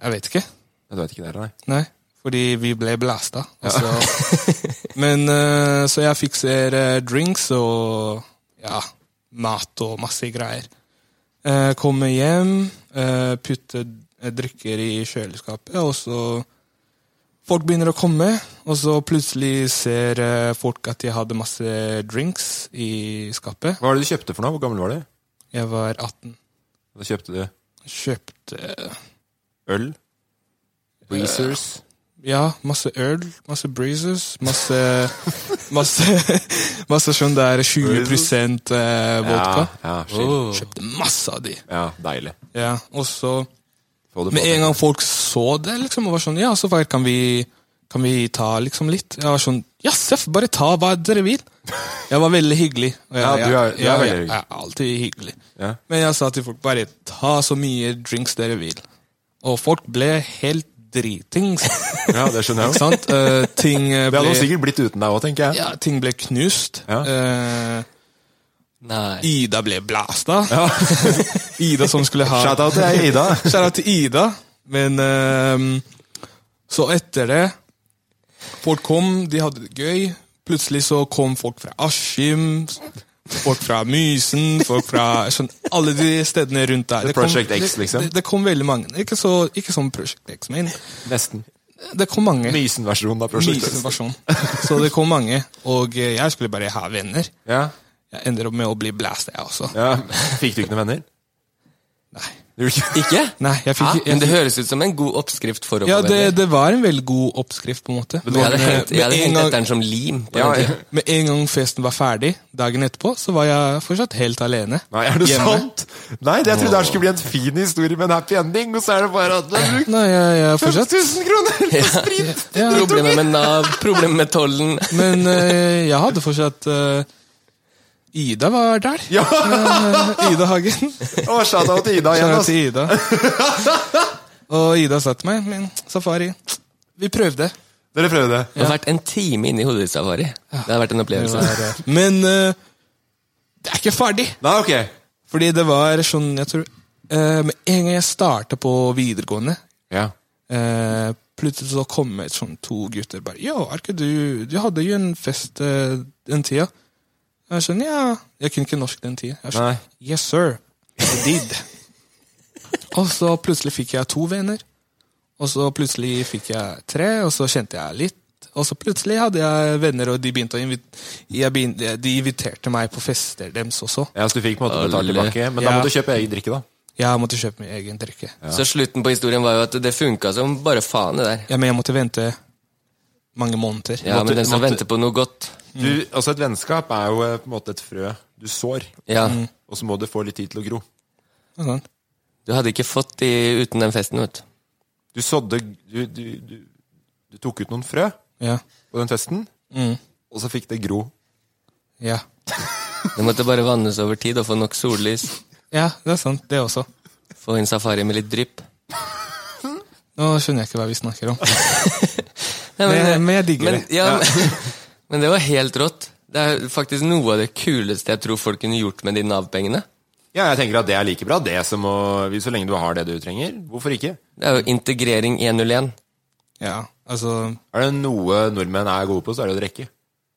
[SPEAKER 5] Jeg vet ikke.
[SPEAKER 4] Ja, Du vet ikke det, eller? nei?
[SPEAKER 5] Nei, fordi vi ble blasta. Altså. Men eh, så jeg fikser eh, drinks og ja, mat og masse greier. Eh, kommer hjem, eh, putter eh, drikker i kjøleskapet, og så Folk begynner å komme, og så plutselig ser eh, folk at jeg hadde masse drinks i skapet.
[SPEAKER 4] Hva var det du kjøpte for noe? Hvor gammel var du?
[SPEAKER 5] Jeg var 18.
[SPEAKER 4] Da kjøpte du
[SPEAKER 5] Kjøpte
[SPEAKER 4] øl? Eh, Breezers?
[SPEAKER 5] Ja, masse øl, masse breezes, masse Masse, masse sånn der 20 eh, vodka. Oh.
[SPEAKER 4] Ja, ja, chill.
[SPEAKER 5] Kjøpte masse av de.
[SPEAKER 4] Ja, deilig.
[SPEAKER 5] Ja, og så
[SPEAKER 4] Få det på
[SPEAKER 5] Med
[SPEAKER 4] deg.
[SPEAKER 5] en gang folk så det, liksom, og var sånn Ja, så bare kan vi kan vi ta liksom litt? Jeg var sånn Ja, seff, bare ta hva dere vil. Jeg var veldig hyggelig. og jeg-
[SPEAKER 4] Ja, du er-
[SPEAKER 5] jeg-
[SPEAKER 4] du er veldig
[SPEAKER 5] jeg-
[SPEAKER 4] hyggelig.
[SPEAKER 5] Jeg er alltid hyggelig.
[SPEAKER 4] Ja.
[SPEAKER 5] Men jeg sa til folk bare ta så mye drinks dere vil. Og folk ble helt dritings.
[SPEAKER 4] Ja, det skjønner jeg
[SPEAKER 5] Ikke sant? Eh, ting eh,
[SPEAKER 4] Det
[SPEAKER 5] ble
[SPEAKER 4] hadde hun sikkert blitt uten deg òg, tenker jeg.
[SPEAKER 5] ja, ting ble knust. Eh,
[SPEAKER 3] Nei.
[SPEAKER 5] Ida ble blasta. *laughs* Ida som skulle ha
[SPEAKER 4] Shout-out til Ida.
[SPEAKER 5] Shout-out til Ida. Men ehm, så etter det Folk kom, de hadde det gøy. Plutselig så kom folk fra Askim, folk fra Mysen, folk fra sånn, alle de stedene rundt der.
[SPEAKER 4] The
[SPEAKER 5] kom-
[SPEAKER 4] Project X, liksom.
[SPEAKER 5] Det, det kom veldig mange. Ikke, så, ikke som Project X, men
[SPEAKER 4] Nesten.
[SPEAKER 5] det kom mange.
[SPEAKER 4] Mysen-versjonen av Prosjekt
[SPEAKER 5] Mysen versjon. Så det kom mange, og eh, jeg skulle bare ha venner.
[SPEAKER 4] Ja.
[SPEAKER 5] Jeg ender opp med å bli blæsta, jeg også.
[SPEAKER 4] ja. Fikk du ikke noen venner?
[SPEAKER 5] Nei.
[SPEAKER 4] Gjorde du ikke?
[SPEAKER 3] Ikke?
[SPEAKER 5] Nei, jeg fikk
[SPEAKER 3] Hæ?
[SPEAKER 5] jeg,
[SPEAKER 3] Men det høres ut som en god oppskrift for å
[SPEAKER 5] Ja,
[SPEAKER 3] få
[SPEAKER 5] det,
[SPEAKER 3] venner.
[SPEAKER 5] det var en veldig god oppskrift, på en måte. eh,
[SPEAKER 3] Jeg hadde hengt,
[SPEAKER 5] med,
[SPEAKER 3] jeg hadde
[SPEAKER 5] en
[SPEAKER 3] hengt etter
[SPEAKER 5] gang,
[SPEAKER 3] den som lim. På
[SPEAKER 4] Ja,
[SPEAKER 3] den
[SPEAKER 4] ja.
[SPEAKER 3] *laughs* tiden.
[SPEAKER 5] med en gang festen var ferdig, dagen etterpå, så var jeg fortsatt helt alene.
[SPEAKER 4] Nei, er sånn? det
[SPEAKER 5] Hjemme.
[SPEAKER 4] sant? Nei, jeg trodde det her skulle bli en fin historie med en happy ending, og så er det bare at du har brukt
[SPEAKER 5] Nei, jeg, jeg fortsatt
[SPEAKER 4] 5000 kroner på sprit!
[SPEAKER 5] ja,
[SPEAKER 3] Problemet med Nav, problemet med tollen.
[SPEAKER 5] Men eh, jeg hadde fortsatt eh, Ida var der.
[SPEAKER 4] Ja!
[SPEAKER 5] Eh, Ida Hagen.
[SPEAKER 4] Å, shout-out til Ida igjen,
[SPEAKER 5] Kjære
[SPEAKER 4] ass.
[SPEAKER 5] til Ida. Og Ida sa til meg Men Safari, vi prøvde.
[SPEAKER 4] Dere prøvde det.
[SPEAKER 3] Det har vært en time inni hodet ditt, Safari. Det har vært en opplevelse.
[SPEAKER 5] Men eh, det er ikke ferdig.
[SPEAKER 4] Nei, ok.
[SPEAKER 5] Fordi det var sånn, jeg tror eh, Med en gang jeg starta på videregående,
[SPEAKER 4] Ja.
[SPEAKER 5] eh, plutselig så kom det sånn to gutter bare Ja, er ikke du Du hadde jo en fest eh, den tida. Jeg skjønner, ja Jeg kunne ikke norsk den tida. Jeg skjønner,
[SPEAKER 4] Nei.
[SPEAKER 5] Yes, sir. I did. og så plutselig fikk jeg to venner. Og så plutselig fikk jeg tre, og så kjente jeg litt. Og så plutselig hadde jeg venner, og de begynte å invit jeg begynte, de inviterte meg på fester deres også.
[SPEAKER 4] Ja, så du fikk på en måte betalt
[SPEAKER 3] Alle.
[SPEAKER 4] tilbake, men da
[SPEAKER 5] Ja.
[SPEAKER 4] må du kjøpe egen drikke, da.
[SPEAKER 5] Ja, Jeg måtte kjøpe min egen drikke.
[SPEAKER 3] Så slutten på historien var jo at det funka som bare faen, det der.
[SPEAKER 5] Ja, men jeg måtte vente mange måneder.
[SPEAKER 3] Ja, men den som venter på noe godt
[SPEAKER 4] Du, altså Et vennskap er jo eh, på en måte et frø du sår,
[SPEAKER 3] Ja.
[SPEAKER 5] Mm.
[SPEAKER 4] og så må det få litt tid til å gro.
[SPEAKER 5] Sånn.
[SPEAKER 3] Du hadde ikke fått de uten den festen, vet du.
[SPEAKER 4] Du sådde du, du, du, du tok ut noen frø
[SPEAKER 5] Ja.
[SPEAKER 4] på den festen,
[SPEAKER 5] Mm.
[SPEAKER 4] og så fikk det gro. *laughs*
[SPEAKER 5] Ja.
[SPEAKER 3] Det måtte bare vannes over tid og få nok sollys.
[SPEAKER 5] ja, det er sant, det også.
[SPEAKER 3] Få inn safari med litt drypp.
[SPEAKER 5] Nå skjønner jeg ikke hva vi snakker om.
[SPEAKER 3] Ja,
[SPEAKER 5] Men- men jeg digger
[SPEAKER 3] men,
[SPEAKER 5] det.
[SPEAKER 3] Ja, men, men det var helt rått. Det er faktisk noe av det kuleste jeg tror folk kunne gjort med de Nav-pengene.
[SPEAKER 4] Ja, jeg tenker at det er like bra, det som å Så lenge du har det du trenger, hvorfor ikke?
[SPEAKER 3] Det er jo integrering 101.
[SPEAKER 5] Ja, altså
[SPEAKER 4] Er det noe nordmenn er gode på, så er det å drikke.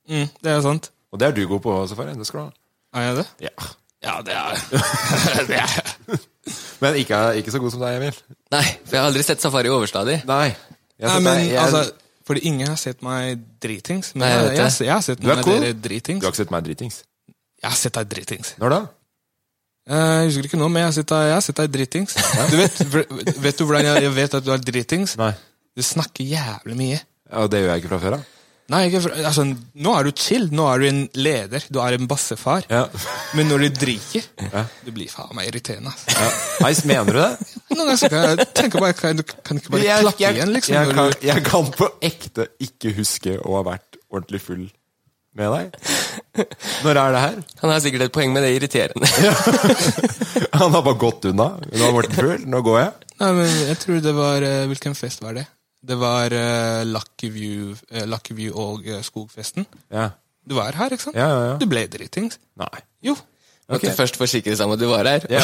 [SPEAKER 5] mm, Det er sant.
[SPEAKER 4] Og det er du god på, Safari. Det skal du ha.
[SPEAKER 5] Er jeg det?
[SPEAKER 4] Ja.
[SPEAKER 5] Ja, det
[SPEAKER 3] *laughs*
[SPEAKER 5] er det. Er.
[SPEAKER 4] Men ikke, ikke så god som deg, Emil.
[SPEAKER 3] Nei, for jeg har aldri sett safari overstadig.
[SPEAKER 4] Nei. Jeg
[SPEAKER 5] Nei,
[SPEAKER 4] synes
[SPEAKER 5] men
[SPEAKER 4] det er- jeg-
[SPEAKER 5] altså Fordi ingen har sett meg dritings. Men
[SPEAKER 3] Nei, jeg
[SPEAKER 5] jeg,
[SPEAKER 3] vet
[SPEAKER 5] jeg,
[SPEAKER 3] det.
[SPEAKER 5] jeg, har sett
[SPEAKER 4] Du er
[SPEAKER 5] noen av
[SPEAKER 4] cool.
[SPEAKER 5] dere dritings.
[SPEAKER 4] Du har ikke sett meg dritings?
[SPEAKER 5] Jeg har sett deg dritings.
[SPEAKER 4] Når da?
[SPEAKER 5] Eh, Jeg husker ikke nå, men jeg har sett deg, jeg har sett deg dritings. Du vet, vr- vet du hvordan jeg, jeg vet at du er dritings?
[SPEAKER 4] Nei.
[SPEAKER 5] Du snakker jævlig mye.
[SPEAKER 4] Ja, det gjør jeg ikke fra før av.
[SPEAKER 5] Nei, ikke, for- altså, Nå er du chill. Nå er du en leder. Du er en bassefar.
[SPEAKER 4] Ja.
[SPEAKER 5] Men når du drikker, du blir faen meg irriterende. ass.
[SPEAKER 4] Heis,
[SPEAKER 5] *laughs*
[SPEAKER 4] mener du det?
[SPEAKER 5] Noen ganger så kan jeg tenke bare, kan, du kan ikke bare klappe igjen, liksom.
[SPEAKER 4] jeg,
[SPEAKER 5] når
[SPEAKER 4] kan,
[SPEAKER 5] du,
[SPEAKER 4] jeg kan på ekte ikke huske å ha vært ordentlig full med deg. Når er
[SPEAKER 5] *laughs*
[SPEAKER 4] det her?
[SPEAKER 3] Han har sikkert et poeng med det irriterende.
[SPEAKER 4] Han har bare gått unna. Nå har vært full, nå går jeg.
[SPEAKER 5] Nei, men jeg tror det var eh, Hvilken fest var det? Det var eh, Lucky, View, eh, Lucky View og eh, Skogfesten.
[SPEAKER 4] Ja.
[SPEAKER 5] Du var her, ikke sant?
[SPEAKER 4] Ja, ja, ja.
[SPEAKER 5] Du ble dritings.
[SPEAKER 4] Nei.
[SPEAKER 5] Jo.
[SPEAKER 3] Måtte først forsikre seg om at du var her.
[SPEAKER 4] Ja.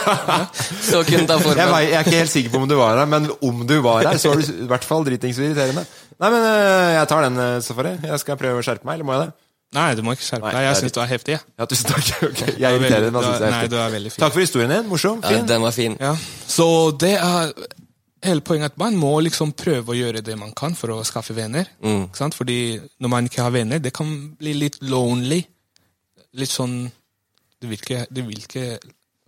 [SPEAKER 3] Så kunne ta
[SPEAKER 4] Jeg,
[SPEAKER 3] formen.
[SPEAKER 4] vei- jeg er ikke helt sikker på om du var her, men om du var her, så var du i hvert fall dritings og irriterende. Nei, men øh, jeg tar den, øh, Safari. Jeg skal prøve å skjerpe meg, eller må jeg det?
[SPEAKER 5] Nei, du må ikke skjerpe
[SPEAKER 4] Nei,
[SPEAKER 5] deg. Jeg
[SPEAKER 4] det er
[SPEAKER 5] syns du er heftig. jeg.
[SPEAKER 4] Ja, tusen takk. *laughs* Ok, Jeg
[SPEAKER 5] Du er
[SPEAKER 4] er
[SPEAKER 5] veldig-
[SPEAKER 4] irriterende, han synes jeg er
[SPEAKER 5] Nei, du
[SPEAKER 4] heftig.
[SPEAKER 5] er veldig fin.
[SPEAKER 4] Takk for historien din. Morsom,
[SPEAKER 3] Ja,
[SPEAKER 4] fin.
[SPEAKER 3] den var fin.
[SPEAKER 5] Ja. Så det er hele poenget at man må liksom prøve å gjøre det man kan for å skaffe venner.
[SPEAKER 4] Mm.
[SPEAKER 5] Ikke sant? Fordi når man ikke har venner, det kan bli litt lonely. Litt sånn Du vil ikke, du vil ikke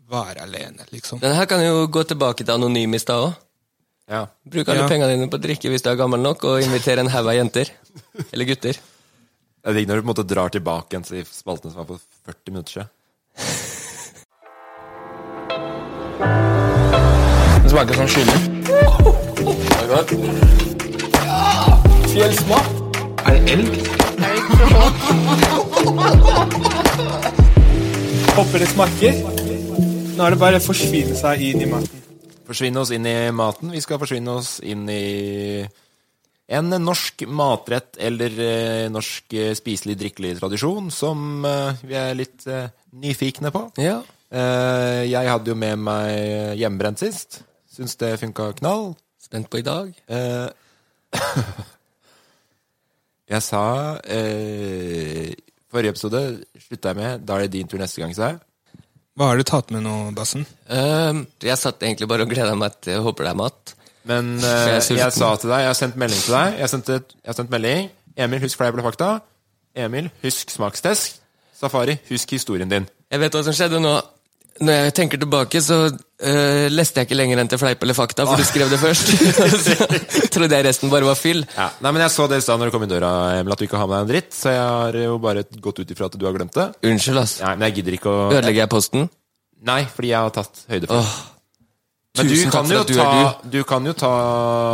[SPEAKER 5] være alene, liksom.
[SPEAKER 3] Denne her kan jo gå tilbake til anonymis da òg.
[SPEAKER 4] Ja.
[SPEAKER 3] Bruk alle
[SPEAKER 5] Ja.
[SPEAKER 3] pengene dine på å drikke hvis du er gammel nok, og inviter en haug av jenter. Eller gutter.
[SPEAKER 4] Jeg digger når du på en måte drar tilbake en til spalten som var for 40 minutter siden.
[SPEAKER 6] Den smaker som skinner. Fjellsmak. Er det elg? Hopper det smaker. Nå er det bare å forsvinne seg inn i maten.
[SPEAKER 4] Forsvinne oss inn i maten. Vi skal forsvinne oss inn i en norsk matrett eller eh, norsk eh, spiselig, drikkelig tradisjon som eh, vi er litt eh, nyfikne på.
[SPEAKER 3] Ja.
[SPEAKER 4] Eh, jeg hadde jo med meg hjemmebrent sist. Syns det funka knall.
[SPEAKER 3] Spent på i dag.
[SPEAKER 4] Eh, *laughs* jeg sa eh, Forrige episode slutta jeg med 'Da er det din tur neste gang', sa jeg.
[SPEAKER 5] Hva har du tatt med nå, Bassen?
[SPEAKER 3] Ehm, jeg satt egentlig bare og gleda meg til jeg håper det er mat.
[SPEAKER 4] Men eh,
[SPEAKER 3] Jeg
[SPEAKER 4] *laughs*
[SPEAKER 3] er
[SPEAKER 4] jeg,
[SPEAKER 3] sulten.
[SPEAKER 4] sa til deg, jeg har sendt melding til deg. Jeg har sendt, et, jeg har sendt melding. Emil, husk fleip eller fakta. Emil, husk smakstest. Safari, husk historien din.
[SPEAKER 3] Jeg vet hva som skjedde nå. Når jeg tenker tilbake, så eh, leste jeg ikke lenger enn til fleip eller fakta, for du skrev det først. *laughs* så trodde jeg resten bare var fyll.
[SPEAKER 4] Ja. Nei, men Jeg så det i stad når du kom i døra, Emil, at du ikke har med deg en dritt. Så jeg har jo bare gått ut ifra at du har glemt det.
[SPEAKER 3] Unnskyld, ass.
[SPEAKER 4] Nei, men jeg gidder ikke å
[SPEAKER 3] Ødelegger jeg posten?
[SPEAKER 4] Nei, fordi jeg har tatt høyde for det.
[SPEAKER 3] Åh,
[SPEAKER 4] Men du
[SPEAKER 3] tusen takk
[SPEAKER 4] kan,
[SPEAKER 3] for
[SPEAKER 4] jo
[SPEAKER 3] at du
[SPEAKER 4] ta,
[SPEAKER 3] er
[SPEAKER 4] du kan jo ta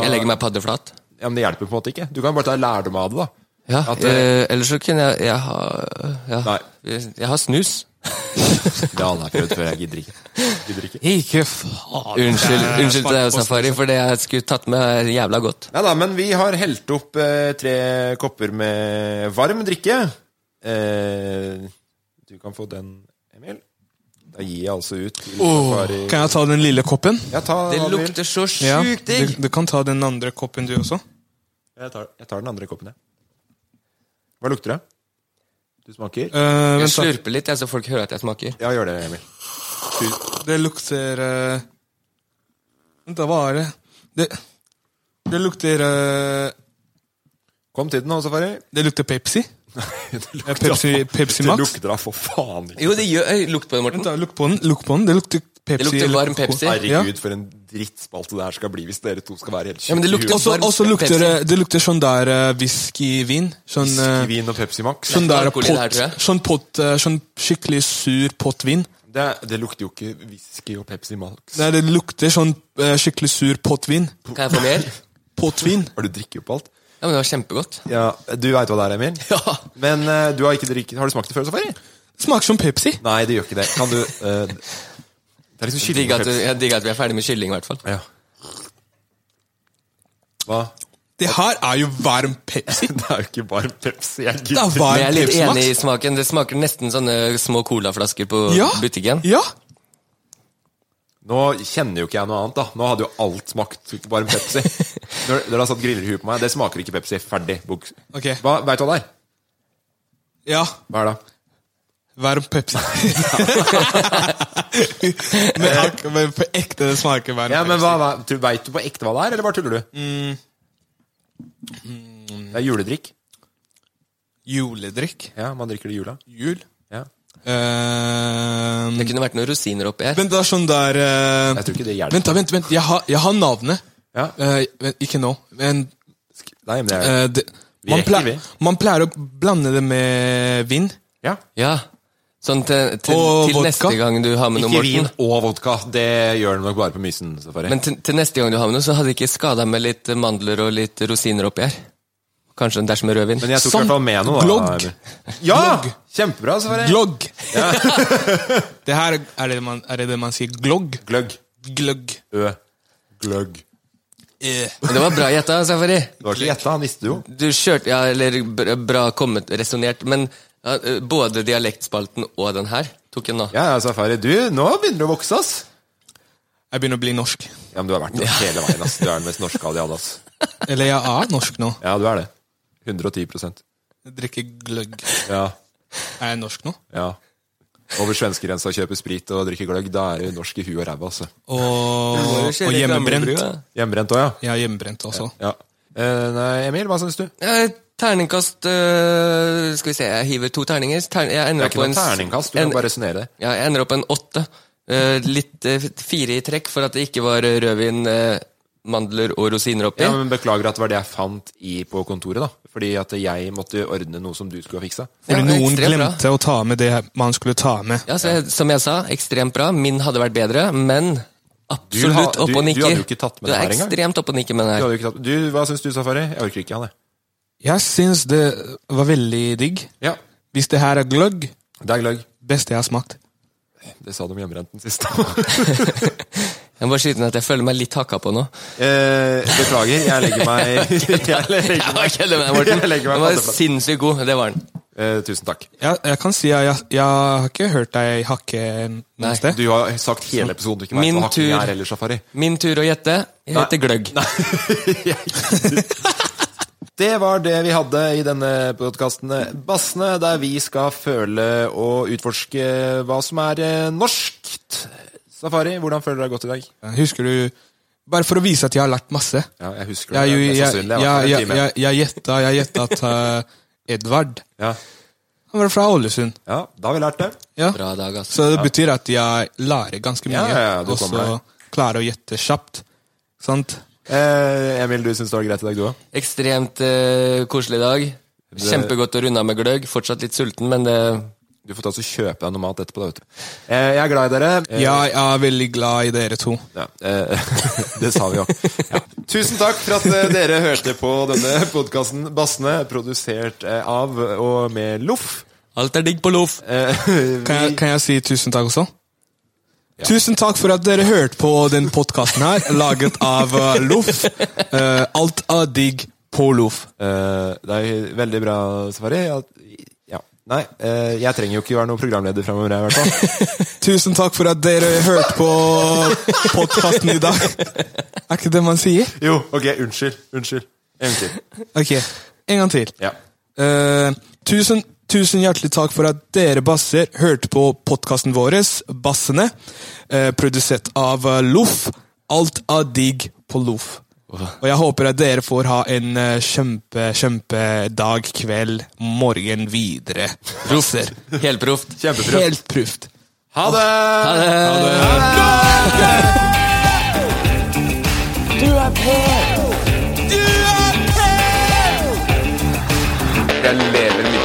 [SPEAKER 3] jeg legger meg paddeflat.
[SPEAKER 4] Ja, Men det hjelper på en måte ikke. Du kan bare ta lærdom av det, da.
[SPEAKER 3] Ja,
[SPEAKER 4] At,
[SPEAKER 3] eh, ellers så kunne jeg Jeg har ja.
[SPEAKER 4] Nei.
[SPEAKER 3] Jeg har snus.
[SPEAKER 4] Det har jeg prøvd før. Jeg gidder ikke. Gidder ikke.
[SPEAKER 5] Ikke faen!
[SPEAKER 3] Unnskyld,
[SPEAKER 5] Det er
[SPEAKER 3] unnskyld til deg,
[SPEAKER 5] smakposten.
[SPEAKER 3] Safari, for det jeg skulle tatt med, er jævla godt.
[SPEAKER 4] Nei da, men vi har helt opp eh, tre kopper med varm drikke. Eh, du kan få den, Emil. Da gir jeg altså ut til
[SPEAKER 3] Oh.
[SPEAKER 5] Åh,
[SPEAKER 4] Safari.
[SPEAKER 5] kan jeg ta den lille koppen?
[SPEAKER 4] Jeg tar,
[SPEAKER 3] Det
[SPEAKER 4] den, Emil.
[SPEAKER 3] lukter så
[SPEAKER 5] Ja,
[SPEAKER 3] sjukt digg!
[SPEAKER 5] du, du kan ta den andre koppen, du også.
[SPEAKER 4] Jeg tar, jeg tar den andre koppen, jeg. Hva lukter det? Du smaker?
[SPEAKER 5] Eh, vent,
[SPEAKER 3] Jeg
[SPEAKER 5] da.
[SPEAKER 3] slurper litt, jeg, så folk hører at jeg smaker.
[SPEAKER 4] Ja, gjør det, Emil. Du-
[SPEAKER 5] Det lukter eh, Vent, da, hva er det? Det, det lukter eh,
[SPEAKER 4] Kom til den nå, Safari.
[SPEAKER 5] Det lukter Pepsi.
[SPEAKER 4] Eh,
[SPEAKER 5] Pepsi, Pepsi
[SPEAKER 4] Det
[SPEAKER 5] Max.
[SPEAKER 4] lukter da for faen ikke.
[SPEAKER 3] Jo, det gjør Øy, Lukt på den, Morten.
[SPEAKER 5] Vent da, Lukk på den. Lukk på den. Det lukter Pepsi.
[SPEAKER 3] lukter
[SPEAKER 5] eller
[SPEAKER 3] varm
[SPEAKER 5] Coca-Cola.
[SPEAKER 3] Pepsi.
[SPEAKER 5] Ja.
[SPEAKER 4] Herregud, for en drittspalte det her skal bli hvis dere to skal være helt
[SPEAKER 3] Ja, men det lukter
[SPEAKER 5] Og så-
[SPEAKER 3] varm
[SPEAKER 5] Og så lukter
[SPEAKER 3] Pepsi.
[SPEAKER 5] det, det lukter sånn der eh, whiskyvin. Sånn, eh,
[SPEAKER 4] Whiskyvin og Pepsi Max.
[SPEAKER 5] sånn der
[SPEAKER 3] alkohol i det her,
[SPEAKER 5] pott,
[SPEAKER 3] tror jeg.
[SPEAKER 5] sånn, pott, eh, sånn skikkelig sur pottvin.
[SPEAKER 4] Det, det lukter jo ikke whisky og Pepsi Max.
[SPEAKER 5] Nei, det lukter sånn eh, skikkelig sur pottvin.
[SPEAKER 3] Kan jeg få mer?
[SPEAKER 5] Pottvin.
[SPEAKER 4] Har du drukket opp alt?
[SPEAKER 3] Ja, men Det var kjempegodt.
[SPEAKER 4] Ja, Du veit hva det er, Emil?
[SPEAKER 3] Ja.
[SPEAKER 4] Men eh, du har ikke drikket Har du smakt det før, Safari?
[SPEAKER 5] Smaker som Pepsi.
[SPEAKER 4] Nei, det gjør ikke det. Kan du eh, Det er liksom kylling
[SPEAKER 3] Digg
[SPEAKER 4] og
[SPEAKER 3] at,
[SPEAKER 4] Pepsi.
[SPEAKER 3] jeg digger at vi er ferdig med kylling, i hvert fall.
[SPEAKER 4] Ja. Hva? *laughs*
[SPEAKER 5] Det her er jo varm Pepsi.
[SPEAKER 4] Det er jo ikke bare Pepsi. Jeg
[SPEAKER 5] Det er
[SPEAKER 4] gidder.
[SPEAKER 5] varm
[SPEAKER 3] Men jeg er litt
[SPEAKER 5] Pepsi
[SPEAKER 3] enig i
[SPEAKER 5] Max.
[SPEAKER 3] smaken. Det smaker nesten sånne små colaflasker på
[SPEAKER 5] Ja.
[SPEAKER 3] butikken.
[SPEAKER 5] Ja.
[SPEAKER 4] Nå kjenner jo ikke jeg noe annet, da. Nå hadde jo alt smakt varm
[SPEAKER 5] *laughs*
[SPEAKER 4] Pepsi. Når dere har satt griller i huet på meg. Det smaker ikke Pepsi. Ferdig. Buks.
[SPEAKER 5] Ok.
[SPEAKER 4] Hva, vet du hva det er?
[SPEAKER 5] Ja.
[SPEAKER 4] Hva er det?
[SPEAKER 5] Varm
[SPEAKER 4] *laughs*
[SPEAKER 5] Pepsi. men, ak- men på ekte det smaker varm
[SPEAKER 4] Ja, men
[SPEAKER 5] Pepsi.
[SPEAKER 4] hva, hva, du Veit du på ekte hva det er, eller bare tuller du?
[SPEAKER 5] Mm.
[SPEAKER 4] Det er juledrikk.
[SPEAKER 5] Juledrikk.
[SPEAKER 4] Ja, man drikker det i jula.
[SPEAKER 5] Jul.
[SPEAKER 4] Ja.
[SPEAKER 5] Eh,
[SPEAKER 3] Det kunne vært noen rosiner oppi her.
[SPEAKER 5] vent, det er sånn der eh,
[SPEAKER 4] Jeg tror ikke det hjelper.
[SPEAKER 5] Vent, da, vent, vent. Jeg har, jeg har navnet.
[SPEAKER 4] Ja.
[SPEAKER 5] Eh, vent, ikke nå, men
[SPEAKER 4] Nei, men det er
[SPEAKER 5] eh, det,
[SPEAKER 4] Vi
[SPEAKER 5] man,
[SPEAKER 4] rekker,
[SPEAKER 5] pleier,
[SPEAKER 4] vi.
[SPEAKER 5] man pleier å blande det med vin.
[SPEAKER 4] Ja.
[SPEAKER 3] Ja. Sånn til, til,
[SPEAKER 5] Og
[SPEAKER 3] til neste
[SPEAKER 5] vodka.
[SPEAKER 3] gang du har med noe,
[SPEAKER 4] Ikke vin
[SPEAKER 3] Morten.
[SPEAKER 4] og vodka. Det gjør de nok bare på Mysen. Safari.
[SPEAKER 3] Men til, til neste gang du har med noe, så hadde det ikke skada med litt mandler og litt rosiner oppi her. Kanskje en dæsj med rødvin.
[SPEAKER 4] Men jeg tok i
[SPEAKER 5] Som
[SPEAKER 4] hvert fall med noe. da,
[SPEAKER 5] glogg.
[SPEAKER 4] Emil. Ja! Kjempebra, Safari.
[SPEAKER 5] Glogg! *laughs* det her er det, man, er det det man sier. Glogg.
[SPEAKER 4] Gløgg.
[SPEAKER 5] Gløgg.
[SPEAKER 4] Ø. Gløgg.
[SPEAKER 5] Eh.
[SPEAKER 3] Men det var bra gjetta, Safari.
[SPEAKER 4] Det var ikke gjetta, han visste jo.
[SPEAKER 3] Du kjørte Ja, eller bra- bra kommet, resonnert. Men ja, eh, både dialektspalten og den her tok jeg nå.
[SPEAKER 4] Ja, ja, Safari. Du, nå begynner du å vokse, ass.
[SPEAKER 5] Jeg begynner å bli norsk.
[SPEAKER 4] Ja, men du har vært norsk hele veien, ass. Du er den mest norske av de alle, ass.
[SPEAKER 5] Eller jeg er norsk nå.
[SPEAKER 4] Ja, du er det. 110
[SPEAKER 5] Jeg drikker gløgg.
[SPEAKER 4] Ja.
[SPEAKER 5] Er jeg norsk nå?
[SPEAKER 4] ja. Over svenskegrensa kjøper sprit og drikker gløgg. Da er du norsk i huet og ræva, altså.
[SPEAKER 5] Og, og hjemmebrent.
[SPEAKER 4] Hjemmebrent òg, ja.
[SPEAKER 5] Jeg er hjemmebrent også.
[SPEAKER 4] ja. Eh, nei, Emil, hva syns du? Det
[SPEAKER 3] Eh, Terningkast øh, Skal vi se, jeg hiver to terninger. Tern, jeg ender
[SPEAKER 4] er
[SPEAKER 3] opp
[SPEAKER 4] ikke
[SPEAKER 3] på
[SPEAKER 4] noe
[SPEAKER 3] en, s-
[SPEAKER 4] terningkast, du
[SPEAKER 3] en-
[SPEAKER 4] kan bare resonnere det.
[SPEAKER 3] Ja, jeg ender opp på en åtte. Eh, litt eh, fire i trekk for at det ikke var eh, rødvin, eh, mandler og rosiner oppi.
[SPEAKER 4] Ja, men Beklager at det var det jeg fant i på kontoret. da Fordi at jeg måtte ordne noe som du skulle ha fiksa.
[SPEAKER 5] Fordi
[SPEAKER 3] Ja,
[SPEAKER 5] noen
[SPEAKER 3] ekstremt bra.
[SPEAKER 5] glemte å ta med det man skulle ta med.
[SPEAKER 3] Ja, så jeg, Som jeg sa, ekstremt bra. Min hadde vært bedre,
[SPEAKER 4] Du
[SPEAKER 3] men
[SPEAKER 4] har-
[SPEAKER 3] absolutt opp
[SPEAKER 4] du-
[SPEAKER 3] og
[SPEAKER 4] du
[SPEAKER 3] nikker.
[SPEAKER 4] hadde jo ikke tatt med
[SPEAKER 3] Du
[SPEAKER 4] den
[SPEAKER 3] er
[SPEAKER 4] her engang.
[SPEAKER 3] ekstremt opp og nikker med den
[SPEAKER 4] Du,
[SPEAKER 3] her.
[SPEAKER 4] hadde jo ikke tatt, du, Hva syns du, Safari? Jeg orker ikke han, jeg.
[SPEAKER 5] Jeg syns det var veldig digg.
[SPEAKER 4] Ja,
[SPEAKER 5] Hvis det her er gløgg,
[SPEAKER 4] det er gløgg.
[SPEAKER 5] beste jeg har smakt.
[SPEAKER 4] Det sa du om hjemmebrenten sist.
[SPEAKER 3] Jeg må bare skyte inn at jeg føler meg litt hakka på nå.
[SPEAKER 4] *laughs*
[SPEAKER 3] *laughs*
[SPEAKER 4] eh, beklager, jeg legger meg *laughs* Jeg legger
[SPEAKER 3] Jeg
[SPEAKER 4] meg,
[SPEAKER 3] bare kødder med deg, Morten.
[SPEAKER 4] *laughs* jeg legger
[SPEAKER 3] Den
[SPEAKER 4] meg
[SPEAKER 3] var
[SPEAKER 4] på andreplass.
[SPEAKER 3] sinnssykt god. Det var den.
[SPEAKER 4] eh, Tusen takk.
[SPEAKER 5] Jeg, jeg kan si at jeg, jeg har ikke hørt deg hakke noe sted.
[SPEAKER 4] Du har sagt hele episoden du ikke vet
[SPEAKER 3] Min
[SPEAKER 4] hva hakking
[SPEAKER 3] tur.
[SPEAKER 4] er heller, Safari.
[SPEAKER 3] Min tur å gjette. Jeg
[SPEAKER 4] Nei. *laughs*
[SPEAKER 3] heter Gløgg.
[SPEAKER 4] Det var det vi hadde i denne podkasten Bassene, der vi skal føle og utforske hva som er eh, norskt. Safari, hvordan føler du deg godt i dag?
[SPEAKER 5] Husker du Bare for å vise at jeg har lært masse.
[SPEAKER 4] Ja, jeg husker
[SPEAKER 5] Jeg, jeg,
[SPEAKER 4] det. mest
[SPEAKER 5] jeg,
[SPEAKER 4] sannsynlig.
[SPEAKER 5] jeg,
[SPEAKER 4] Jeg har
[SPEAKER 5] jeg,
[SPEAKER 4] vært der en time.
[SPEAKER 5] jeg, jeg gjetta jeg gjetta at eh, Edvard
[SPEAKER 4] Ja.
[SPEAKER 5] Han var fra Ålesund.
[SPEAKER 4] ja, da har vi lært det.
[SPEAKER 5] Ja.
[SPEAKER 3] Bra dag, altså. ass.
[SPEAKER 5] Så det betyr at jeg lærer ganske mye,
[SPEAKER 4] Ja, ja, ja, du
[SPEAKER 5] og
[SPEAKER 4] kommer
[SPEAKER 5] så klarer å gjette kjapt. Sant?
[SPEAKER 4] Eh, Emil, du syns det var greit i dag, du òg?
[SPEAKER 3] Ekstremt eh, koselig dag. Kjempegodt å runde av med gløgg. Fortsatt litt sulten, men det
[SPEAKER 4] Du får ta og kjøpe deg noe mat etterpå. da, vet du. Eh, jeg er glad i dere. Eh,
[SPEAKER 5] Jeg er veldig glad i dere to.
[SPEAKER 4] Ja, eh, *laughs* det sa vi jo. Ja. Tusen takk for at eh, dere hørte på denne podkasten Bassene, produsert eh, av og med Loff.
[SPEAKER 3] Alt er digg på loff.
[SPEAKER 4] Eh,
[SPEAKER 5] Kan jeg,
[SPEAKER 4] vi-
[SPEAKER 5] kan jeg si tusen takk også? Tusen takk for at dere hørte på den podkasten her,
[SPEAKER 4] *laughs*
[SPEAKER 5] laget av eh, Loff. Eh, alt er digg på Loff.
[SPEAKER 4] Eh, det er veldig bra, Safari. Ja, ja. Nei, eh, jeg trenger jo ikke være noen programleder fremover, jeg, i hvert
[SPEAKER 5] *laughs*
[SPEAKER 4] fall.
[SPEAKER 5] Tusen takk for at dere hørte på podkasten i dag. Er ikke det man sier?
[SPEAKER 4] Jo, ok, unnskyld. Unnskyld. En gang til.
[SPEAKER 5] Ok, en gang til.
[SPEAKER 4] Ja.
[SPEAKER 5] Eh, tusen, tusen hjertelig takk for at dere basser hørte på podkasten vår, Bassene, eh, produsert av eh, Loff. Alt er digg på Loff. Og jeg håper at dere får ha en eh, kjempe, kjempedag, kveld, morgen videre. Proster.
[SPEAKER 3] Helproft.
[SPEAKER 4] Kjempeproft.
[SPEAKER 5] Helt proft.
[SPEAKER 4] Ha det! Ha det!
[SPEAKER 6] Du er på! Du er på!
[SPEAKER 3] Jeg lever mitt